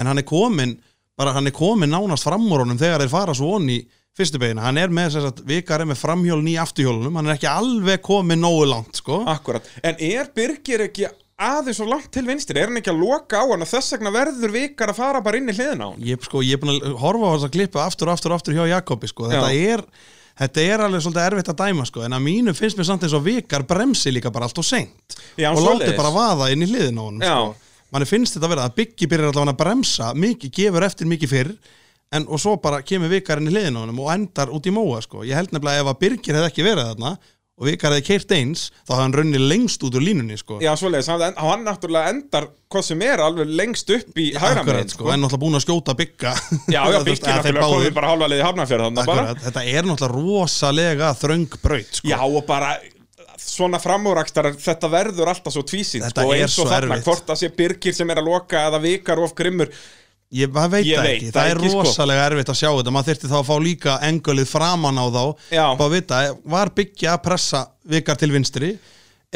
S1: en hann er komin bara hann er komin nánast fram úr honum þegar þeir fara svo onni í fyrstu beginu hann er með sérst að vikar er með framhjólun í afturhjólunum hann er ekki alveg komin nógu langt sko,
S3: akkurat en er Birgir ekki aðeins og langt til vinstri, er hann ekki að loka á hann og þess vegna verður vikar að fara bara inn í hliðina á hann
S1: ég, sko, ég er búin að horfa á þess að klippa aftur og aftur og aftur hjá Jakobi sko, þetta er Þetta er alveg svolítið erfitt að dæma sko, en að mínu finnst mér samt eins og vikar bremsi líka bara allt og seint
S3: Já,
S1: og
S3: svoleiðis.
S1: láti bara vaða inn í hliðin á honum sko.
S3: Já,
S1: manni finnst þetta að vera að Biggi byrjar allavega að bremsa mikið, gefur eftir mikið fyrr en, og svo bara kemur vikarinn í hliðin á honum og endar út í móa sko. ég held nefnilega að ef að Birgir hefði ekki verið þarna og vikar hefði keirt eins þá hefði hann runnið lengst út úr línunni sko.
S3: já svoleiðis, hann, hann náttúrulega endar hvað sem er alveg lengst upp í hægra megin
S1: Akkurat, sko. en náttúrulega búin að skjóta Bigga
S3: Já,
S1: (laughs)
S3: já,
S1: Þú veist,
S3: Birgir
S1: að þeir
S3: náttúrulega
S1: báðir-
S3: komið bara hálfa leiði hafnafjörð þannig bara
S1: Akkurat, þetta er náttúrulega rosalega þröng braut sko.
S3: Já, og bara svona framúrakstarar, þetta verður alltaf svo tvísinn
S1: Þetta
S3: sko,
S1: er
S3: eins og
S1: svo
S3: þarna,
S1: erfitt.
S3: hvort það sé Birgir sem er að loka eða vikar of grimmur
S1: Ég það veit
S3: Ég
S1: það
S3: veit
S1: ekki,
S3: það
S1: það er
S3: ekki, sko.
S1: rosalega erfitt að sjá þetta maður þyrfti þá að fá líka engölið framan á þá
S3: Já.
S1: bara að vita, var byggja að pressa vikar til vinstri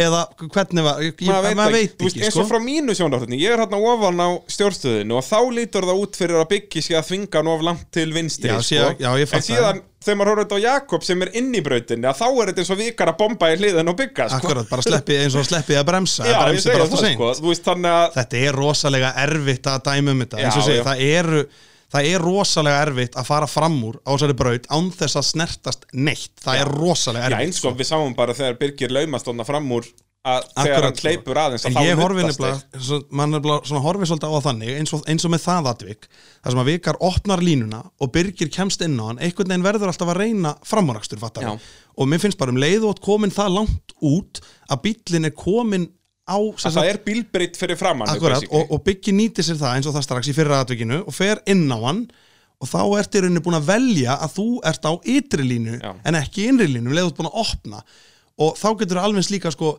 S1: eða hvernig var, ég, maður, veit ekki,
S3: Þú veist, eins
S1: sko
S3: og frá mínu sjónarhóttinni, ég er hérna ofan á stjórnstöðinu og þá lítur það út fyrir að Biggi sé að þvinga hann of langt til vinstri
S1: Já,
S3: sko.
S1: síðan- já, ég fatt
S3: en síðan þegar maður horfður þetta á Jakob sem er inn í brautinni að þá er þetta eins og vikar að bomba í hliðin og bygga sko.
S1: Akkurat, bara sleppi eins og sleppi að bremsa
S3: já, ég
S1: bremsi
S3: segja
S1: bara
S3: það
S1: aftur seint
S3: sko. þú veist þannig að
S1: Þetta er rosalega erfitt að dæma um þetta eins og
S3: Já,
S1: segja,
S3: já.
S1: það eru Það er rosalega erfitt að fara fram úr á þessari braut án þess að snertast neitt. Það er rosalega
S3: já,
S1: erfitt. sko.
S3: eins og við sáum bara þegar Birgir laumast þarna fram úr að þegar
S1: Akkurat, sko.
S3: hann hleypur aðeins að
S1: en ég horfi
S3: nuddast þeir.
S1: nefnilega, svo- mann nefnilega svona horfi svolítið á það þannig, eins og, eins og með það atvik þar sem að vikar opnar línuna og Birgir kemst inn á hann, einhvern veginn verður alltaf að reyna framúrakstur, fattar
S3: Já.
S1: við. og mér finnst bara um leið og komin það langt út að bíllinn er komin á sem
S3: að það er bílbritt fyrir framann
S1: akkurat,
S3: basically.
S1: og, og Biggi nýti sér það eins og það strax í fyrra atvikinu og fer inn á hann og þá ert í rauninni búin að velja að þú ert á ytri línu
S3: Já.
S1: en ekki innri línu, um leið þú ert búin að opna og þá getur alveg eins líka sko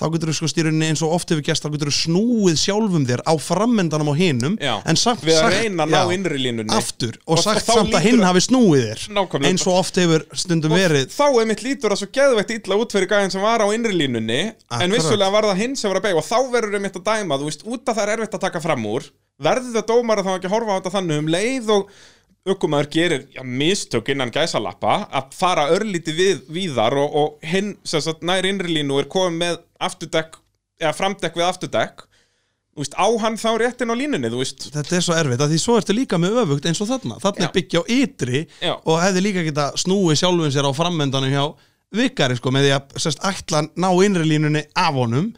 S1: þá getur þú sko stýrunni eins og oft hefur gæst þá getur þú snúið sjálfum þér á framendanum og hinum,
S3: Já.
S1: en samt
S3: Við að
S1: sagt-
S3: reyna að ná
S1: já,
S3: innri línunni.
S1: aftur og,
S3: Og
S1: sagt
S3: þá
S1: samt
S3: lítur-
S1: að hinn hafi snúið þér
S3: Nákvæmlega.
S1: eins og oft hefur stundum verið
S3: þá er mitt lítur að svo geðveikt illa út fyrir gæðin sem var á innri línunni
S1: Akkurat.
S3: en vissulega var það hinn sem var að beigja og þá verður einmitt að dæma, þú veist, út að það er erfitt að taka fram úr verður það dómar að þá ekki að horfa á þetta þannig um leið og ökumæður gerir já, mistök innan gæsalappa að fara örlíti við, víðar og, og hinn sem sagt nær innri línu er komið með afturdekk eða framdekk við afturdekk þú veist, á hann þá réttin á línunni, þú veist
S1: Þetta er svo erfitt, að því svo ertu líka með öfugt eins og þarna. Þarna er
S3: Já.
S1: byggja á ytri
S3: Já.
S1: og hefði líka geta snúið sjálfum sér á framöndanum hjá vikari sko með því að sérst ætla að ná innri línunni af honum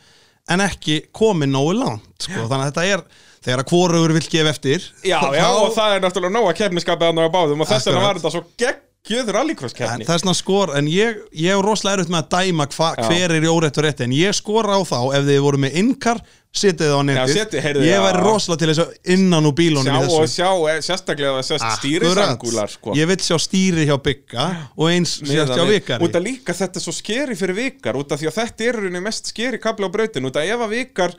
S1: en ekki komin nógu langt sko. Þannig að þetta er, þegar að hvorugur vill gefa eftir
S3: Já,
S1: þá-
S3: já, og það er náttúrulega nóga keppniskapið hann á báðum og þess vegna var
S1: Akkurat.
S3: þetta svo geggjöð rallycross
S1: En
S3: keppni
S1: það er svona skor, en ég, ég er rosalega erut með að dæma hva,
S3: Já.
S1: hver er í órétt og rétti, en ég skora á þá ef þið voru með innkar, setið það á netið
S3: setið, heyrðu,
S1: ég
S3: já.
S1: væri rosalega til þess að innan úr bílunum
S3: sjá
S1: í þessu
S3: og sjá, eh, sérstaklega að sérst stýrisangúlar sko.
S1: Ah, Ég vil sjá stýri hjá bygga og eins sérst hjá
S3: Miðað við-
S1: vikari
S3: út að líka þetta er svo skeri fyrir vikar út af því að þetta er í rauninni mest skeri kabla á brautin út af ef að vikar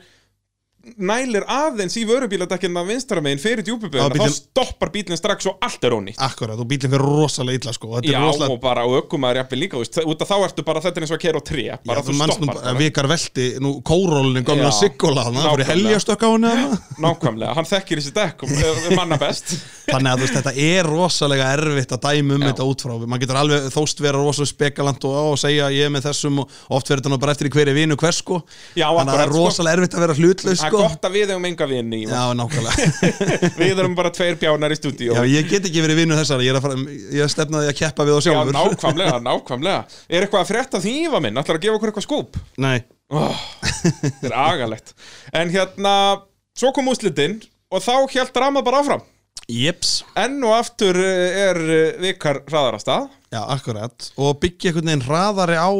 S3: nælir aðeins í vörubíladekkin að vinstra megin fyrir djúpuböðina
S1: Já, bíllinn-
S3: þá stoppar bílinn strax og allt er ónýtt
S1: Akkurat, og bílinn fyrir rosalega illa sko og Þetta
S3: Já,
S1: er rosalega
S3: og bara og ökumæður jafnvel líka, þú veist, út af þá ertu bara þetta er eins og að kera á tré, bara
S1: Já,
S3: þú
S1: manst nú
S3: stoppar
S1: bara
S3: bara.
S1: Vikar velti, nú kórólinin
S3: Já.
S1: komið að siggola hana fyrir
S3: Nákvæmlega.
S1: helgjastökk á hana
S3: Nákvæmlega, hann þekkir þessi dekk um, manna best
S1: (laughs) Þannig að þú veist, þetta er rosalega erfitt að dæma um
S3: Já.
S1: þetta út frá Man getur alveg þóst vera rosalega spekalant og, og segja ég er með þessum og oft verður þetta nú bara eftir í hverju vinu hvers sko
S3: Já,
S1: Þannig að það
S3: akkurat,
S1: er
S3: sko.
S1: rosalega erfitt að vera hlutlaus
S3: Það er
S1: sko
S3: gott að við hefum enga vini í
S1: Já, nákvæmlega
S3: (laughs) Við erum bara tveir bjánar í stúdíu
S1: Já, ég get ekki verið vinnu þessari, ég er að, fara, ég er stefnaði að keppa við þá
S3: Já,
S1: sjálfur
S3: nákvæmlega, nákvæmlega Er eitthvað að frétta því Íva minn? Ætlar að gefa okkur eitthvað skúp?
S1: Nei
S3: Oh, þetta er agalegt En hérna, svo kom úslitinn Og þá hjælt ramað bara áfram
S1: Jeps
S3: Enn og aftur eh, er eh, vikar hraðarasta
S1: Já, akkurat Og byggja einhvern veginn hraðari á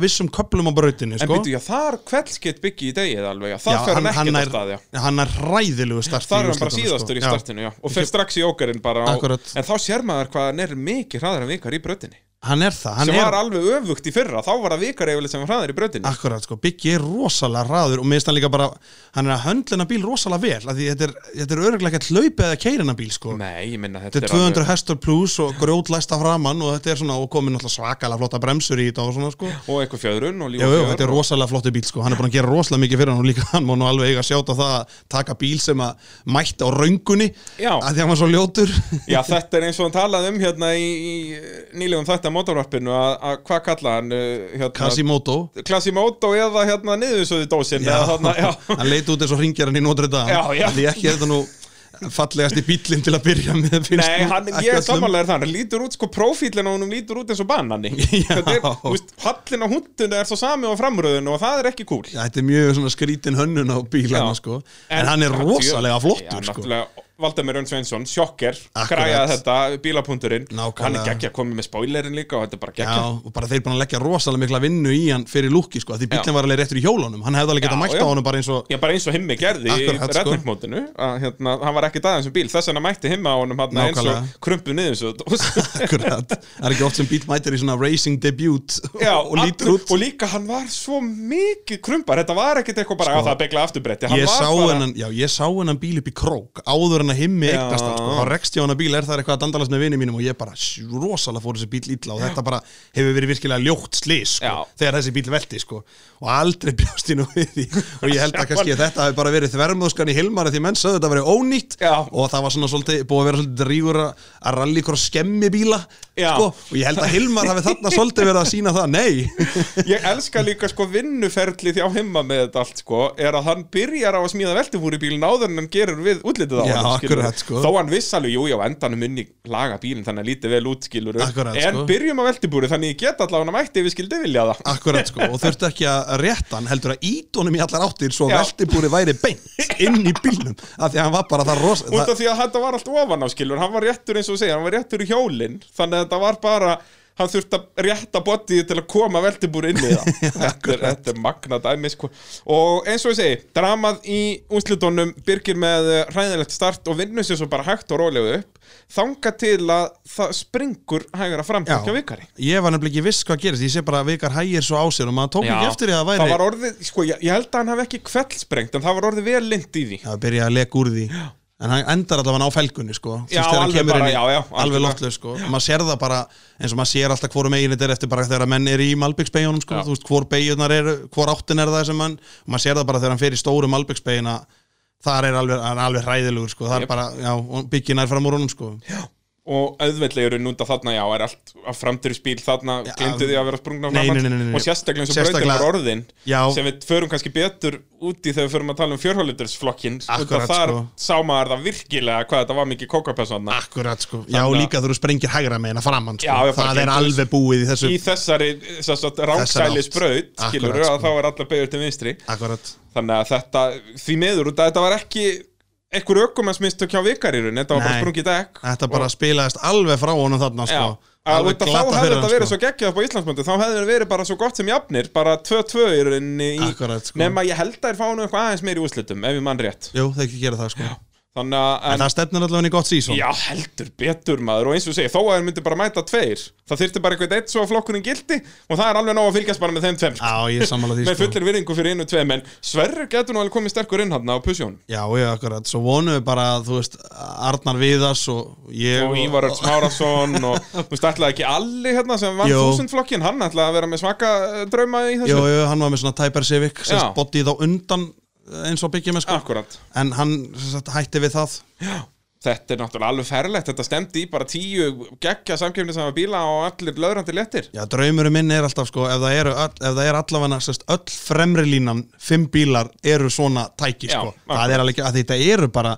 S1: vissum köplum á brautinni,
S3: En
S1: sko
S3: býtu, já, þar kveldskitt byggi í degið alveg já.
S1: Já,
S3: Það fer hann
S1: hann
S3: ekkert
S1: er-
S3: að staðja
S1: Hann er ræðilegu start sko.
S3: Þar er hann bara síðastur í startinu, já Og fer strax í ókarinn bara á,
S1: Akkurat.
S3: En þá sér maður hvað hann er mikið hraðar en vikar í brötinni
S1: Hann er það, hann
S3: sem
S1: er
S3: var alveg öfugt í fyrra þá var það vikar eiginlega sem var hraðar í brötinni
S1: Akkurat, sko, Biggi er rosalega hraður og mér finnst hann líka bara, hann er að höndlina bíl rosalega vel, af því þetta er, þetta er örglega ekkert hlaupið eða keirina bíl, sko
S3: Nei, ég minna þetta,
S1: Þetta er 200
S3: alveg-
S1: hestur pluss og grjótlæsta framann og þetta er svona, og komin alltaf svakalega flotta bremsur í þetta og svona, sko
S3: og eitthvað fjöðrun og
S1: Jú,
S3: líf og
S1: jú,
S3: fjör
S1: þetta er
S3: og-
S1: rosalega flottu bíl sko, hann er búin að gera rosalega mikið fyrir hann og líka (laughs) hann má nú alveg eiga að sjáta það að taka bíl sem að mætti á raungunni
S3: Já.
S1: að því hann var svo
S3: (laughs)
S1: ljótur
S3: Já, þetta er eins og hann talaði um hérna í, í nýlegum þetta mótorvarpinu að, að hvað kalla hann uh, hérna,
S1: Kasimoto,
S3: Quasimodo eða hérna niðursöðu dósin
S1: Já.
S3: eða þarna, já
S1: (laughs) hann leit út eins og ringjarinn í Notre Dame
S3: Já, já.
S1: Af því ekki er þetta nú fallegasti bílinn til að byrja með finnst
S3: Nei,
S1: mér,
S3: hann,
S1: ekki
S3: ég
S1: öllum.
S3: er samanlega þannig, hann lítur út sko profílinn á húnum lítur út eins og bananni
S1: (laughs) Já.
S3: Þetta er, þú veist, hallin á hundinu er svo sami á framröðinu og það er ekki kúl
S1: Já, Þetta er mjög svona skrítin hönnun á bíl hann
S3: Já.
S1: sko, en, hann er rosalega
S3: Já,
S1: flottur sko
S3: náttúrulega, Valdemir Önn Sveinsson, sjokker
S1: Akkurat.
S3: græjaði þetta, bílapunkturinn
S1: Nákvæmlega.
S3: hann er geggja komið með spoilerinn líka og þetta er bara
S1: Já,
S3: geggja
S1: og bara þeir búin að leggja rosalega mikla vinnu í hann fyrir lúki sko, af því bílinn var alveg réttur í hjólunum hann hefði alveg getað
S3: Já,
S1: mætt
S3: já.
S1: á honum bara eins og
S3: Já, bara eins og himmi gerði
S1: Akkurat,
S3: í
S1: sko.
S3: redningmótinu að hérna, hann var ekkert aðeins um bíl þess vegna mætti himma á honum hann eins og
S1: Nákvæmlega.
S3: krumpu niður svo
S1: (laughs) Akkurat, það er ekki oft sem bíl mætir í svona racing debut
S3: Já,
S1: og lítur
S3: allur-
S1: út
S3: og líka hann var svo mikið krumpar þetta var ekkert eitthvað bara að það begla afturbretti hann
S1: Sko, Ég
S3: var
S1: sá,
S3: bara,
S1: hennan, já, ég sá hennan bíl upp í krók áður en að svona himmi
S3: Já.
S1: eignast hann, sko. þá rekst ég á hana bíl, er það eitthvað að dandalast með vinið mínum og ég bara sj- rosalega fór þessi bíl illa og þetta bara hefur verið virkilega ljótt slís sko,
S3: Já.
S1: þegar þessi bíl velti sko. og aldrei (laughs) bjóst ég nú við því og ég held að kannski að þetta hefur bara verið þvermóðskan í Hilmar að því menn sögðu þetta verið ónýtt
S3: Já.
S1: og það var svona svolítið, búið að vera svolítið rígur að að rallycross skemmi bíla
S3: Já.
S1: sko, og ég held að Hilmar hafi þarna svolítið verið að sína það, nei
S3: Ég elska líka sko vinnuferli þjá himma með þetta allt sko er að hann byrjar á að smíða veltefúri bílinn áður en hann gerur við útlitið á
S1: Já,
S3: hann skilurðu.
S1: akkurat, sko.
S3: Þó hann viss alveg, jú, já, á endanum minni laga bílinn þannig að lítið vel útskilur
S1: Akkurat,
S3: En
S1: sko.
S3: byrjum á veltefúri þannig ég get allavega hann mætti ef ég skildi vilja það
S1: Akkurat sko, og þurfti ekki að rétta hann heldur að ít honum í allar áttir svo
S3: Já.
S1: veltibúri væri beint inn í bílnum af því að hann var bara það rosa
S3: Út
S1: það,
S3: af því að þetta var allt ofan á skilur Hann var réttur eins og segja, hann var réttur í hjólinn Þannig að þetta var bara Hann þurfti að rétta bodyið til að koma veltibúr inn í
S1: (laughs)
S3: það þetta, er, þetta er magna dæmi sko. Og eins og ég segi Dramað í úslutónum Byrgir með eh, hræðilegt start Og vinnur sér svo bara hægt og rólega upp Þanga til að það springur Hægra
S1: Já.
S3: framtökja vikari
S1: Ég var nefnilega ekki viss hvað gerist, ég sé bara að vikar hægir svo á sér og maður tók
S3: Já.
S1: ekki eftir því að það væri
S3: Það var orðið, sko, ég, ég held að hann hafi ekki kveldsprengt En það var orðið vel lind í því
S1: Það byrjaði að leka úr því En hann endar allavega á felgunni sko Þú
S3: Já,
S1: veist, þegar hann
S3: alveg
S1: kemur
S3: bara,
S1: inn í-
S3: já, já,
S1: Alveg
S3: algjörlega.
S1: loftlega sko Maður sér það bara eins og maður sér alltaf hvorum eigin þetta er eftir bara þegar að menn er í Malbyggsbeginum sko
S3: Já.
S1: Þú veist, hvor beginar eru, hvor áttin er það sem hann Maður sér það bara þegar hann fer í stóru Malbyggsbegina Þar er alveg, hann er alveg hræðilugur sko Það
S3: Jep.
S1: er bara, já, og byggina er fram úr honum sko
S3: og auðveldlega eru núnda þarna já, er allt að framdur í spíl þarna
S1: Já,
S3: glindu því að vera sprungna
S1: nei, nei, nei, nei, nei.
S3: og sérstaklega eins og
S1: Sérstaklega-
S3: brautin var orðin
S1: Já.
S3: sem við förum kannski betur út í þegar við förum að tala um fjörhólutursflokkin
S1: Akkurat,
S3: þar
S1: sko.
S3: sá maður það virkilega hvað þetta var mikið kókapessana
S1: Akkurat sko Já,
S3: Þannig að-
S1: líka þú sprengir hægra meina framann sko
S3: Já, ég bara
S1: Það er
S3: gleymdi
S1: alveg búið í þessu
S3: í þessari
S1: Þessari
S3: ráksæli
S1: átt.
S3: spraut skilur
S1: Akkurat,
S3: að
S1: sko.
S3: þá er allar beigur til vinstri
S1: Akkurat
S3: þannig að þetta, því meður út að þetta var ekki einhver ökumennsmistök hjá vikarirun þetta var bara
S1: Nei.
S3: sprungið dekk
S1: Þetta bara spilaðist alveg frá honum þarna sko
S3: Já, að
S1: Alveg
S3: út af þá
S1: glatað
S3: hefði
S1: fyrir
S3: þetta
S1: hann,
S3: verið
S1: sko.
S3: svo geggjað upp á Íslandsmöndu þá hefði þetta verið bara svo gott sem jafnir bara 2-2 í rauninni í
S1: Akkurat, sko.
S3: nema ég held að þeir fáinu eitthvað aðeins meir í úrslitum ef ég mann rétt
S1: Jú, þeir ekki gera það sko
S3: þannig að
S1: En
S3: en,
S1: það stefnir allavega í gott sísón
S3: já, heldur betur maður og eins og segja þó að þeir myndi bara mæta tveir það þyrfti bara eitthvað eitt svo að flokkurinn gildi og það er alveg nóg að fylgjast bara með þeim tveim
S1: Já, ég er sammála Ah, því
S3: með
S1: sko.
S3: fullir virðingu fyrir einu tveim en Sverrir getur nú alveg komið sterkur inn hann á pusjónum
S1: Já, ég akkurat, svo vonum við bara þú veist, Arnar Viðas og ég
S3: og Ívar Örts Márasson og
S1: (laughs)
S3: þú veist, ætlaði ekki allir hérna sem vann
S1: Jó.
S3: þúsundflokkin hann ætlaði að vera með svaka eh, drauma í
S1: Jú,
S3: þessu
S1: jú, hann var með svona Typer Civic sem
S3: Já.
S1: sagt, bodyð á undan eh, eins og byggjum sko.
S3: Akkúrat.
S1: en hann sem sagt, hætti við það
S3: Þetta er náttúrulega alveg ferlegt, þetta stemdi í bara tíu geggja samkefni saman bíla og allir löðrandi léttir.
S1: Já, draumurinn minn er alltaf sko, ef það, eru, öll, ef það er allavega sest, öll fremri línan, fimm bílar eru svona tæki
S3: Já,
S1: sko.
S3: akkurat.
S1: það er alveg, að þetta eru bara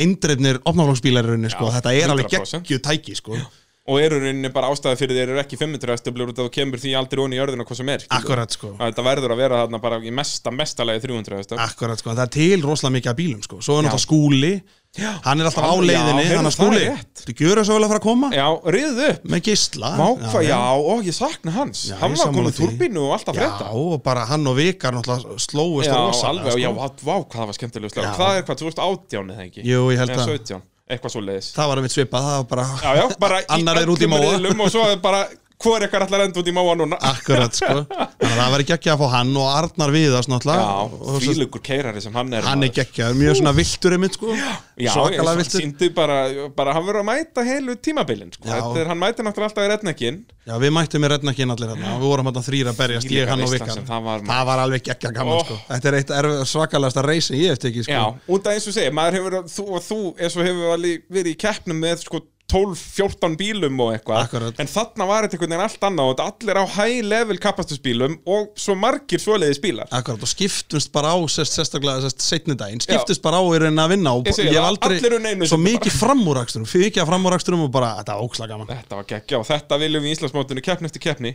S1: indreifnir opnáflóksbílar í rauninni sko.
S3: Já,
S1: þetta er alveg
S3: 100%.
S1: geggju tæki sko.
S3: Og eru rauninni bara ástæði fyrir þeir eru ekki 500 östöflur út að þú kemur því aldrei onni í örðina hvað sem er. skilur.
S1: akkurat sko.
S3: Að Þetta verður að vera þarna bara í mesta, mestalegi 300 östöfl.
S1: Akkurat sko, það er til rosalega mikið af bílum sko Svo er náttúrulega skúli
S3: Já.
S1: Hann er alltaf á
S3: Já,
S1: leiðinni,
S3: heyrðu,
S1: þannig að
S3: það er
S1: skúli
S3: rétt.
S1: Þú gjöra svo vel að fara að koma
S3: Já, riðu upp.
S1: Með gísla
S3: Mákva, já, ó, ég sakna hans.
S1: Ah, Já, ég
S3: hann var
S1: sammála
S3: komið
S1: því.
S3: turbínu og alltaf
S1: Já,
S3: frétta.
S1: og bara hann og Vikar náttúrulega slóist
S3: Já,
S1: rosalega
S3: alveg,
S1: sko.
S3: já, vá, vá, hvað það var skemmtilega slag.
S1: Já.
S3: Það er hvað, 2018 eða ekki?
S1: Jú, ég held
S3: Eða
S1: það.
S3: 17, eitthvað svo
S1: Það var einmitt svipað, það var bara
S3: Já, já, bara
S1: (laughs) Annar er út í
S3: öllum
S1: móa.
S3: riðlum og svo er bara, hvor ykkar allar enda út í máa núna?
S1: (laughs) Akkurat sko Þannig að það var ekki að fá hann og Arnar Viðas náttúrulega
S3: Já,
S1: Og svo-
S3: fílugur keirari sem hann er
S1: Hann er
S3: maður.
S1: geggjaður, mjög svona viltur einmitt sko
S3: Já, ég,
S1: Svakalega
S3: hann
S1: viltur
S3: síndi bara, bara hann verður að mæta heilu tímabilin sko.
S1: Já.
S3: Þetta er, Hann mæti náttúrulega alltaf í retnekkin
S1: Já, við mættum í rednakinn allir hérna og við vorum hérna þrýra að berjast,
S3: Þvílíka
S1: ég, hann og
S3: veisla
S1: Vikar
S3: sem það var, maður.
S1: það var alveg geggja gaman
S3: Oh.
S1: sko Þetta er eitt erf- svakalegasta reis sem ég hef tekið sko
S3: Já, út af eins og segja, maður hefur þú og þú eins og hefur alveg verið í keppnum með sko 12-14 bílum og eitthvað
S1: Akkurat.
S3: En þarna var þetta einhvern veginn allt annað og þetta allir á high level kapastusbílum og svo margir svoleiðis bílar
S1: Akkurat, og skiptumst bara á sest, sérstaklega sest, setni daginn, skiptumst bara á í rauninni að vinna og
S3: Ég segi
S1: ég hef
S3: það,
S1: aldrei
S3: allir eru neinu
S1: svo
S3: sem
S1: mikið framúraksturum, fyrir ekki að framúraksturum og bara, þetta var óksla gaman
S3: Þetta var geggja og þetta viljum við í Íslandsmótinu keppni eftir keppni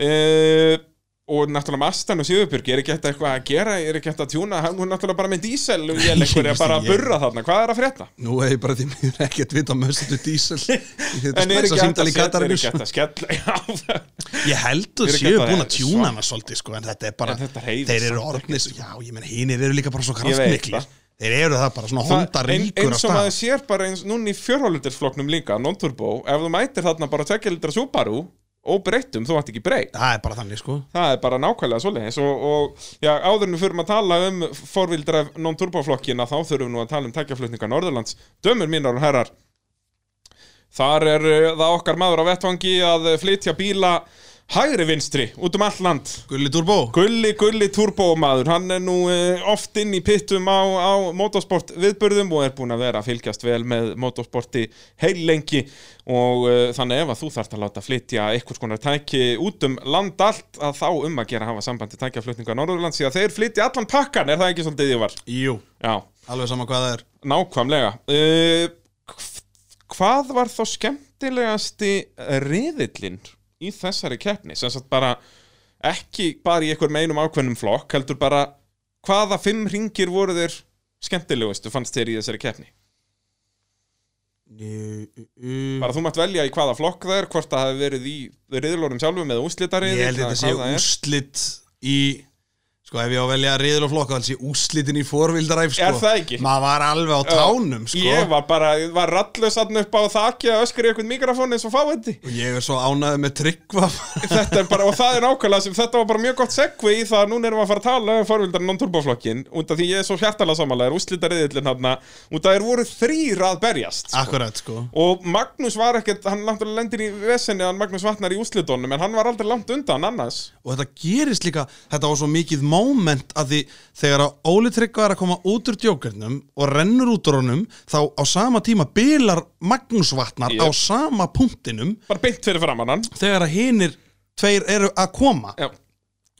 S3: uh, og náttúrulega Mastan og Sigurbjörg er ekki hægt eitthvað að gera, er ekki hægt að tjúna hann hún er náttúrulega bara með dísel og ég leikur er bara að burra þarna, hvað er að frétta?
S1: Nú hef ég bara því mér ekkert vita um höstu
S3: (laughs)
S1: dísel í þetta
S3: En er
S1: spæsa
S3: ekki hægt
S1: síndal
S3: að,
S1: í
S3: set- er
S1: Katarins
S3: ekki hægt að skella (laughs) já,
S1: Ég held
S3: Er
S1: að
S3: ekki
S1: séu
S3: hægt að-
S1: búin að tjúna hana svolítið sko, en þetta er bara,
S3: En þetta hreyfist
S1: þeir eru
S3: samt sko.
S1: orðnis Já, ég menn, hinir eru líka bara svo
S3: Ég veit
S1: kraftmiklir
S3: það.
S1: Þeir eru það bara svona honda
S3: ein,
S1: ríkur
S3: eins og maður sér bara eins, núna í fjörhólutirfloknum líka, non-turbo ef þú mætir þarna bara tvekja litra Subaru óbreyttum, þú ætti ekki breytt
S1: Það er bara þannig sko
S3: Það er bara nákvæmlega svoleiðis og, og já, áður en við förum að tala um forvildræf non-turboflokkina þá þurfum við nú að tala um tækjaflutninga Norðurlands Dömur mínar og herrar Þar er uh, það okkar maður á vettvangi að uh, flytja bíla hægri vinstri út um allt land
S1: Gulli Turbo
S3: Gulli, Gulli turbómaður, hann er nú eh, oft inn í pittum á, á motorsport viðbörðum og er búin að vera að fylgjast vel með motorsporti heil lengi og uh, þannig ef að þú þarft að láta flytja einhvers konar tæki út um land allt að þá um að gera að hafa sambandi tækjaflutninga Norðurlands því að þeir flytja allan pakkan, er það ekki svolítið ég var?
S1: Jú,
S3: Já,
S1: alveg sama hvað það er
S3: nákvæmlega. Uh, hvað var þá skemmtilegasti riðillinn í þessari keppni? Sem sagt bara ekki bara í einhver meinum ákveðnum flokk, heldur bara hvaða fimm ringir voru þeir skemmtilegustu fannst þér í þessari keppni?
S1: Ég
S3: Bara þú mátt velja í hvaða flokk það er, hvort það hefði verið í riðilórum sjálfum eða úslitariðil.
S1: held þetta sé úrslit í Sko ef ég á að velja riðil og flokka Það sé úrslitin í forvildaræf sko
S3: Er það ekki?
S1: Maður var alveg á tánum sko
S3: Ég var bara, var rallus hann upp á þakki að öskri eitthvað mikrofón eins og fáiði.
S1: Og ég er svo ánæðið með tryggva
S3: þetta er bara, og það er nákvæmlega sem þetta var bara mjög gott segvi í það að núna erum við að fara að tala um forvildar non-turboflokkin, út af því ég er svo hjartalega samanlega, úslitariðillin hann út af þeir voru þrýr að berjast
S1: (laughs) Akkurat sko
S3: og Magnús var ekkert, hann náttúrulega lendir í vesenni hann Magnús vatnar í úslitónum, en hann var aldrei langt undan annars
S1: og þetta gerist líka, þetta var svo mikið moment að því þegar að Óli Tryggva er að koma út úr djókernum og rennur út úr honum þá á sama tíma bilar Magnúsvatnar
S3: Jep.
S1: á sama punktinum
S3: bara beint fyrir framann hann
S1: þegar að hinir tveir eru að koma
S3: Já.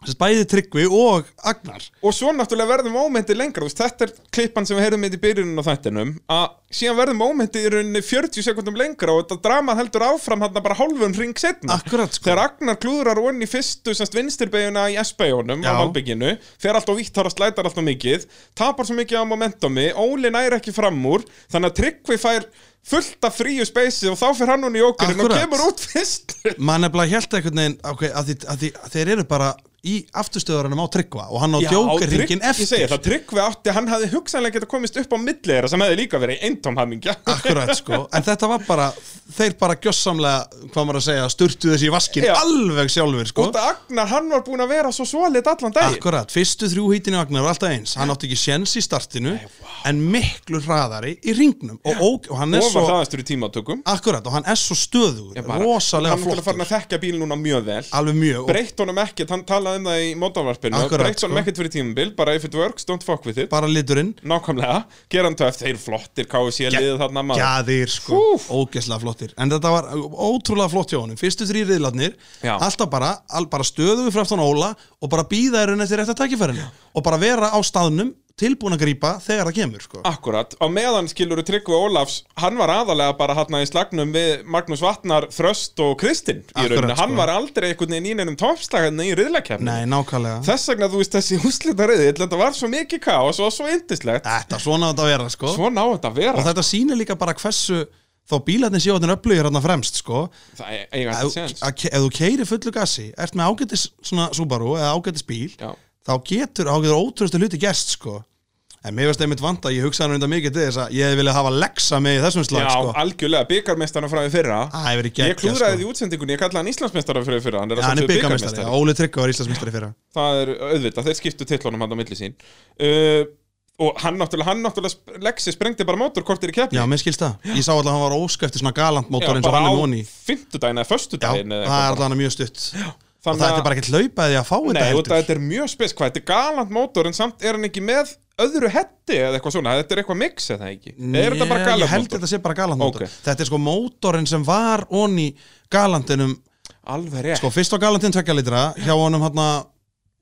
S1: Þessi bæði Tryggvi og Agnar
S3: og svo náttúrulega verðum mómenti lengra þú veist, þetta er klippan sem við heyrðum með í byrjunum á þættinum að síðan verðum mómenti í rauninni 40 sekundum lengra og þetta drama heldur áfram hann bara hálfum ring setna
S1: Akkurat sko
S3: Þegar Agnar klúðrar onni fyrstu semst vinstirbeguna í S-begunum
S1: Já.
S3: á Valbygginu, fer alltaf vítt þar að slætar alltaf mikið, tapar svo mikið á momentumi, Óli nær ekki fram úr, þannig að Tryggvi fær fullt af fríu speysi og þá fer hann hún í okkurinn og
S1: Akkurat.
S3: kemur út fyrst.
S1: mann er bara held einhvern veginn okay, að, því, að, því, að þeir eru bara í afturstöðurunum á Tryggva og hann á
S3: Tryggvi-
S1: djókerringin
S3: Ég segi
S1: eftir
S3: það, Tryggvi átti, hann hafði hugsanlega getað komist upp á milli þeirra sem hefði líka verið eintom hamingja.
S1: Akkurat sko, en þetta var bara þeir bara gjössamlega, hvað maður að segja sturtu þessi í vaskin
S3: Já.
S1: alveg sjálfur sko
S3: (laughs) Út að Agnar, hann var búin að vera svo svolít allan daginn.
S1: Akkurat, fyrstu þrjú hítinu Agnar var alltaf eins hann átti ekki sjens í startinu en miklu hraðari í ringnum og, og, og hann er
S3: Og var
S1: svo,
S3: hraðastur í tímatökum.
S1: akkurat og hann er svo stöðugur,
S3: Bara-
S1: rosalega
S3: Hann er náttúrulega farin
S1: flottur
S3: að þekka bíl núna mjög vel.
S1: alveg mjög og
S3: breytt honum ekkert, hann talaði um það í mótavarpinu,
S1: Akkurat,
S3: breytt honum
S1: sko.
S3: ekkert fyrir tímabil, bara if it works, don't fuck with it
S1: bara liturinn
S3: nákvæmlega, gera hann töf, þeir flottir KSC liðið þarna maður
S1: Gjaðir sko,
S3: Húf.
S1: ógeðslega flottir En þetta var ótrúlega flott hjá honum Fyrstu þrý riðlarnir,
S3: Já.
S1: alltaf bara, all, bara stöðu við freftan Óla Og bara býða er henni eftir rétt að tækifærinu Og bara vera á staðnum, tilbúin að grípa þegar það kemur
S3: Ah.
S1: sko.
S3: Akkurat, á meðan skilur Tryggvi Ólafs, hann var aðalega bara hann í slagnum við Magnús Vatnar, Þröst og Kristinn í
S1: Akkurat,
S3: rauninni, hann
S1: sko.
S3: var aldrei einhvern veginn í neinum toppslagarni í riðlakefni
S1: Nei, nákvæmlega
S3: þess vegna þú veist þessi húslitariði, þetta var svo mikið kaos og svo yndislegt,
S1: Þetta, svona á þetta að vera sko.
S3: svo ná þetta að
S1: Og
S3: vera
S1: þetta sýnir líka bara hversu Þá bílarnir séu hann upplugir hann fremst sko.
S3: það er eiga
S1: ef,
S3: þetta séns
S1: að, ef þú keiri fullu gassi Ert með ágætis svona Subaru eða ágætis bíl
S3: Já.
S1: Þá getur ágætur ótrústu hluti gerst sko. En mér veist einmitt vanta Ég hugsaði hann undan mikið til þess að ég vilja hafa lexa með í þessum
S3: Já,
S1: slag sko.
S3: algjörlega, byggarmestarna frá því fyrra
S1: Það hefur ekki
S3: Ég klúðraði því í útsendingunni, ég kallaði hann Íslandsmeistara fyrir fyrir hann er að
S1: sko. Hann er
S3: sjálfsögðu
S1: byggamestari,
S3: bikarmeistari.
S1: Óli Tryggva var Íslandsmestari fyrra
S3: Það er auðvitað, þeir skiptu titlunum hann á milli sín uh, Og hann náttúrulega, hann náttúrulega sp- Lexi sprengdi bara mótorkortir í keppni
S1: Já, mér skilst það, ég sá alltaf að hann var óskæfti svona galant mótor eins og
S3: bara
S1: hann
S3: á
S1: er voni
S3: fimmtudaginn eða
S1: Já, það
S3: föstudaginn
S1: er
S3: eða eitthvað.
S1: alltaf mjög stutt Og það er bara ekkert laupaði að fá þetta
S3: Nei, og
S1: heldur
S3: þetta er mjög spes, hvað, þetta er galant mótor en samt er hann ekki með öðru hetti eða eitthvað svona, þetta er eitthvað mix eða ekki Eða er þetta bara
S1: Ég- Ég
S3: galant
S1: held
S3: mótor?
S1: þetta sé bara galant mótor
S3: Ókei.
S1: Þetta er sko mótorinn sem var onni galantinum
S3: Alveg rétt
S1: Sko, fyrst á galantin tvekja litra hjá honum hann að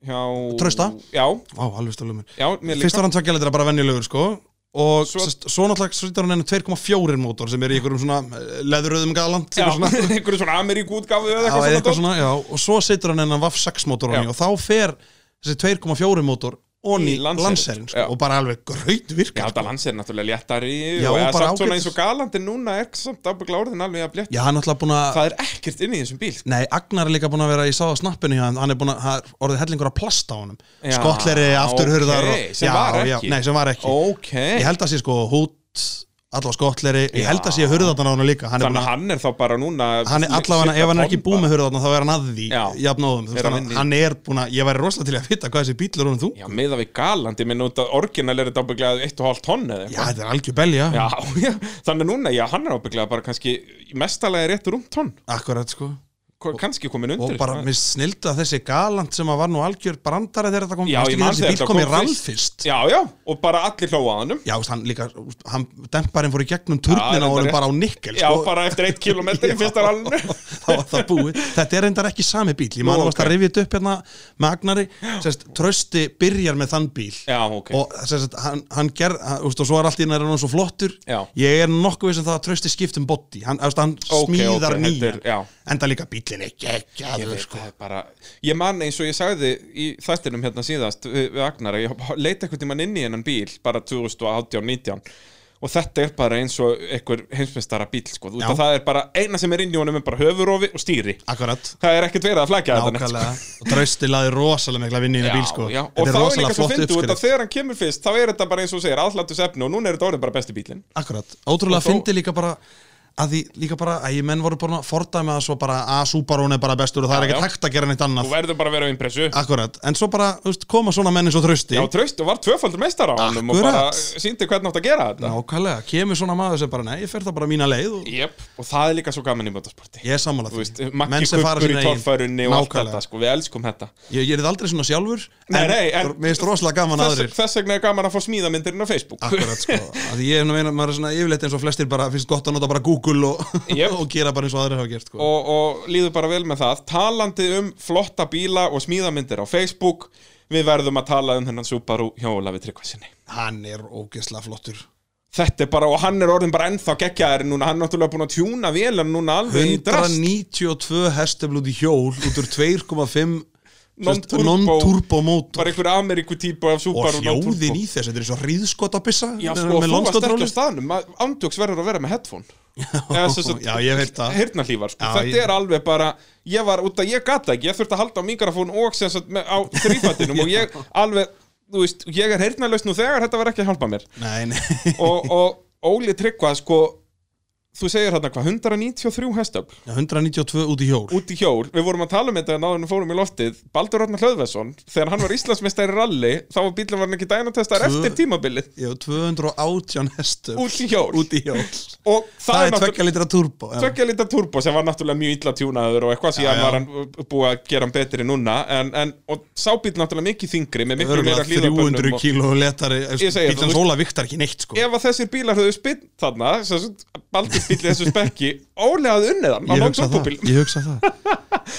S3: Hjá...
S1: Trausta?
S3: Já,
S1: Á, alveg stálum
S3: já, mér líka
S1: Fyrst var hann tvekja litra bara venjulegur sko Og
S3: Svo-
S1: svo, svo náttúrulega sýttar hann enn 2,4 mótor sem er í einhverjum svona eh, leðuröðum galant
S3: Já,
S1: eitthvað
S3: (laughs)
S1: svona.
S3: einhverju svona ameríkútgáfu
S1: Já,
S3: eða eitthvað
S1: eða
S3: svona
S1: eitthvað
S3: dót.
S1: svona, já, og svo setur hann ennan VAF 6 mótor
S3: Já.
S1: honni og þá fer þessi 2,4 mótor onni
S3: Í Lancerinn,
S1: lanserinn
S3: já.
S1: sko, og bara alveg sko. gröyt
S3: Já,
S1: virka
S3: þetta lands er náttúrulega léttari
S1: Já,
S3: og
S1: og
S3: eða
S1: bara
S3: samt svona
S1: ágætis.
S3: eins og galandi núna er samt ábyggla orðin alveg að blétt
S1: Já, hann er alltaf búin að
S3: Það er ekkert inn í þessum bíl sko.
S1: Nei, Agnar er líka búin að vera í sáða snappinu hjá hann hann er búin að, það er orðið hellingur að plasta á honum
S3: Já,
S1: skottleri, afturhurðar
S3: ókei,
S1: og,
S3: sem var
S1: já,
S3: ekki.
S1: nei, sem var ekki
S3: Ok
S1: Ég held að sé sko hút allavega skotleri, ég held að sé hurðarnar á hann líka hann er,
S3: Þannig að
S1: búin
S3: hann er þá bara núna
S1: að- hann er allavega, ef hann er ekki búið með hurðarnar þá er hann að því,
S3: Já.
S1: jafnóðum
S3: Er að vinna í-
S1: hann er búin að, ég væri rosalega til í að vita hvað þessi bíl er honum þú,
S3: Já, meða við galandi, minn út að orginal er þetta ábygglega 1,5 tonn eða
S1: já,
S3: eitthvað
S1: þetta er algjör belja
S3: Já, já, þannig að núna, já, hann er ábygglega bara kannski mestalega rétt rúm tonn
S1: akkurat sko
S3: Ko- kannski komin
S1: og
S3: undir
S1: bara
S3: sko.
S1: mér snildu að þessi galant sem að var nú algjör brandari þegar þetta kom
S3: Já,
S1: Manstu
S3: ég
S1: ekki
S3: man
S1: þessi bíl
S3: þegar þetta
S1: kom í
S3: kom
S1: rall
S3: fyrst.
S1: fyrst
S3: Já, já, og bara allir hlóa að hannum
S1: já, þú veist, hann líka, hann, demparinn fór í gegnum turnina
S3: Já,
S1: og hann
S3: reyndar
S1: bara á nikkel
S3: Já,
S1: sko.
S3: bara eftir 1 kilometri í fyrsta rallinu
S1: (laughs) þá var það búið þetta er reyndar ekki sami bíl ég man
S3: Nú,
S1: að varst
S3: ok.
S1: að rifja þetta upp hérna með Agnari sérst, trösti byrjar með þann bíl
S3: Já, ok
S1: og sérst, hann, hann gerð hann, úst, og svo er allt í hann er hann svo flottur
S3: Já.
S1: ég er nokkuð vissum það að trösti skiptum body hann, úst, hann
S3: Ok,
S1: smíðar
S3: ok,
S1: okay,
S3: þetta er- já.
S1: enda líka bílinn ekki ekki
S3: Ég
S1: aður
S3: veit
S1: sko.
S3: það er bara, ég man eins og ég sagði í þættinum hérna síðast við, við Agnar að ég leita einhvern tímann inn í hennan bíl bara 2018-19 og þetta er bara eins og einhver heimsmeistara bíl sko, út
S1: Já.
S3: að það er bara eina sem er inn í honum er bara höfurofi og stýri
S1: akkurat
S3: það er ekkert verið að flækja þetta neitt, sko.
S1: Nákvæmlega, og trösti laði rosalega mikla
S3: (laughs)
S1: vinni í það bíl sko.
S3: já, og
S1: Þetta
S3: þá er líka svo
S1: flott
S3: fyndu út að
S1: uppskrift.
S3: þegar hann kemur fyrst þá er þetta bara eins og þú segir aðhlatus efni og núna er þetta orðin bara besti bílinn
S1: Akkurat, ótrúlega
S3: Og þó-
S1: fyndi líka bara að því líka bara að ég menn voru bara að fordæma það svo bara að Subarón er bara bestur og það er
S3: Já, já.
S1: ekkert hægt að gera neitt
S3: þú
S1: annað
S3: verður bara að vera á impressu
S1: Akkurat, en svo bara þú veist, koma svona menn eins og trösti
S3: já, traust og var tvöfaldur meistara á hann og
S1: Akkurat.
S3: bara síndi hvernig átt að gera þetta
S1: Nákvæmlega, kemur svona maður sem bara nei, ég fer það bara mína leið og
S3: Jep, og það er líka svo gaman í motorsporti
S1: ég er sammála
S3: Þú veist,
S1: því
S3: Maggi Kuppur í torfærunni og allt þetta
S1: Nákvæmlega,
S3: sko, við elskum þetta
S1: ég, ég er aldrei svona sjálfur
S3: Nei, nei, en-
S1: en mér finnst rosalega gaman
S3: þess,
S1: aðrir
S3: þess vegna er gaman að fá smíðamyndirinn á Facebook
S1: Akkurat
S3: (laughs)
S1: sko, að því ég er nú meina, maður er svona yfirleitt eins og flestir bara finnst gott að nota bara Google og,
S3: Jep.
S1: (laughs) og gera bara eins og aðrir hafa gert sko.
S3: og, og líður bara vel með það talandi um flotta bíla og smíðamyndir á Facebook við verðum að tala um þennan Subaru hjá Olavi Tryggvasinni
S1: Hann er ógeðslega flottur
S3: Þetta er bara, og hann er orðin bara ennþá geggjaðir núna, hann er náttúrulega búin að tjúna vélan núna alveg í drast
S1: 192 hestöfl út í hjól út úr 2,5 sérst,
S3: Non-turbo.
S1: non-turbo mótor
S3: bara einhver Ameríku típa af
S1: og
S3: Subaru
S1: hljóðin
S3: non-turbo.
S1: í þess, þetta er eins og hríðskotabissa
S3: Já, sko, þú varst ekki á staðnum Andjóks verður að vera með headphone Eða, sem sagt,
S1: Já, ég veit það
S3: Heyrnarhlífar, sko.
S1: Já,
S3: þetta
S1: ég-
S3: er alveg bara ég var út að ég gata ekki, ég þurfti að halda á mikrofón og sem sagt með, á
S1: (laughs)
S3: þrýfattinum og ég alveg, þú veist, ég er heyrnarlaus nú þegar þetta var ekki að hjálpa mér
S1: Nei, (laughs) nei,
S3: og, og Óli Tryggva, sko þú segir hérna hvað, 193 hestöfl
S1: Já, 192 út í hjól
S3: út í hjól, við vorum að tala um þetta en áður en við fórum í loftið, Baldur Orna Hlöðvesson þegar hann var Íslandsmeistari í ralli þá var bílum var hann ekki dænatestar
S1: Tvö-
S3: eftir tímabilið
S1: Já, 218 hestöfl
S3: út í hjól
S1: út í hjól
S3: og það,
S1: Það er
S3: náttúrulega-
S1: 2 litra turbo já.
S3: Tveggja lita turbo sem var náttúrulega mjög illa tjúnaður og eitthvað síðan
S1: já.
S3: var hann búið að gera hann betri núna en, en, og sábíl náttúrulega mikið þingri með miklu meira
S1: Örugglega 300
S3: hlýðabönnum og
S1: kíló letari
S3: Ég segi það,
S1: Bílans
S3: þú-
S1: Óla viktar ekki neitt sko
S3: ef að þessir bílar höfðu spinn þarna sem baldur bíl í þessu spekki (laughs) ólega að unnið hann á
S1: Ég
S3: nóg
S1: hugsa það,
S3: turbóbíl
S1: ég hugsa
S3: (laughs)
S1: það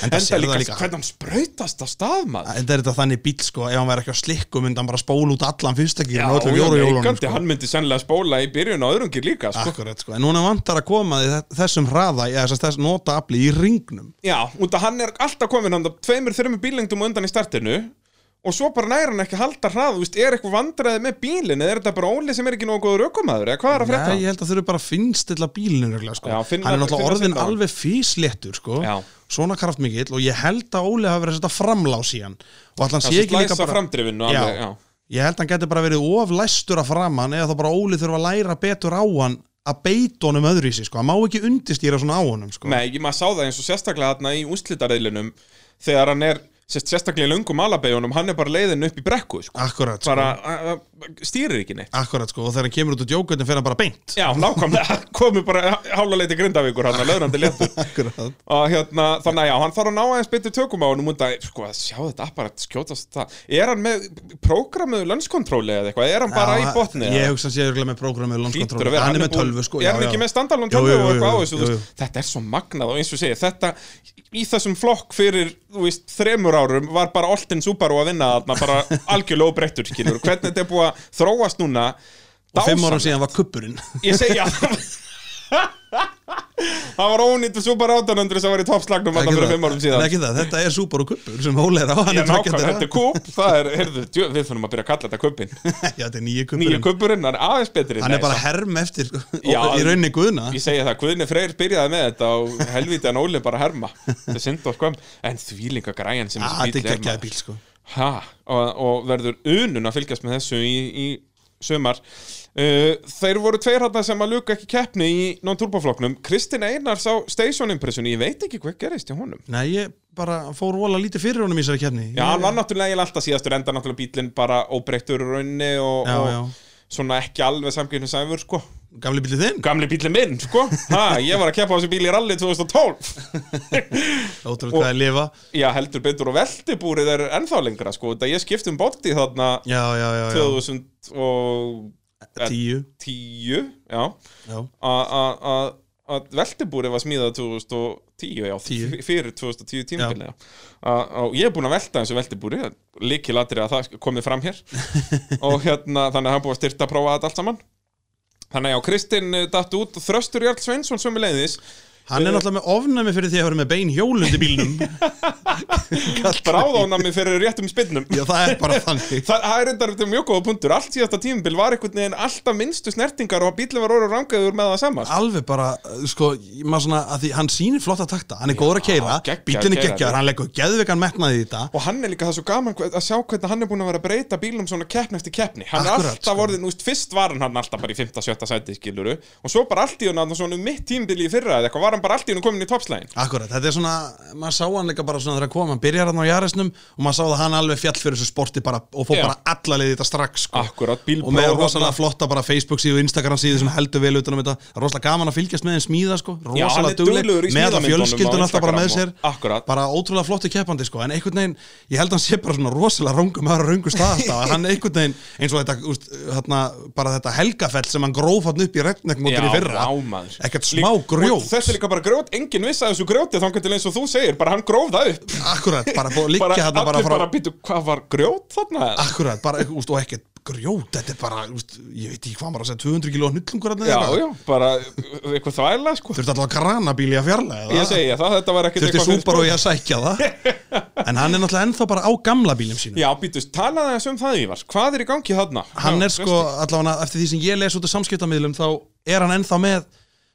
S1: En það
S3: enda
S1: sér
S3: líka, sko,
S1: það líka
S3: hvernig hann sprautast að stað maður
S1: Þetta er þetta þannig bíl sko, ef hann væri ekki á slikku myndi hann bara spóla út allan fyrstakir og öllum jóruhjólunum
S3: neikandi,
S1: sko.
S3: hann myndi sennilega spóla í byrjun á öðrungir líka sko.
S1: Akkurat sko, en núna vantar að koma því þe- þessum hraða, eða þess, þess nota afli í ringnum
S3: já, út að hann er alltaf komin hann tveimur, þreimur bílengdum á undan í startinu og svo bara næra hann ekki að halda hrað þú veist, er eitthvað vandræði með bílinn eða er þetta bara Óli sem er ekki nógu góður ökumæður eða hvað er að frétta?
S1: Nei, ég held að þau eru bara að finnstilla bílinu reglega, sko.
S3: Já, finna-
S1: Hann er
S3: finna
S1: náttúrulega orðin
S3: finna hann.
S1: alveg físléttur sko.
S3: Já.
S1: Svona kraftmikill og ég held að Óli hafi verið að setja framlás í hann Og allan
S3: Já,
S1: sé
S3: svo
S1: ekki líka
S3: slæsa
S1: bara
S3: framdrifinu alveg, já.
S1: Ég held að hann geti bara verið oflæstur að framan eða þá bara Óli þurfa að læra betur á hann að beita honum öðru í sig sko. Hann má ekki undistýra svona á honum sko.
S3: Nei, ég- maður sá það eins og sérstaklega þarna í úslitareðlinum þegar hann er sérst, sérstaklega í löngum alabegjunum, hann er bara leiðin upp í brekku sko.
S1: Akkurat sko.
S3: bara a- a- stýrir ekki neitt
S1: Akkurat sko, og þegar hann kemur út úr djókvöldin fyrir hann bara beint
S3: Já, nákvæmlega, (laughs) komið bara hálfa leiti grindavíkur hann að löðrandi léttur
S1: Akkurat
S3: og hérna, þannig að já, hann þarf að ná aðeins betur tökum á honum út að, sko, að sjá þetta apparat skjótast það, er hann með prógramuðu lönskontróli eða eitthvað, er hann bara í botni eða?
S1: Ég hugsa að sé örugglega með prógramið
S3: Hlýtur
S1: landskontról
S3: að vera,
S1: Hann er með
S3: búinn-
S1: tölvu sko
S3: Er
S1: já, já.
S3: hann ekki með standalón
S1: Jú,
S3: tölvu
S1: jú,
S3: og
S1: jú,
S3: eitthvað á
S1: jú,
S3: þessu þú
S1: jú,
S3: veist, Þetta er svo magnað og eins og segja Þetta í þessum flokk fyrir þú veist, þremur árum var bara Olten Subaru að vinna þarna
S1: (laughs)
S3: bara algjörlega óbreyttur skilur Hvernig þetta er búið að þróast núna
S1: jú. Og fimm árum
S3: dásamlegt.
S1: síðan var
S3: (laughs)
S1: kuppurinn
S3: Ég segja Það var ónýttu Subaru 800 sem var í toppslagnum
S1: Það
S3: þarna
S1: er
S3: fyrir
S1: ekki
S3: fimm
S1: það.
S3: árum
S1: En
S3: síðan
S1: ekki það, Þetta er súpar og kuppur sem Óli er á hann
S3: Ég
S1: er
S3: nákvæm,
S1: tveggja
S3: þetta
S1: þeirra. (laughs)
S3: er kúp, það er, heyrðu, djö, við þurfum að byrja að kalla þetta kuppin
S1: Já, þetta er nýju
S3: Nýju
S1: kuppurinn
S3: kuppurinn, hann er aðeins betri
S1: Hann
S3: Nei,
S1: er bara hérna. herm eftir sko,
S3: Já,
S1: og- í rauninni guðna
S3: Ég segja það, Guðni Freyr byrjaði með þetta og helviti hann Óli bara að herma þetta er synd og skoðum, en þvílinga græjan sem
S1: Ah,
S3: hérna.
S1: Þetta er
S3: þessi
S1: geggjaði
S3: maður.
S1: bíl sko
S3: ha, og, og verður unun að fylgjast með þessu í, í sumar uh, Þeir voru tveir hann sem að luka ekki keppni í non-turboflokknum Kristinn Einars á Station Impression Ég veit ekki hvað gerist hjá honum
S1: Nei, ég bara fór vola lítið fyrir honum í þessari kefni
S3: Já, hann var náttúrulega eiginlega alltaf síðastur enda náttúrulega bílinn bara óbreyttur í rauninni og,
S1: Já,
S3: og
S1: já.
S3: svona ekki alveg samkynnu sæfur, sko
S1: Gamli bílið þinn,
S3: Gamli bílinn minn, sko ha, Ég var að keppa á þessu bíl í rally 2012
S1: ótrúlega hvað er lifa
S3: Já, heldur betur og veltibúrið er ennþá lengra, sko Það ég skipti um bótti þarna
S1: Já, já, já, já,
S3: 2010
S1: tíu
S3: já
S1: Já,
S3: a- a- a- að veltibúrið var smíðað 2010, já,
S1: Tíu.
S3: f- fyrir 2010 tímabilið, já. A- og ég er búinn að velta þessu veltibúri, líki latri að það komið fram
S1: (laughs)
S3: hér og hérna, þannig að hann búið að styrta að prófa þetta allt saman þannig að já, Kristinn eh, datt út og Þröstur Jarl Sveinsson sem er leiðis
S1: hann er náttúrulega með ofnæmi fyrir því að vera með bein hjólundi bílnum
S3: bráðónami fyrir réttum spinnum
S1: (laughs) Já, það er bara þannig
S3: Það það er reyndar þetta mjög góða punktur Allt síðasta tímabil var einhvern veginn alltaf minnstu snertingar og bílum var orður rangaður með það sama sko.
S1: Alveg bara, uh, sko, ég- maður svona að því hann sýnir flotta takta, hann er góður að keira
S3: geggjaður
S1: bílinn er
S3: keyrari.
S1: geggjaður, hann leggur geðvegan metnaði í þetta
S3: Og hann er líka það svo gaman hve- að sjá hvernig hann er búin að vera að breyta bílum svona keppni eftir keppni Hann er
S1: Akkurat,
S3: alltaf
S1: sko.
S3: orðin, úst, fyrst var hann hann alltaf bara í 5-7 sæti skiluru Og svo bara allt í hún að svona um mitt tímabili í fyrra eða eitthvað var hann bara allt í hún komin í toppslægin
S1: Akkurat, þetta er svona, maður sá hann líka bara svona þegar að koma, hann byrjar hann á jarisnum og maður sá það hann alveg fjall fyrir þessu sporti bara og fór
S3: Já.
S1: bara alla leið í þetta strax sko.
S3: Akkurat, bílpróf
S1: og með
S3: þarna.
S1: rosalega flotta bara Facebook síðu og Instagram síðu sem heldur vel utan um þetta, rosalega gaman að fylgjast með þeim smíða sko,
S3: Já, hann
S1: rosalega
S3: er duglegur í
S1: með alla
S3: smíðamyndunum á
S1: fjölskyldun alltaf bara með sér,
S3: Instagram og- Akkurat.
S1: bara ótrúlega flotti keppandi sko, en einhvern veginn, ég held hann sé bara svona rosalega rungum aðra rungu stað
S3: (laughs)
S1: alltaf, að hann einhvern veginn, eins og þetta, úst, þarna, bara þetta helgafell sem hann gróf hann upp í retnekmótur í fyrra,
S3: vá, maður.
S1: ekkert
S3: Lík-
S1: smá
S3: og
S1: grjót.
S3: Þetta er líka bara grjót, enginn vissi að þessu grjóti þá til eins og þú segir, bara hann gróf það upp
S1: Akkurat, bara búið að
S3: bara,
S1: liggja þarna
S3: Allir
S1: bara
S3: bara,
S1: frá
S3: bara býtu, hvað var grjót þarna? eða?"
S1: Akkurat, bara, úst, og ekkert grjót, þetta er bara, úst, ég veit ekki hvað maður að segja, 200 kíló hnullungur að
S3: Já, já, bara eitthvað þvæla sko.
S1: Þurfti alltaf að kranabíli að fjarlæga
S3: Ég segi það, þetta var ekkert
S1: Þurfti
S3: eitthvað fyrir
S1: súpar og
S3: sko-
S1: ég að sækja það
S3: (laughs)
S1: En hann er náttúrulega ennþá bara á gamla bílum sínum
S3: Já, býtust, talaði þess um það Ívar Hvað er í gangi þarna?
S1: Hann
S3: Já,
S1: er sko, allavega eftir því sem ég les út af samskiptamiðlum Þá er hann ennþá með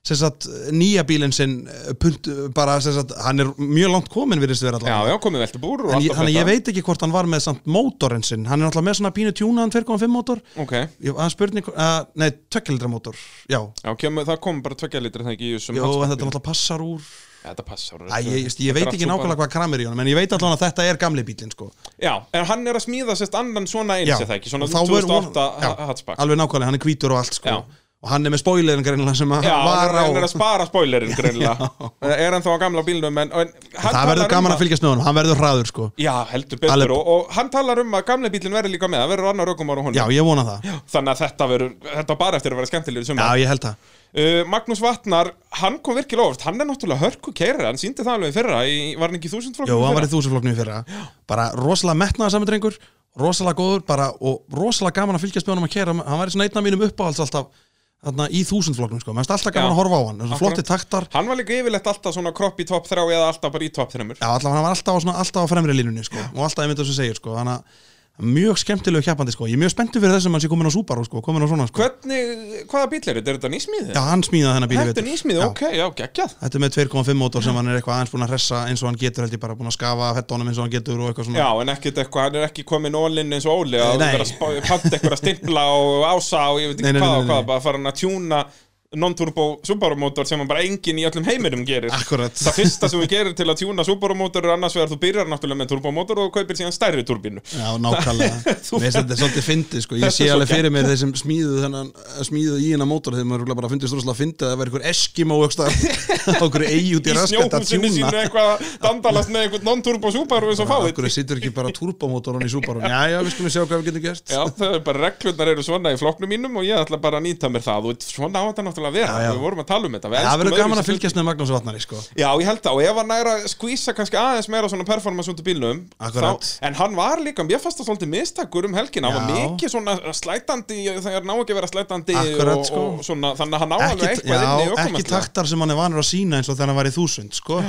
S1: sem sagt, nýja bílinn sinn eh, punt, bara, sem sagt, Hann er mjög langt komin virðist vera
S3: Já,
S1: allavega
S3: já, komið veltu búr og
S1: En ég,
S3: allt
S1: þannig að ég veit ekki hvort hann var með samt mótorinn sinn Hann er náttúrulega með svona pínu tjúnaðan 2.5 mótor
S3: Ok,
S1: Ég- Það er spurning, uh, nei, tökkelitra mótor Já,
S3: já, kemur, það kom bara tvekja litri það ekki í þessum
S1: Jó,
S3: hans-
S1: en þetta náttúrulega passar úr
S3: Ja, Þetta
S1: Æ,
S3: passar
S1: ég, ég,
S3: Þetta
S1: ég
S3: er
S1: veit
S3: allt
S1: ekki
S3: svo
S1: nákvæmlega
S3: bara-
S1: hvað kramir í honum En ég veit allan að þetta er gamli bílinn sko.
S3: Já, en hann er að smíða sérst annan svona eins
S1: Já,
S3: eða ekki Svona
S1: og þá verður von-
S3: 2008
S1: já,
S3: ha- hatchback
S1: Alveg nákvæmlega, hann er hvítur og allt sko.
S3: Já.
S1: Og hann er með spoilerin greinilega sem að
S3: Já,
S1: var á
S3: hann er að spara spoilerinn greinlega Er hann þá á gamla bílnum en, en hann
S1: Það
S3: talar um
S1: verður gaman að fylgjast með honum, hann verður hraður sko.
S3: Já, heldur betur
S1: Alveg-
S3: og, og hann talar um að gamla bílinn verður líka með Það verður annar ökumar og hún
S1: Já, ég vona það
S3: Þannig að þetta verður, þetta á bara eftir að vera skemmtilegur sumar
S1: Já, ég held það
S3: Uh, Magnús Vatnar, hann kom virkilega ofart hann er náttúrulega hörku keirari, hann síndi það alveg í fyrra í, var hann ekki í þúsundflokkum
S1: Jó,
S3: í
S1: hann var
S3: fyrra?
S1: í þúsuflokknu í fyrra Bara rosalega metnaða saman drengur Rosalega góður bara, og rosalega gaman að fylgjast með honum að kera Hann var í svona einn af mínum uppáhalds alltaf Þarna í þúsundflokknum sko, maður finnst alltaf gaman
S3: Já.
S1: að horfa á hann Svona
S3: Akkurat.
S1: Flotti taktar,
S3: hann var líka yfirleitt alltaf svona kropp í top 3 eða alltaf bara í top 3
S1: Já, allavega hann var alltaf á, svona, alltaf á fremri línunni sko, og alltaf einmitt þess að segja sko, þannig að mjög skemmtilegu keppandi sko. ég er mjög spenntur fyrir þessum að hann sé komin á Subaru sko, komin á svona sko.
S3: hvernig, hvaða bíl er þetta, er þetta nýsmíði?
S1: Já, hann smíðaði þennan bíl í
S3: þetta er
S1: vetur.
S3: nýsmíði,
S1: Já.
S3: ok, já, geggjað
S1: Þetta er með 2,5 mótor sem hann er eitthvað aðeins búin að hressa eins og hann getur held ég bara búin að skafa fettónum eins og hann getur og eitthvað svona
S3: já, en ekkert eitthvað, hann er ekki komin ólinn eins og óli að
S1: Mm. Nei.
S3: vera að spá- panta eitthvað að stimpla og ása og ég veit
S1: Nei,
S3: ekki
S1: nei,
S3: hvað
S1: nei,
S3: og
S1: nei,
S3: hvað,
S1: nei.
S3: bara fara hann að tjúna non-turbo Subaru mótor sem bara enginn í öllum heiminum gerir
S1: Akkurat,
S3: það fyrsta sem við gerum til að tjúna Subaru-mótor er annars vegar þú byrjar náttúrulega með turbomótor og þú kaupir síðan stærri turbínu
S1: já,
S3: (laughs)
S1: nákvæmlega Mér finnst þetta svolítið fyndið sko. ég
S3: Þetta er
S1: sé
S3: svo
S1: alveg fyrir mér þeir sem smíðu þennan, smíðu í hennan mótor þegar maður örugglega bara fyndist rosalega fyndið að það væri einhver Eskimo
S3: (laughs)
S1: okkur eigi út
S3: í
S1: í raskat að
S3: snjóhúsinni
S1: tjúna
S3: sínu eitthvað að dandalast með eitthvað non-turbo Subaru eins og fáið
S1: okkur situr ekki bara turbomótorun í Subaru já, já, við skulum sjá hvað við getum gert
S3: Já, það er bara reglurnar eru svona í flokknum mínum og ég ætla bara að nýta mér það og svona á þetta náttúrulega að vera,
S1: Já, já.
S3: við vorum að tala um þetta Við
S1: Það
S3: elskum
S1: verður gaman að
S3: öðruvísi
S1: fylgjast með Magnús Vatnari sko.
S3: hluti. Já, ég held það og ef hann er að skvísa kannski aðeins meira svona performance út úr bílnum
S1: Akkurat.
S3: En hann var líka, ég fannst það svolítið mistakur um helgina, hann var
S1: Já.
S3: mikið svona slætandi þegar ná ekki að vera slætandi
S1: Akkurat,
S3: og,
S1: sko.
S3: og svona, þannig að hann ná alveg
S1: ekki,
S3: eitthvað inn í
S1: já, ekki
S3: ökumennsluna.
S1: taktar sem hann er vanur að sína eins og þegar hann var í þúsund sko.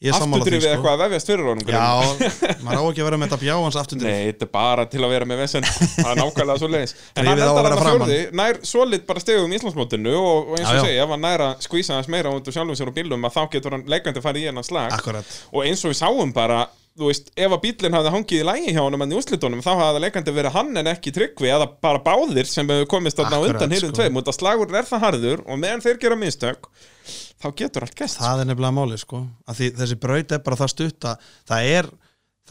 S1: Ég er sammála því
S3: Afturdrifið
S1: sko.
S3: eitthvað að vefjast fyrir honum grunn.
S1: Já, maður á ekki að vera með þetta bjá hans aftundrif
S3: Nei, þetta er bara til að vera með
S1: (laughs)
S3: vesen Það er nákvæmlega svo leiðis En hann
S1: Drifið á að
S3: endar
S1: vera
S3: hann að
S1: framan.
S3: fjórði Nær svolít bara stegum í Íslandsmótinu Og, og eins og
S1: Já, já.
S3: segja, ef hann nær að skvísa hans meira Út úr sjálfum sér og bílum að þá getur hann leikandi að fara í hennan slag
S1: Akkurat
S3: Og eins og við sáum bara þú veist, ef að bílinn hafði hangið í lægi hjá honum en í úrslitunum, þá hafði leikandi verið hann en ekki tryggvi eða bara báðir sem hefur komist þarna á
S1: Akkurat,
S3: undan hýrðum
S1: sko.
S3: sko. tveim út að slagurinn er það harður og meðan þeir gera mistök þá getur allt gæst
S1: það er nefnilega máli sko að því þessi braut er bara það stutt að það er,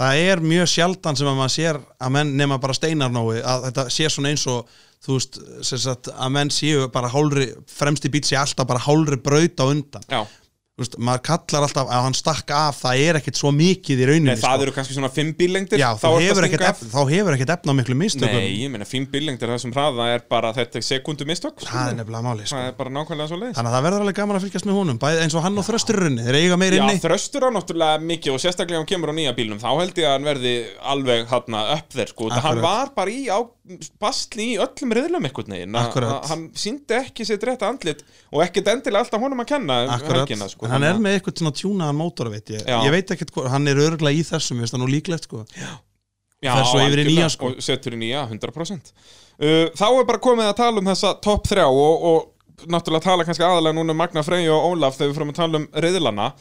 S1: það er mjög sjaldan sem að maður sér að menn nema bara steinar nógu að þetta sé svona eins og þú veist, sem sagt, að menn séu bara hálri, fremsti bíl sé alltaf bara hálri braut á undan,
S3: Já,
S1: þú veist, maður kallar alltaf að hann stakk af, það er ekkit svo mikið í rauninni,
S3: Nei, það eru kannski svona fimm bílengdir
S1: sko. Já,
S3: þá
S1: þú
S3: ertu að
S1: hefur
S3: stinga
S1: ekkit
S3: af.
S1: efna, þá hefur ekkit efna miklu mistökum,
S3: Nei, ég meina, fimm bílengdir þessum hraða er bara þetta sekundu mistök sko.
S1: það er nefnilega máli sko.
S3: það er bara nákvæmlega svo leiðis
S1: þannig að það verður alveg gaman að fylgjast með honum bæði eins og hann og þrösturunni, þeir eiga meir
S3: Já,
S1: inni
S3: þröstur á náttúrulega mikið og sérstaklega ef hann kemur á nýja bílnum þá held ég að hann verði alveg hérna upp þér sko, það hann
S1: Akkurat.
S3: var bara í á, bastli í öllum riðlum einhvern veginn Að-
S1: Akkurat.
S3: að hann síndi ekki sitt rétt andlit og ekkert endilega alltaf honum að kenna um
S1: Akkurat,
S3: helgina sko,
S1: en hann
S3: þannig
S1: er
S3: að-
S1: með eitthvað svona tjúnaðan mótor veit ég,
S3: Já.
S1: ég veit ekkert hvað, hann er örgla í þessum, veist það nú líklegt sko
S3: Já,
S1: fer svo yfir í
S3: algjörlega,
S1: nýja, sko.
S3: og setur í nýja 100% uh, þá er bara komið að tala um þessa topp þrjá og, og náttúrulega tala kannski aðalega núna um Magna Freyju og Ólaf þegar við fyrir að tala um riðlana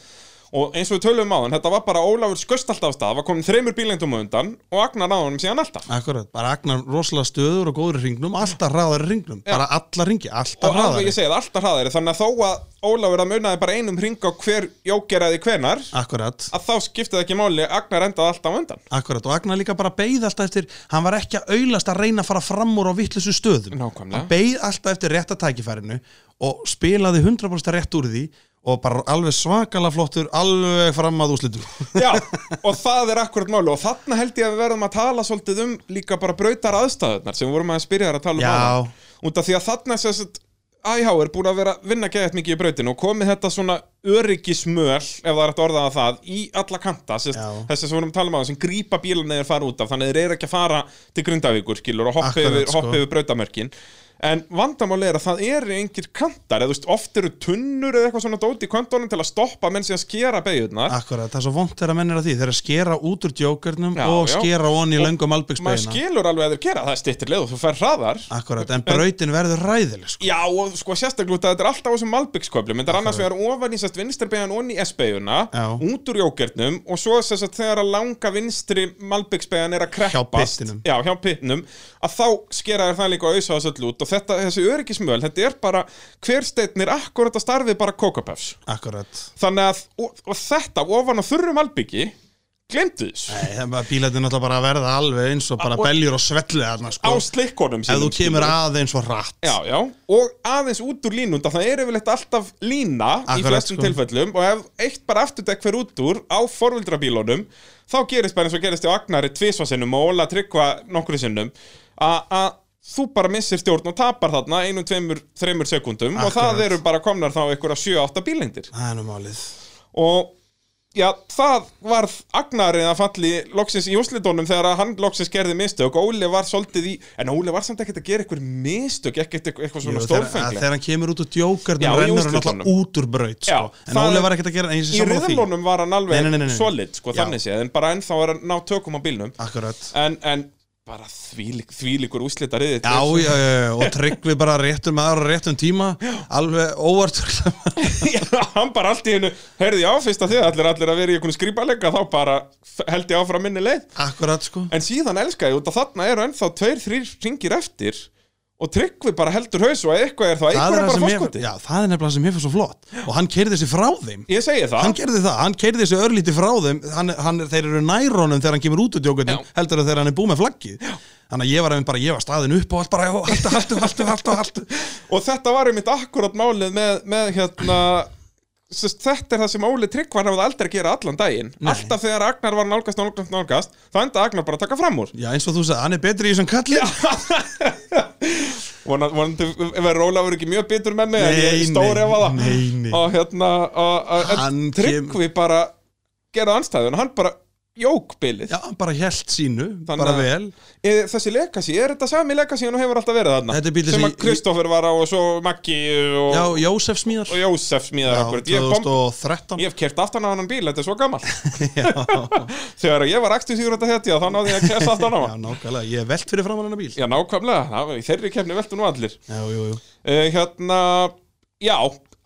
S3: og eins og við tölum á hann, þetta var bara Ólafur skust alltaf af stað, var komin þreymur bílengdum á undan og Agnar náðum síðan alltaf
S1: Akkurat, bara agnar rosalega stöður og góður í ringnum, alltaf hraðar í ringnum bara alla ringi, alltaf
S3: og alveg
S1: hraðar
S3: ég segið alltaf hraðari þannig að þó að Ólafur að munaði bara einum ring á hver jókeraði hvenar
S1: Akkurat,
S3: að þá skiptið ekki máli Agnar endaði alltaf á undan
S1: akkurat og Agnar líka bara beið alltaf eftir hann var ekki að aulast að reyna að fara fram úr á vittlusu stöðum
S3: Nákvæmlega.
S1: hann beið alltaf eftir rétta tækifærinu og spilaði 100% rétt úr því og bara alveg svakalega flottur alveg fram að úslitum
S3: Já, og það er akkurat máli og þarna held ég að við verðum að tala svolítið um líka bara brautar aðstæðunar sem við vorum að spyrja þær að tala um
S1: Já.
S3: áðan. út af því að þarna sem sagt IH er búin að vera að vinna geðið mikið í brautinu og komið þetta svona öryggismöl ef það er hægt að orðaða það í alla kanta sérst,
S1: Já.
S3: þessi sem við vorum að tala um áðan sem grípa bílarnir fara út af þannig að þeir eru ekki að fara til Grindavíkur skilur og hoppa
S1: Akkurat,
S3: yfir,
S1: sko.
S3: hoppa yfir brautamörkin en vandamál er að það eru engir kantar eða þú veist, oft eru tunnur eða eitthvað svona dóti í kantónum til að stoppa menn sem skera beigurnar
S1: Akkurat, það er svo vont þegar menn er að því Þeir eru að skera út úr djókernum
S3: Já,
S1: og
S3: já.
S1: skera von í
S3: Og
S1: löngum
S3: maður
S1: albyggsbeina
S3: skilur alveg að þeir gera það er stittir leið og þú fer hraðar
S1: Akkurat, en brautin verður ræðileg sko.
S3: já og sko sérstaklega út að þetta er alltaf á þessum malbyggsköflum en það er annars vegar ofan í sérst vinstirbeigjan onni í S-beiguna
S1: Já.
S3: út úr jókernum og svo sérst að þegar að langa vinstri malbyggsbeigjan er að kreppast
S1: pittinum.
S3: já, hjá pittinum að þá skera þér það líka að auðsa þessu út og þetta, þessi öryggismöl, þetta er bara hver steitnir akkurat að starfið bara kókapefs
S1: Akkurat
S3: þannig að, og, og þetta ofan á þurru malbyggi, glemdu þessu
S1: Nei, það er bara- bílarnir náttúrulega bara að verða alveg eins og bara
S3: Og-
S1: beljur og svelli þarna
S3: á
S1: sko.
S3: slikkonum
S1: Ef þú
S3: sínum,
S1: kemur
S3: skilurðu.
S1: aðeins og hratt
S3: Já, já, og aðeins út úr línunda það er yfirleitt alltaf lína í
S1: Akkurat,
S3: flestum
S1: sko.
S3: tilfellum og ef eitt bara afturdekk fer út úr á forvildrabílunum þá gerist bara eins og gerist í Agnari tvisvasinnum og Óla tryggva nokkru sinnum a- að þú bara missir stjórn og tapar þarna einu, tveimur, þreimur sekundum og það
S1: Akkurat.
S3: eru bara komnar þá einhverja 7-8 bílendir
S1: Það er nú málið
S3: og já, það varð Agnarið að falli loksins í úslitónum þegar að hann loksins gerði mistök og Óli var svolítið í, en Óli var samt ekkert að gera eitthvað mistök, ekkert eitthvað- eitthvað
S1: Jú, þegar,
S3: svona
S1: að
S3: stórfenglega
S1: þegar hann kemur út úr djókernum
S3: Já, í
S1: rennur hann
S3: úrslitunum.
S1: náttúrulega út úr braut sko.
S3: Já,
S1: En
S3: það
S1: Óli
S3: er-
S1: var ekkert að gera eins
S3: í
S1: og því
S3: riðlónum var hann alveg
S1: Nei, nei, nei, nei, nei.
S3: solid, sko,
S1: Já.
S3: þannig séð en bara ennþá er hann ná tökum á bílnum
S1: Akkurat
S3: en, en bara þvílík, þvílíkur úslita riðið
S1: Já,
S3: (laughs)
S1: já, já, já, og tryggvi bara réttum aðra réttum tíma Alveg óvart (laughs)
S3: hann bara allt í hennu, heyrði ég á fyrst að þið allir allir að vera í einhvern skrýpalega þá bara f- held ég áfram minni leið
S1: Akkurat sko
S3: en síðan elska ég út að þarna eru ennþá tveir, þrýr ringir eftir og tryggvi bara heldur haus og eitthvað er það,
S1: það er,
S3: eitthvað er
S1: það
S3: bara
S1: sem ég,
S3: fórskoti
S1: já, það er nefnilega sem mér fannst svo flott og hann keirði sig frá þeim
S3: ég segi það,
S1: hann gerði það, hann keirði sig örlítið frá þeim hann, hann, þeir eru nærrónum þegar hann kemur út úr djókunum heldur að þegar hann er búið með flaggið þannig að ég var einmitt bara, ég var staðin upp og allt bara "Jó, haltu, haltu, haltu, haltu, haltu
S3: og þetta var einmitt akkurat málið með, með hérna sest, þetta er það sem Óli Tryggvar hafði aldrei að gera allan daginn alltaf þegar Agnar var nálgast, nálgast, nálgast þá enda Agnar bara að taka fram úr
S1: já, eins og þú sagði, hann er betri í þessum kalli
S3: Vona- vonandi verður Ólafur ekki mjög bitur með mig en
S1: Nei,
S3: ég stóri af það
S1: nei, nei.
S3: og hérna og, og, en
S1: Hann kem-
S3: Tryggvi bara gerði anstæðun hann bara jók bilið
S1: já, hann bara held sínu,
S3: Þannig
S1: bara
S3: að-
S1: vel
S3: E, þessi legacy, er þetta sami legacy en hún hefur alltaf verið þarna
S1: Þetta er bíllinn
S3: sem
S1: sem
S3: að
S1: ég-
S3: Kristoffer var á og svo Maggi og,
S1: já, Jósef Smíðar
S3: og Jósef smíðar
S1: já,
S3: akkurat ég, kom,
S1: 2013
S3: ég hef kert aftan á hann bíl, þetta er svo gammal (laughs)
S1: já,
S3: þegar ég var akstu síður þetta þetta, þá náði ég að kerst aftan á
S1: já,
S3: hann
S1: nákvæmlega, ég er velt fyrir framann hennar bíl já,
S3: já, nákvæmlega, það var í þeirri kefni veltu nú allir
S1: jú, jú,
S3: uh, hérna, Eh, já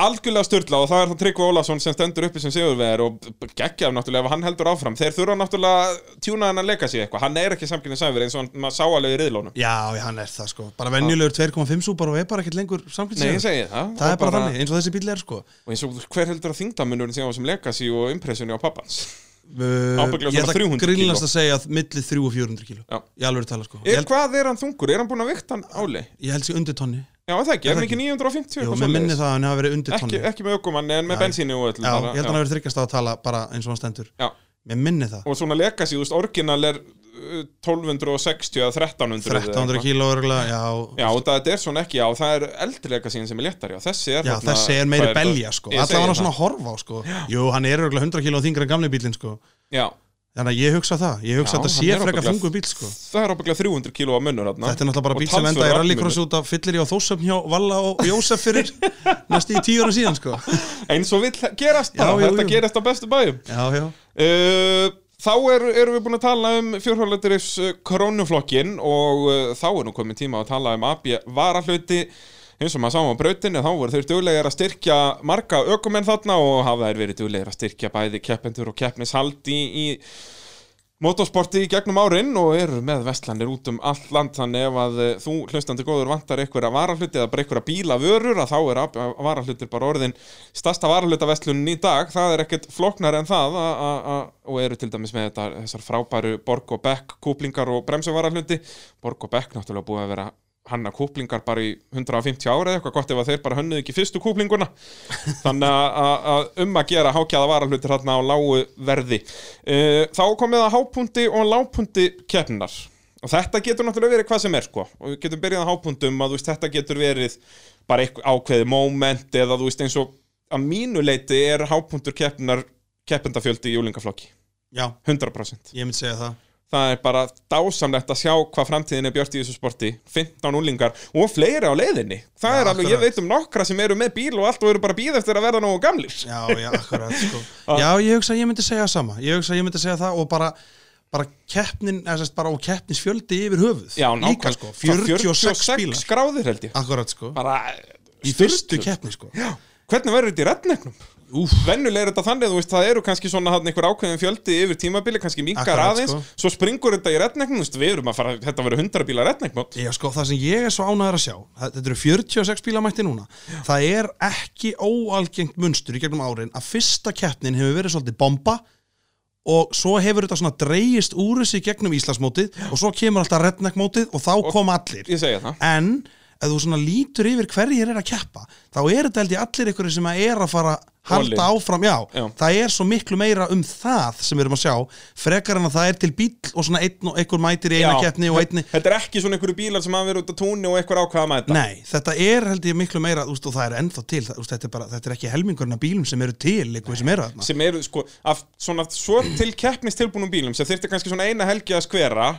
S3: algjörlega störla og það er það Tryggvi Ólafsson sem stendur uppi sem sigurvegar og geggjaf náttúrulega ef hann heldur áfram þeir þurfa náttúrulega að tjúna hann að leika sig eitthvað hann er ekki samkynni samverð eins og hann, maður sá alveg í riðlónum
S1: Já, já, hann er það sko Bara venjulegur 2,5 súpar og er bara ekkert lengur
S3: Nei,
S1: samkvæmst
S3: ég segi það
S1: Það
S3: Og
S1: er bara þannig, eins og þessi bíl er sko
S3: og eins og hver heldur að þingdamunurinn sem á sem leika sig og impressunni á pappans Ábyggilega
S1: Ábyggilega
S3: svona 300 kíló.
S1: Grínlast að segja að milli 3 og 400 kíló
S3: Já.
S1: Í alveg tala sko Ég
S3: er,
S1: held,
S3: hvað er hann þungur? Er hann búin að vikta hann áli?
S1: ég held sér undir tonni
S3: Já, er það ekki, er hann
S1: það
S3: ekki 950?
S1: Jú,
S3: eitthvað
S1: mér
S3: svoleiðis?
S1: minni það að hann hafa verið undir tonni
S3: ekki, ekki með ökumann en með bensíni og öllu
S1: Já,
S3: bara,
S1: ég held hann hafi verið þryggjast á að tala bara eins og hann stendur
S3: já.
S1: Mér minni það
S3: og svona legacy, þú veist, orginal er uh, 1260 eða 1300 eða
S1: 1300
S3: eitthvað.
S1: kíló örgulega, já
S3: Já, og það er svona ekki, já, það er eldri legacy sem er léttari, já, þessi er
S1: Já,
S3: þarna-
S1: þessi er
S3: hvað
S1: meiri
S3: þetta?
S1: belja sko
S3: Ég
S1: Alla
S3: segi
S1: var
S3: það.
S1: svona að horfa á sko Jú, hann er örgulega 100 kíló þingra en gamli bílinn sko
S3: Já,
S1: Þannig að ég hugsa það Ég hugsa að
S3: Já,
S1: þetta
S3: hann
S1: sé
S3: er
S1: frekar
S3: örugglega-
S1: þungu bíl sko
S3: það er ábygglega 300 kíló að munur þarna
S1: Þetta er náttúrulega bara
S3: Og
S1: bíl sem enda í
S3: talsverður
S1: rallycross
S3: aflmunur.
S1: út af fyllir í á þósöfn hjá Valla og Jósef
S3: (laughs)
S1: fyrir næstu í tíu ára síðan sko
S3: Eins og vill gerast bara,
S1: Já, jú,
S3: þetta
S1: jú.
S3: gerast á bestu bæjum
S1: Já, já,
S3: Uh, Þá er, erum við búin að tala um fjórhjólandurins krónuflokkin og uh, þá er nú komin tíma að tala um AB varahluti eins og maður sáum á brautinu þá voru þeir duglegir að styrkja marga ökumenn þarna og hafa þeir verið duglegir að styrkja bæði keppendur og keppnishald í, í motorsporti í gegnum árin og eru með vestlanir út um allt land þannig ef að eh, þú hlustandi góður vantar einhverja varahluti eða bara einhverja bíla vörur að þá er AB varahlutir bara orðin stasta varahluta vestlunin í dag það er ekkert flóknar en það a, a, a, og eru til dæmis með þetta, þessar frábæru Borg og Beck kúplingar og bremsuvarahluti Borg og Beck náttúrulega búið að vera hanna kúplingar bara í 150 ára eða eitthvað gott ef að þeir bara hönnuðu ekki fyrstu kúplinguna þannig að- að að um að gera hákjæða varahlutir hérna á lágu verði Eh, þá er komið að hápunkti og lágpunkti keppnar og þetta getur náttúrulega verið hvað sem er sko og við getum byrjað á hápunktum að þú veist, þetta getur verið bara eitthvað ákveðið moment eða þú veist eins og að mínu leiti er hápunktur keppnar keppendafjöldi í júlingaflokki
S1: já,
S3: 100%
S1: ég myndi segja það
S3: það er bara dásamlegt að sjá hvað framtíðin er björt í þessu sporti 15 úlingar og fleiri á leiðinni það
S1: Já,
S3: er alveg, ég
S1: akkurat.
S3: veit um nokkra sem eru með bíl og allt og eru bara að býða eftir að verða nógu gamlir
S1: Já, já, akkurat sko (laughs) Já, ég hugsa að ég myndi segja það sama Ég hugsa að ég myndi segja það og bara bara keppnin, eða sérst bara og keppnisfjöldi yfir höfuð
S3: Já,
S1: Líka
S3: nákvæmlega.
S1: sko,
S3: Það
S1: 46 bílar
S3: skráðir held ég
S1: Akkurat sko,
S3: bara,
S1: í fyrstu keppni sko
S3: Já, hvernig verður þetta í rednegnum?
S1: Úf,
S3: Vennulega er þetta þannig, þú veist, það eru kannski svona hann einhver ákveðin fjöldi yfir tímabili, kannski minkar
S1: Akkurat,
S3: aðeins,
S1: sko.
S3: svo springur þetta í rednegnum, þú veist, við erum að fara, þetta verður 100 bíla rednegnmót.
S1: Já, sko, það sem ég er svo ánæður að sjá það- þetta eru 46 bíla mætti núna það er ekki óalgengt munstur í gegnum árin að fyrsta keppnin hefur verið svolítið bomba og svo hefur þetta svona dreigist úr þessi gegnum Íslandsmótið og svo kemur alltaf redneckmótið og þá koma allir
S3: Ég segja það.
S1: en ef þú svona lítur yfir hverjir er að keppa þá er þetta held ég allir ykkur sem að er að fara að halda
S3: Olin.
S1: áfram, já,
S3: Já.
S1: það er svo miklu meira um það sem við erum að sjá frekar en að það er til bíl og svona einn og einhver mætir í eina
S3: Já.
S1: keppni og einni
S3: Þetta er ekki svona einhverju bílar sem hafa verið út á túnni og einhver ákveða að mæta.
S1: Nei, þetta er held ég miklu meira úst, og það er ennþá til, það, úst, þetta, er bara, þetta er ekki helmingurinn af bílum sem eru til, eitthvað sem eru þarna
S3: Sem eru, sko, af svona svo til keppnis tilbúnum bílum, sem þyrfti kannski svona eina helgi að skvera,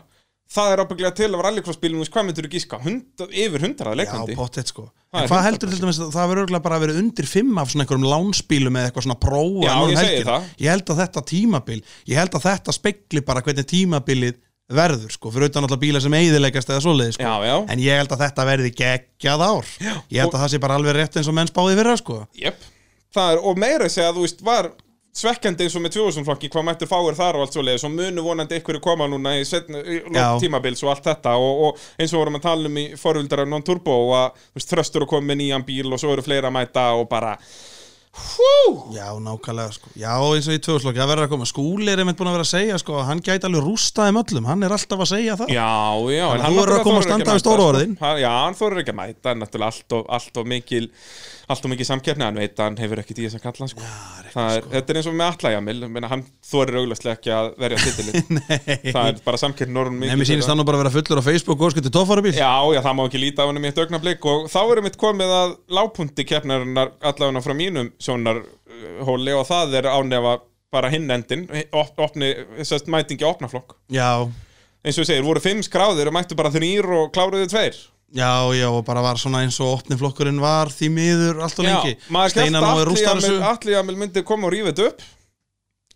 S3: það er ábygglega til af rallycross bílum, þú veist, hvað myndur þú gíska? Hund, yfir 100
S1: Já,
S3: leikandi.
S1: pottet sko
S3: Það
S1: En
S3: er
S1: hvað
S3: 100%.
S1: heldur til dæmis, að það verður örugglega bara að vera undir fimm af svona einhverjum lánsbílum eða eitthvað svona prófa
S3: Já,
S1: núna um
S3: ég segi
S1: helgina.
S3: það.
S1: Ég held að þetta tímabil, ég held að þetta spekli bara hvernig tímabilið verður sko, fyrir utan alltaf bíla sem eiðilegast eða svoleiði sko
S3: Já, já.
S1: En ég held að þetta verði geggjað ár Ég held að það sé bara alveg rétt eins og menn spáði fyrra sko
S3: Jep, það er, og meira að segja að þú veist, var svekkjandi eins og með 2000 flokki hvað mættur fáir þar og allt svoleiðis og munu vonandi einhverju koma núna í, setna, í
S1: Já.
S3: lok tímabils og allt þetta og, og eins og vorum að tala um í forvildar af non-turbo og að þú veist, þröstur að koma með nýjan bíl og svo eru fleira að mæta og bara hú,
S1: Já, nákvæmlega sko. Já, eins og í tvöðslokki, það verður að koma. Skúli er einmitt búin að vera að segja sko, að hann gæti alveg rústaði möllum, hann er alltaf að segja það.
S3: Já, já, en
S1: að
S3: hann
S1: þú verður að
S3: náttúrulega
S1: koma að standa við
S3: þorir ekki mæta,
S1: stóru
S3: sko.
S1: orðin.
S3: Hann- Já, hann þorir ekki að mæta, en náttúrulega allt og, allt og mikil allt og mikil samkeppni, hann veit að hann hefur ekkit í þess að kalla sko. já, er, Þetta er eins og með alla, Jamil, meina, hann þorir auglastlega ekki að verja
S1: (laughs)
S3: titilin Það er bara samkeppni orðin
S1: Nei, mér sýnist hann nú bara að vera fullur á Facebook og skutu tófarubíl.
S3: Já, já, það má ekki líta af henni mitt augnablik og þá erum við komið að lágpunti keppnarinnar allavega frá mínum sjónar uh, hóli og það er ánefa bara hinn endin, op, opni, sest, mætingi opnaflokk.
S1: já,
S3: Eins og ég segir, voru fimm skráðir og mættu bara þrýr og kláruðu tveir.
S1: já, já, og bara var svona eins og opni flokkurinn var því miður allt og lengi.
S3: Já, maður
S1: Steinar
S3: gæst
S1: nú er rústar
S3: að
S1: þessu. (laughs)
S3: Alli Jamil myndi koma og rífa þetta upp,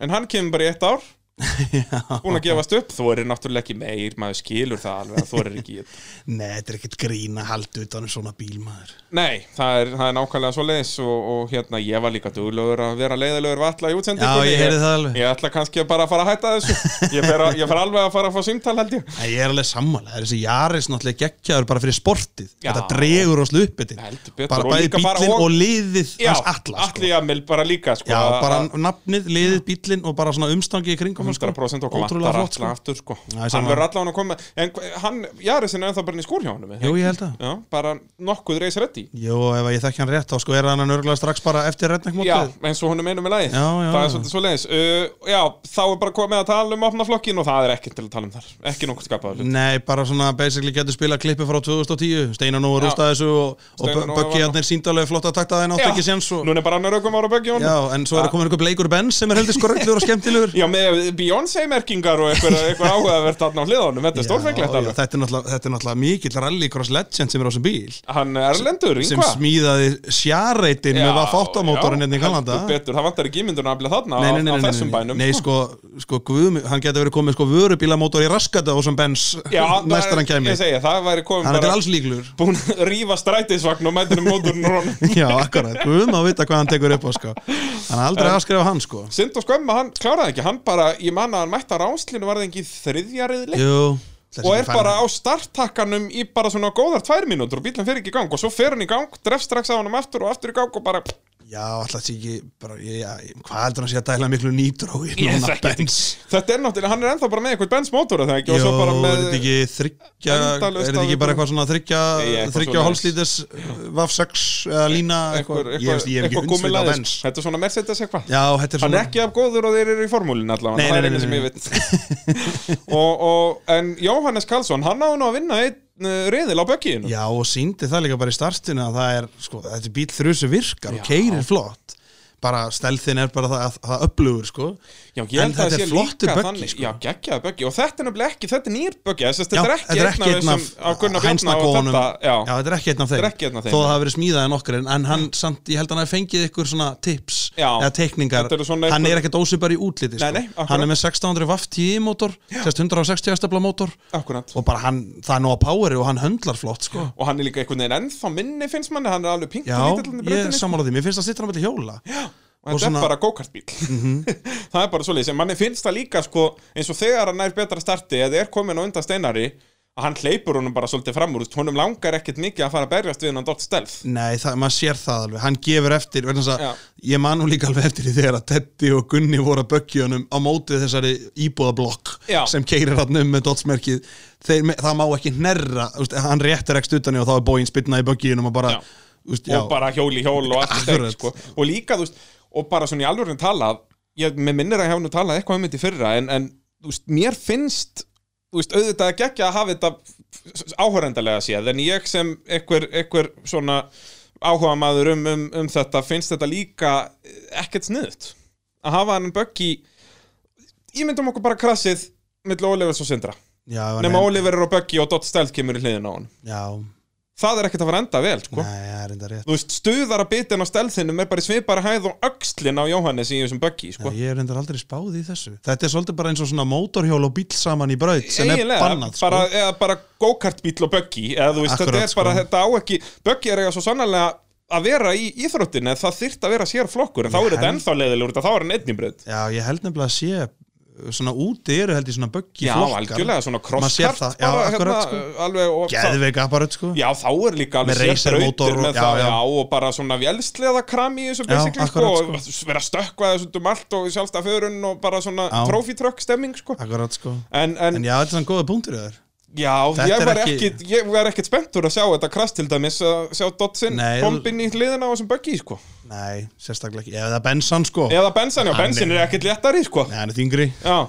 S3: en hann kemur bara í eitt ár. búin að gefast upp, þú er náttúrulega ekki meir maður skilur það alveg að þú er ekki í
S1: (laughs)
S3: þetta.
S1: Nei, þetta er ekkert grín að halda utan um svona bílmaður
S3: Nei, það er, það er nákvæmlega svo leiðis og, og hérna, ég var líka duglögur að vera leiðilegur vatla í útsendingunni
S1: Já, ég heyrði það alveg.
S3: Ég ætla kannski bara að fara að hætta
S1: (laughs)
S3: þessu Ég fer, að, ég fer alveg að fara að fá símtal held ég
S1: Nei, ég er alveg sammála, það er þessi Jaris náttúrulega geggjaður bara fyrir sportið
S3: Já.
S1: Þetta dregur oss lupitin
S3: Heldur betur.
S1: Bara
S3: Og
S1: bæði
S3: líka bara
S1: bílinn
S3: og-
S1: og liðið
S3: Já,
S1: hans alla sko.
S3: Atli Jamil bara líka sko,
S1: Já,
S3: að-
S1: bara nafnið, liðið, bílinn og bara svona umstangi í kringum hann, sko.
S3: 100% okkur
S1: Ótrúlega
S3: vantar
S1: flott sko.
S3: allan aftur sko
S1: Já, ég
S3: Hann
S1: sammála.
S3: verður allan að koma En hva- hann, Jarisin er ennþá bara inn í skúr hjá honum er það
S1: Jú,
S3: ekki?
S1: ég held að
S3: Já, bara nokkuð reis reddi
S1: Jú, ef ég þekki hann rétt þá sko er hann örgulega strax bara eftir
S3: Já,
S1: rednekmótið
S3: eins og honum einum með lagið
S1: Já, já.
S3: Það er svolítið svo leiðis uh, Já, þá er bara komið að tala um opna flokkin og það er ekkert til að tala um þar Ekki nokkuð skapaður hlut
S1: Nei, bara svona basically getur spilað klippi frá 2010 Steinar Nóa
S3: Já.
S1: rústaði þessu og, og
S3: Steinar Nói
S1: Böggi
S3: var-
S1: hann er síndalega flott að takta það en átt ekki séns og...
S3: Núna er bara annar ökum ára böggi honum
S1: Já, en svo er komin einhver bleikur benn sem er heldur skorreglur og skemmtilegur
S3: (laughs) Já, með Beyoncé-merkingar og eitthvað,
S1: (laughs)
S3: eitthvað áhugavert þarna á hliðanum, þetta er stórfenglegt
S1: Já, já,
S3: alveg.
S1: þetta er náttúrulega, þetta er náttúrulega mikill rallycross legend sem er á þessum bíl
S3: Hann Erlendur,
S1: sem
S3: yngva.
S1: smíðaði sjáreitin með vaffáttamótorin hérna í Kanada
S3: Betur, það vantar ekki ímynduna að þarna
S1: Nei, nei, nei,
S3: á, á
S1: nei, nei,
S3: þessum
S1: nei,
S3: bænum.
S1: nei, sko, sko guðmi, hann getur verið komið sko vörubílamótor í raskata og sem Benz (laughs)
S3: Já, það
S1: næstar
S3: er-
S1: hann kæmi
S3: Ég segi, það væri komið
S1: hann er til
S3: bara
S1: alls líklur (laughs)
S3: búin að rífa strætisvagn og mætinu móturinn og honum.
S1: Já, akkurat, guðum að vita hvað hann tekur upp á sko hann er aldrei afskrifa hann sko
S3: Sind og skömmu, hann kláraði ekki, hann bara, ég manna að hann mætti á ráslinu varðingi þriðja reyðleik
S1: Jú, þessi
S3: og er
S1: fær-
S3: bara á starttakkanum í bara svona góðar tvær mínútur og bílinn fer ekki í gang og svo fer hann í gang, dref strax að honum aftur og aftur í gang og bara
S1: Já, alltaf sé ekki, bara, ég, já, hvað heldur hann sé að dæla miklu nýtrói
S3: Ég þekki þetta
S1: Benz
S3: Þetta er náttúrulega, hann er ennþá bara með eitthvað Benz mótor eða ekki,
S1: Jó,
S3: og svo bara
S1: er
S3: með
S1: þetta ekki þryggja, er
S3: endalaust
S1: þetta
S3: að
S1: ekki bara
S3: við búum-
S1: eitthvað svona þryggja,
S3: Nei, eitthvað
S1: þryggja
S3: svoleiðis.
S1: hálslítis vaff 6 eða lína
S3: eitthvað,
S1: eitthvað, ég veist, ég hef ekki hundsvit á
S3: gúmmilaðis.
S1: bens
S3: Þetta er svona Mercedes eitthvað
S1: Já, þetta er
S3: Hann
S1: svona
S3: er ekki af góður og þeir eru í formúlinu allavega
S1: Nei,
S3: Það er
S1: nei,
S3: einu sem
S1: nei,
S3: ég veit (laughs) og, og, En Jóhannes Karlsson, hann á nú að vinna einn uh, riðil á bökkiðinu
S1: Já, og síndi það líka bara í startinu að það er, sko, þetta er bíl þrjusu virkar og keirir flott bara stelðin er bara það að það upplugur, sko
S3: Já, ég
S1: En
S3: held
S1: þetta
S3: að það sé
S1: er flottur
S3: líka
S1: böggi,
S3: þannig
S1: sko.
S3: Já, geggjaði böggi Og þetta er nefnilega ekki, þetta er nýr böggi þess að
S1: Já,
S3: Þetta er ekki
S1: einn
S3: einn af þessum á Gunnar Bjarna og
S1: hænsnakonum
S3: þetta
S1: já.
S3: Já,
S1: þetta er ekki einn af þeim
S3: Þetta er ekki einn af þeim,
S1: Þó að
S3: já.
S1: það hafi verið smíðaði nokkur en, en hann, samt, ég held að hann hafi fengið ykkur svona tips
S3: Já.
S1: eða teikningar
S3: Þetta eru svona
S1: Hann
S3: einhver-
S1: er ekkert ósipar í útliti
S3: Nei, nei,
S1: sko.
S3: akkurat.
S1: Hann er með 1600 watt 10 mótor 160 stabla mótor
S3: akkurat
S1: og bara hann, það er nóg að poweri og hann höndlar flott sko.
S3: Og hann er líka einhvern veginn ennþá minni finnst manni, hann er alveg pinkt
S1: Já,
S3: sko.
S1: ég sammála því, mér finnst það sittur á milli hjóla
S3: og
S1: Og
S3: þetta
S1: svona-
S3: er bara go-kartbíl (laughs) það er bara svoleiðis, en manni finnst það líka sko, eins og þegar hann nær betra starti eða er komin á undan steinari að hann hleypur honum bara svolítið fram úr þú veist, honum langar ekkit mikið að fara að berjast við hann dott stelf
S1: Nei, það, maður sér það alveg, hann gefur eftir vegna þess
S3: Já.
S1: að ég man nú líka alveg eftir því þegar að Teddy og Gunni voru að böggja honum á mótið þessari íbúðablokk
S3: Já.
S1: sem keirir hann um með dotsmerkið Þeir, me- það má ekki hnerra, úst, hann réttir ekki utan í og þá er bóin spilna í böggjunum og bara,
S3: Já.
S1: úst, já,
S3: og bara hjól í hjól og allt
S1: Akkurat.
S3: stegn sko. og líka, þú veist, og bara svona í alvörinu talað ég, mér minnir að ég hafa nú talað eitthvað um þetta í fyrra en, en þú veist, mér finnst þú veist, auðvitað ekki að hafa þetta áhörendalega séð, en ég sem einhver, einhver svona áhuga maður um, um, um þetta, finnst þetta líka ekkert sniðut að hafa hann böggi ímyndum okkur bara krassið mill Olivers og Sindra,
S1: já,
S3: nema
S1: nei,
S3: Oliver er á böggi og Dott Stelt kemur í hliðin á hann
S1: já,
S3: það er ekkert að fara að enda vel, sko
S1: nei, það er enda rétt
S3: þú veist, stuðara bitin á stelðinum er bara í svipara hæð og öxlin á Jóhannes í þessum böggi, sko.
S1: Já, ég er reyndar aldrei spáð í þessu Þetta er svolítið bara eins og svona mótorhjól og bíl saman í braut sem er bannað sko.
S3: bara, eða bara go-kartbíl og böggi, eða þú veist,
S1: Akkurat,
S3: þetta er bara,
S1: sko.
S3: þetta á ekki, böggi er eiga svo sannlega að vera í íþróttin, en það þyrft að vera sér flokkur, en þá er þetta
S1: held-
S3: ennþá leiðilegur, þetta þá er hann einn í breyt.
S1: Já, ég held nefnilega að sé uh, svona úti eru held ég svona böggi
S3: Já,
S1: flokkar
S3: algjörlega, svona
S1: Maður sér
S3: crosskart
S1: það, já,
S3: bara, hérna,
S1: akkurat, sko.
S3: alveg, og það-
S1: Geðveik apparat sko
S3: Já, þá er líka alveg
S1: Með racermótor
S3: með
S1: og- já,
S3: það, já,
S1: já.
S3: og bara svona vélsleða kram í þessu
S1: Já,
S3: basically,
S1: akkurat,
S3: sko, og vera stökkvað þessu um allt og sjálfstað förun og bara svona
S1: Já.
S3: trophy truck stemming, sko.
S1: Akkurat sko
S3: En, en,
S1: En já, þetta er svona góða punktur í þér
S3: já,
S1: þetta
S3: ég
S1: er
S3: var,
S1: ekki-
S3: ekkit, ég var ekkit spenntur að sjá þetta krass til dæmis að sjá Dodson
S1: Nei,
S3: bombin í hliðina á þessum böggi, sko.
S1: Nei, sérstaklega ekki Eða bensan sko Já,
S3: Eða bensan, já,
S1: Hann
S3: bensin
S1: er-
S3: er ekkit léttari, sko.
S1: Nei, hann er þingri
S3: Já,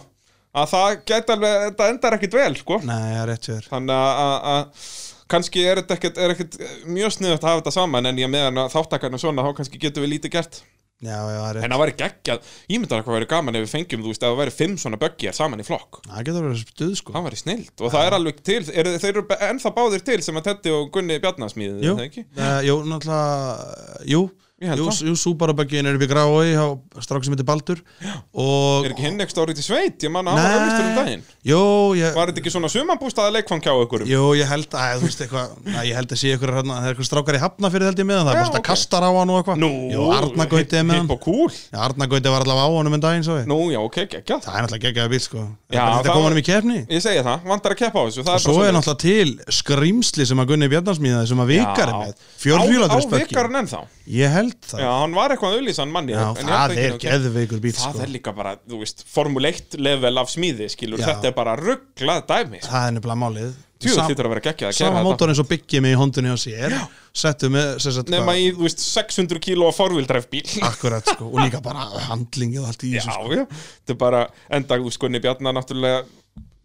S3: að það geta alveg, þetta endar ekkit vel, sko.
S1: Nei, það er rétt hjá þér
S3: Þannig að- að- að kannski er þetta ekkit, er ekkit mjög sniðut að hafa þetta saman, en ég meðan að þáttakarna svona, þá kannski getum við lítið gert.
S1: Já, já, það er rétt
S3: En það væri geggjað, ég myndar að hvað væri gaman ef við fengjum, þú veist, að það væri fimm svona böggjar saman í flokk.
S1: Það getur verið stuð sko
S3: Það væri snilt og það er alveg til, er, þeir eru ennþá báðir til sem að Teddy og Gunni Bjarnasmíðið,
S1: Jú,
S3: það ekki?
S1: uh, jú náttúrulega Jú,
S3: Ég held
S1: Jú,
S3: það.
S1: jú Súbaraböggin er upp í Grái á strák sem heitir Baldur og
S3: Er ekki hinn ekki stórið til sveit? Ég manna á
S1: Nei.
S3: öflistur um daginn.
S1: Jú, ég,
S3: Var þetta ekki svona sumambústaða leikfang hjá ykkur?
S1: jú, ég held að, þú veist eitthvað að ég held að sé ykkur hérna, það er ykkur strákar í hafna fyrir held ég meðan það,
S3: Já,
S1: bara okay.
S3: ok.
S1: kastar á hann og eitthvað
S3: Nú,
S1: Jú, Arnagauti er meðan
S3: Hipp og kúl.
S1: Já, Arnagauti var allavega á honum en daginn, svo við
S3: Nú, já, ok, geggjað.
S1: Það er náttúrulega geggjaði bíl, sko Það er
S3: Já,
S1: bara Þetta
S3: það
S1: kom
S3: var-
S1: honum í kefni
S3: Ég segja það, vantar að keppa á þessu. það
S1: Svo er
S3: bara svoleiðis.
S1: náttúrulega til skrýmsli sem að Gunni Bjarnarsmiðaði sem að vikar er
S3: Já.
S1: með Fjórhjúlatur
S3: Á, á vikarinn ennþá.
S1: Ég held það
S3: Já, hann var eitthvað auðlýsan manni.
S1: Já,
S3: en ég held
S1: það er
S3: ekki nú-
S1: geðveikur bíl,
S3: Það
S1: sko
S3: er líka bara, þú veist, formuleitt level af smíði, skilur,
S1: Já.
S3: þetta er bara rugglað dæmi. sko.
S1: Það er nefnilega málið
S3: Djöfull
S1: Sam-
S3: hlýtur að vera geggjað að gera
S1: Sama
S3: þetta.
S1: mótor eins og byggjið mig í hondunni á sér Settu með, sem sagt,
S3: Nema
S1: hvað
S3: í, þú veist, 600 kíló forvildræf bíl.
S1: Akkurat, sko, og líka bara handlingið og allt í
S3: (laughs) Já,
S1: þessu sko.
S3: já, þetta er bara, enda, þú sko, Bjarnar náttúrulega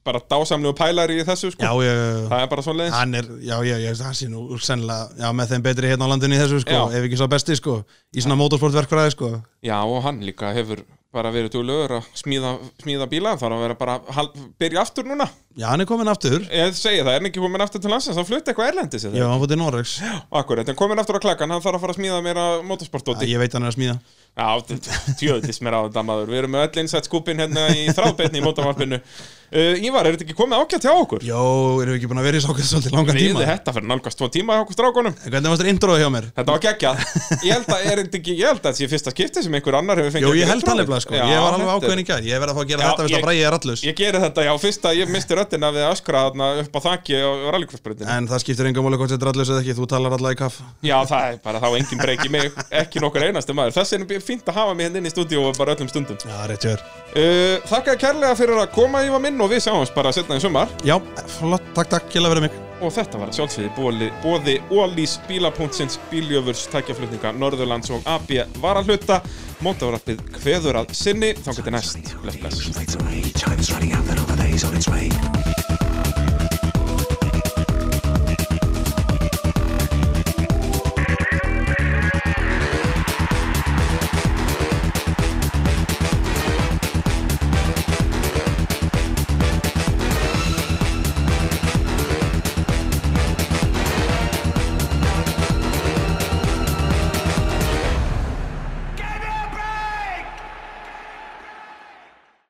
S3: bara dásamlegu pælari í þessu, sko.
S1: Já, ég
S3: Það er bara svona leiðis.
S1: Hann er, já, já, já, hann sé nú sennilega, já, með þeim betri hérna á landinu í þessu, sko,
S3: Já.
S1: ef ekki sá besti, sko, í svona motorsportverkfræði, sko,
S3: Já, og hann líka hefur bara verið duglegur að smíða, smíða bíla, þarf að vera bara halv, byrja aftur núna.
S1: já, hann er komin aftur,
S3: Ég segi það, er hann ekki komin aftur til landsins, hann flutti eitthvað erlendis
S1: já,
S3: eða?
S1: hann fótt í Noregs, já,
S3: Akkurat, en komin aftur á klakkan, hann þarf að fara að smíða meira motorsportdóti.
S1: ég veit hann er að smíða,
S3: Já, tjóðis mér á þetta maður, við erum með öll einsætt skúpin hérna í þráðbeinni í mótavarpinu. Uh, Ívar, er þetta ekki komið ágætt hjá okkur?
S1: já, erum við ekki búin að vera í sákvæð svolítið langan
S3: Við
S1: tíma,
S3: þetta fyrir nálgast tvo tíma hjá okkur strákunum.
S1: en hvernig varst þér introð hjá mér?
S3: Þetta var geggjað. Ég held að er þetta ekki, ég held að þetta sé fyrsta skipti sem einhver annar hefur fengið.
S1: Jú,
S3: að
S1: ég
S3: gera
S1: held hann
S3: intróið.
S1: nefnilega, sko,
S3: Já,
S1: ég var alveg
S3: þetta er-
S1: ákveðin í gær, ég verð að fá að gera
S3: Já,
S1: þetta, veist
S3: ég-
S1: að bræja er allus,
S3: Ég geri þetta, já, fyrsta ég misti röddina við að öskra þarna upp á þakki á rallycrossbröndinu.
S1: en það skiptir engum máli hvort þetta er allus eða ekki, þú talar alla í kaff,
S3: Já, það er bara, þá er engin breyki mig, ekki nokkur einasti maður. Þess er fínt að hafa mig henni inn í stúdíu og bara öllum stundum.
S1: já, rétt hjör,
S3: Uh, þakka þér kærlega fyrir að koma Ívar minn og við sjáumst bara setna í sumar.
S1: já, flott, takk, takk, kjærlega fyrir mig.
S3: Og þetta var að sjálfsögðu bóli, bóði Ólís bíla.sins bíljöfurs tækjaflutninga Norðurlands og AB varahluta. Mótavrappið kveður að sinni, þá getur næst. Bless, bless.
S4: Time is running out, another day's on its way.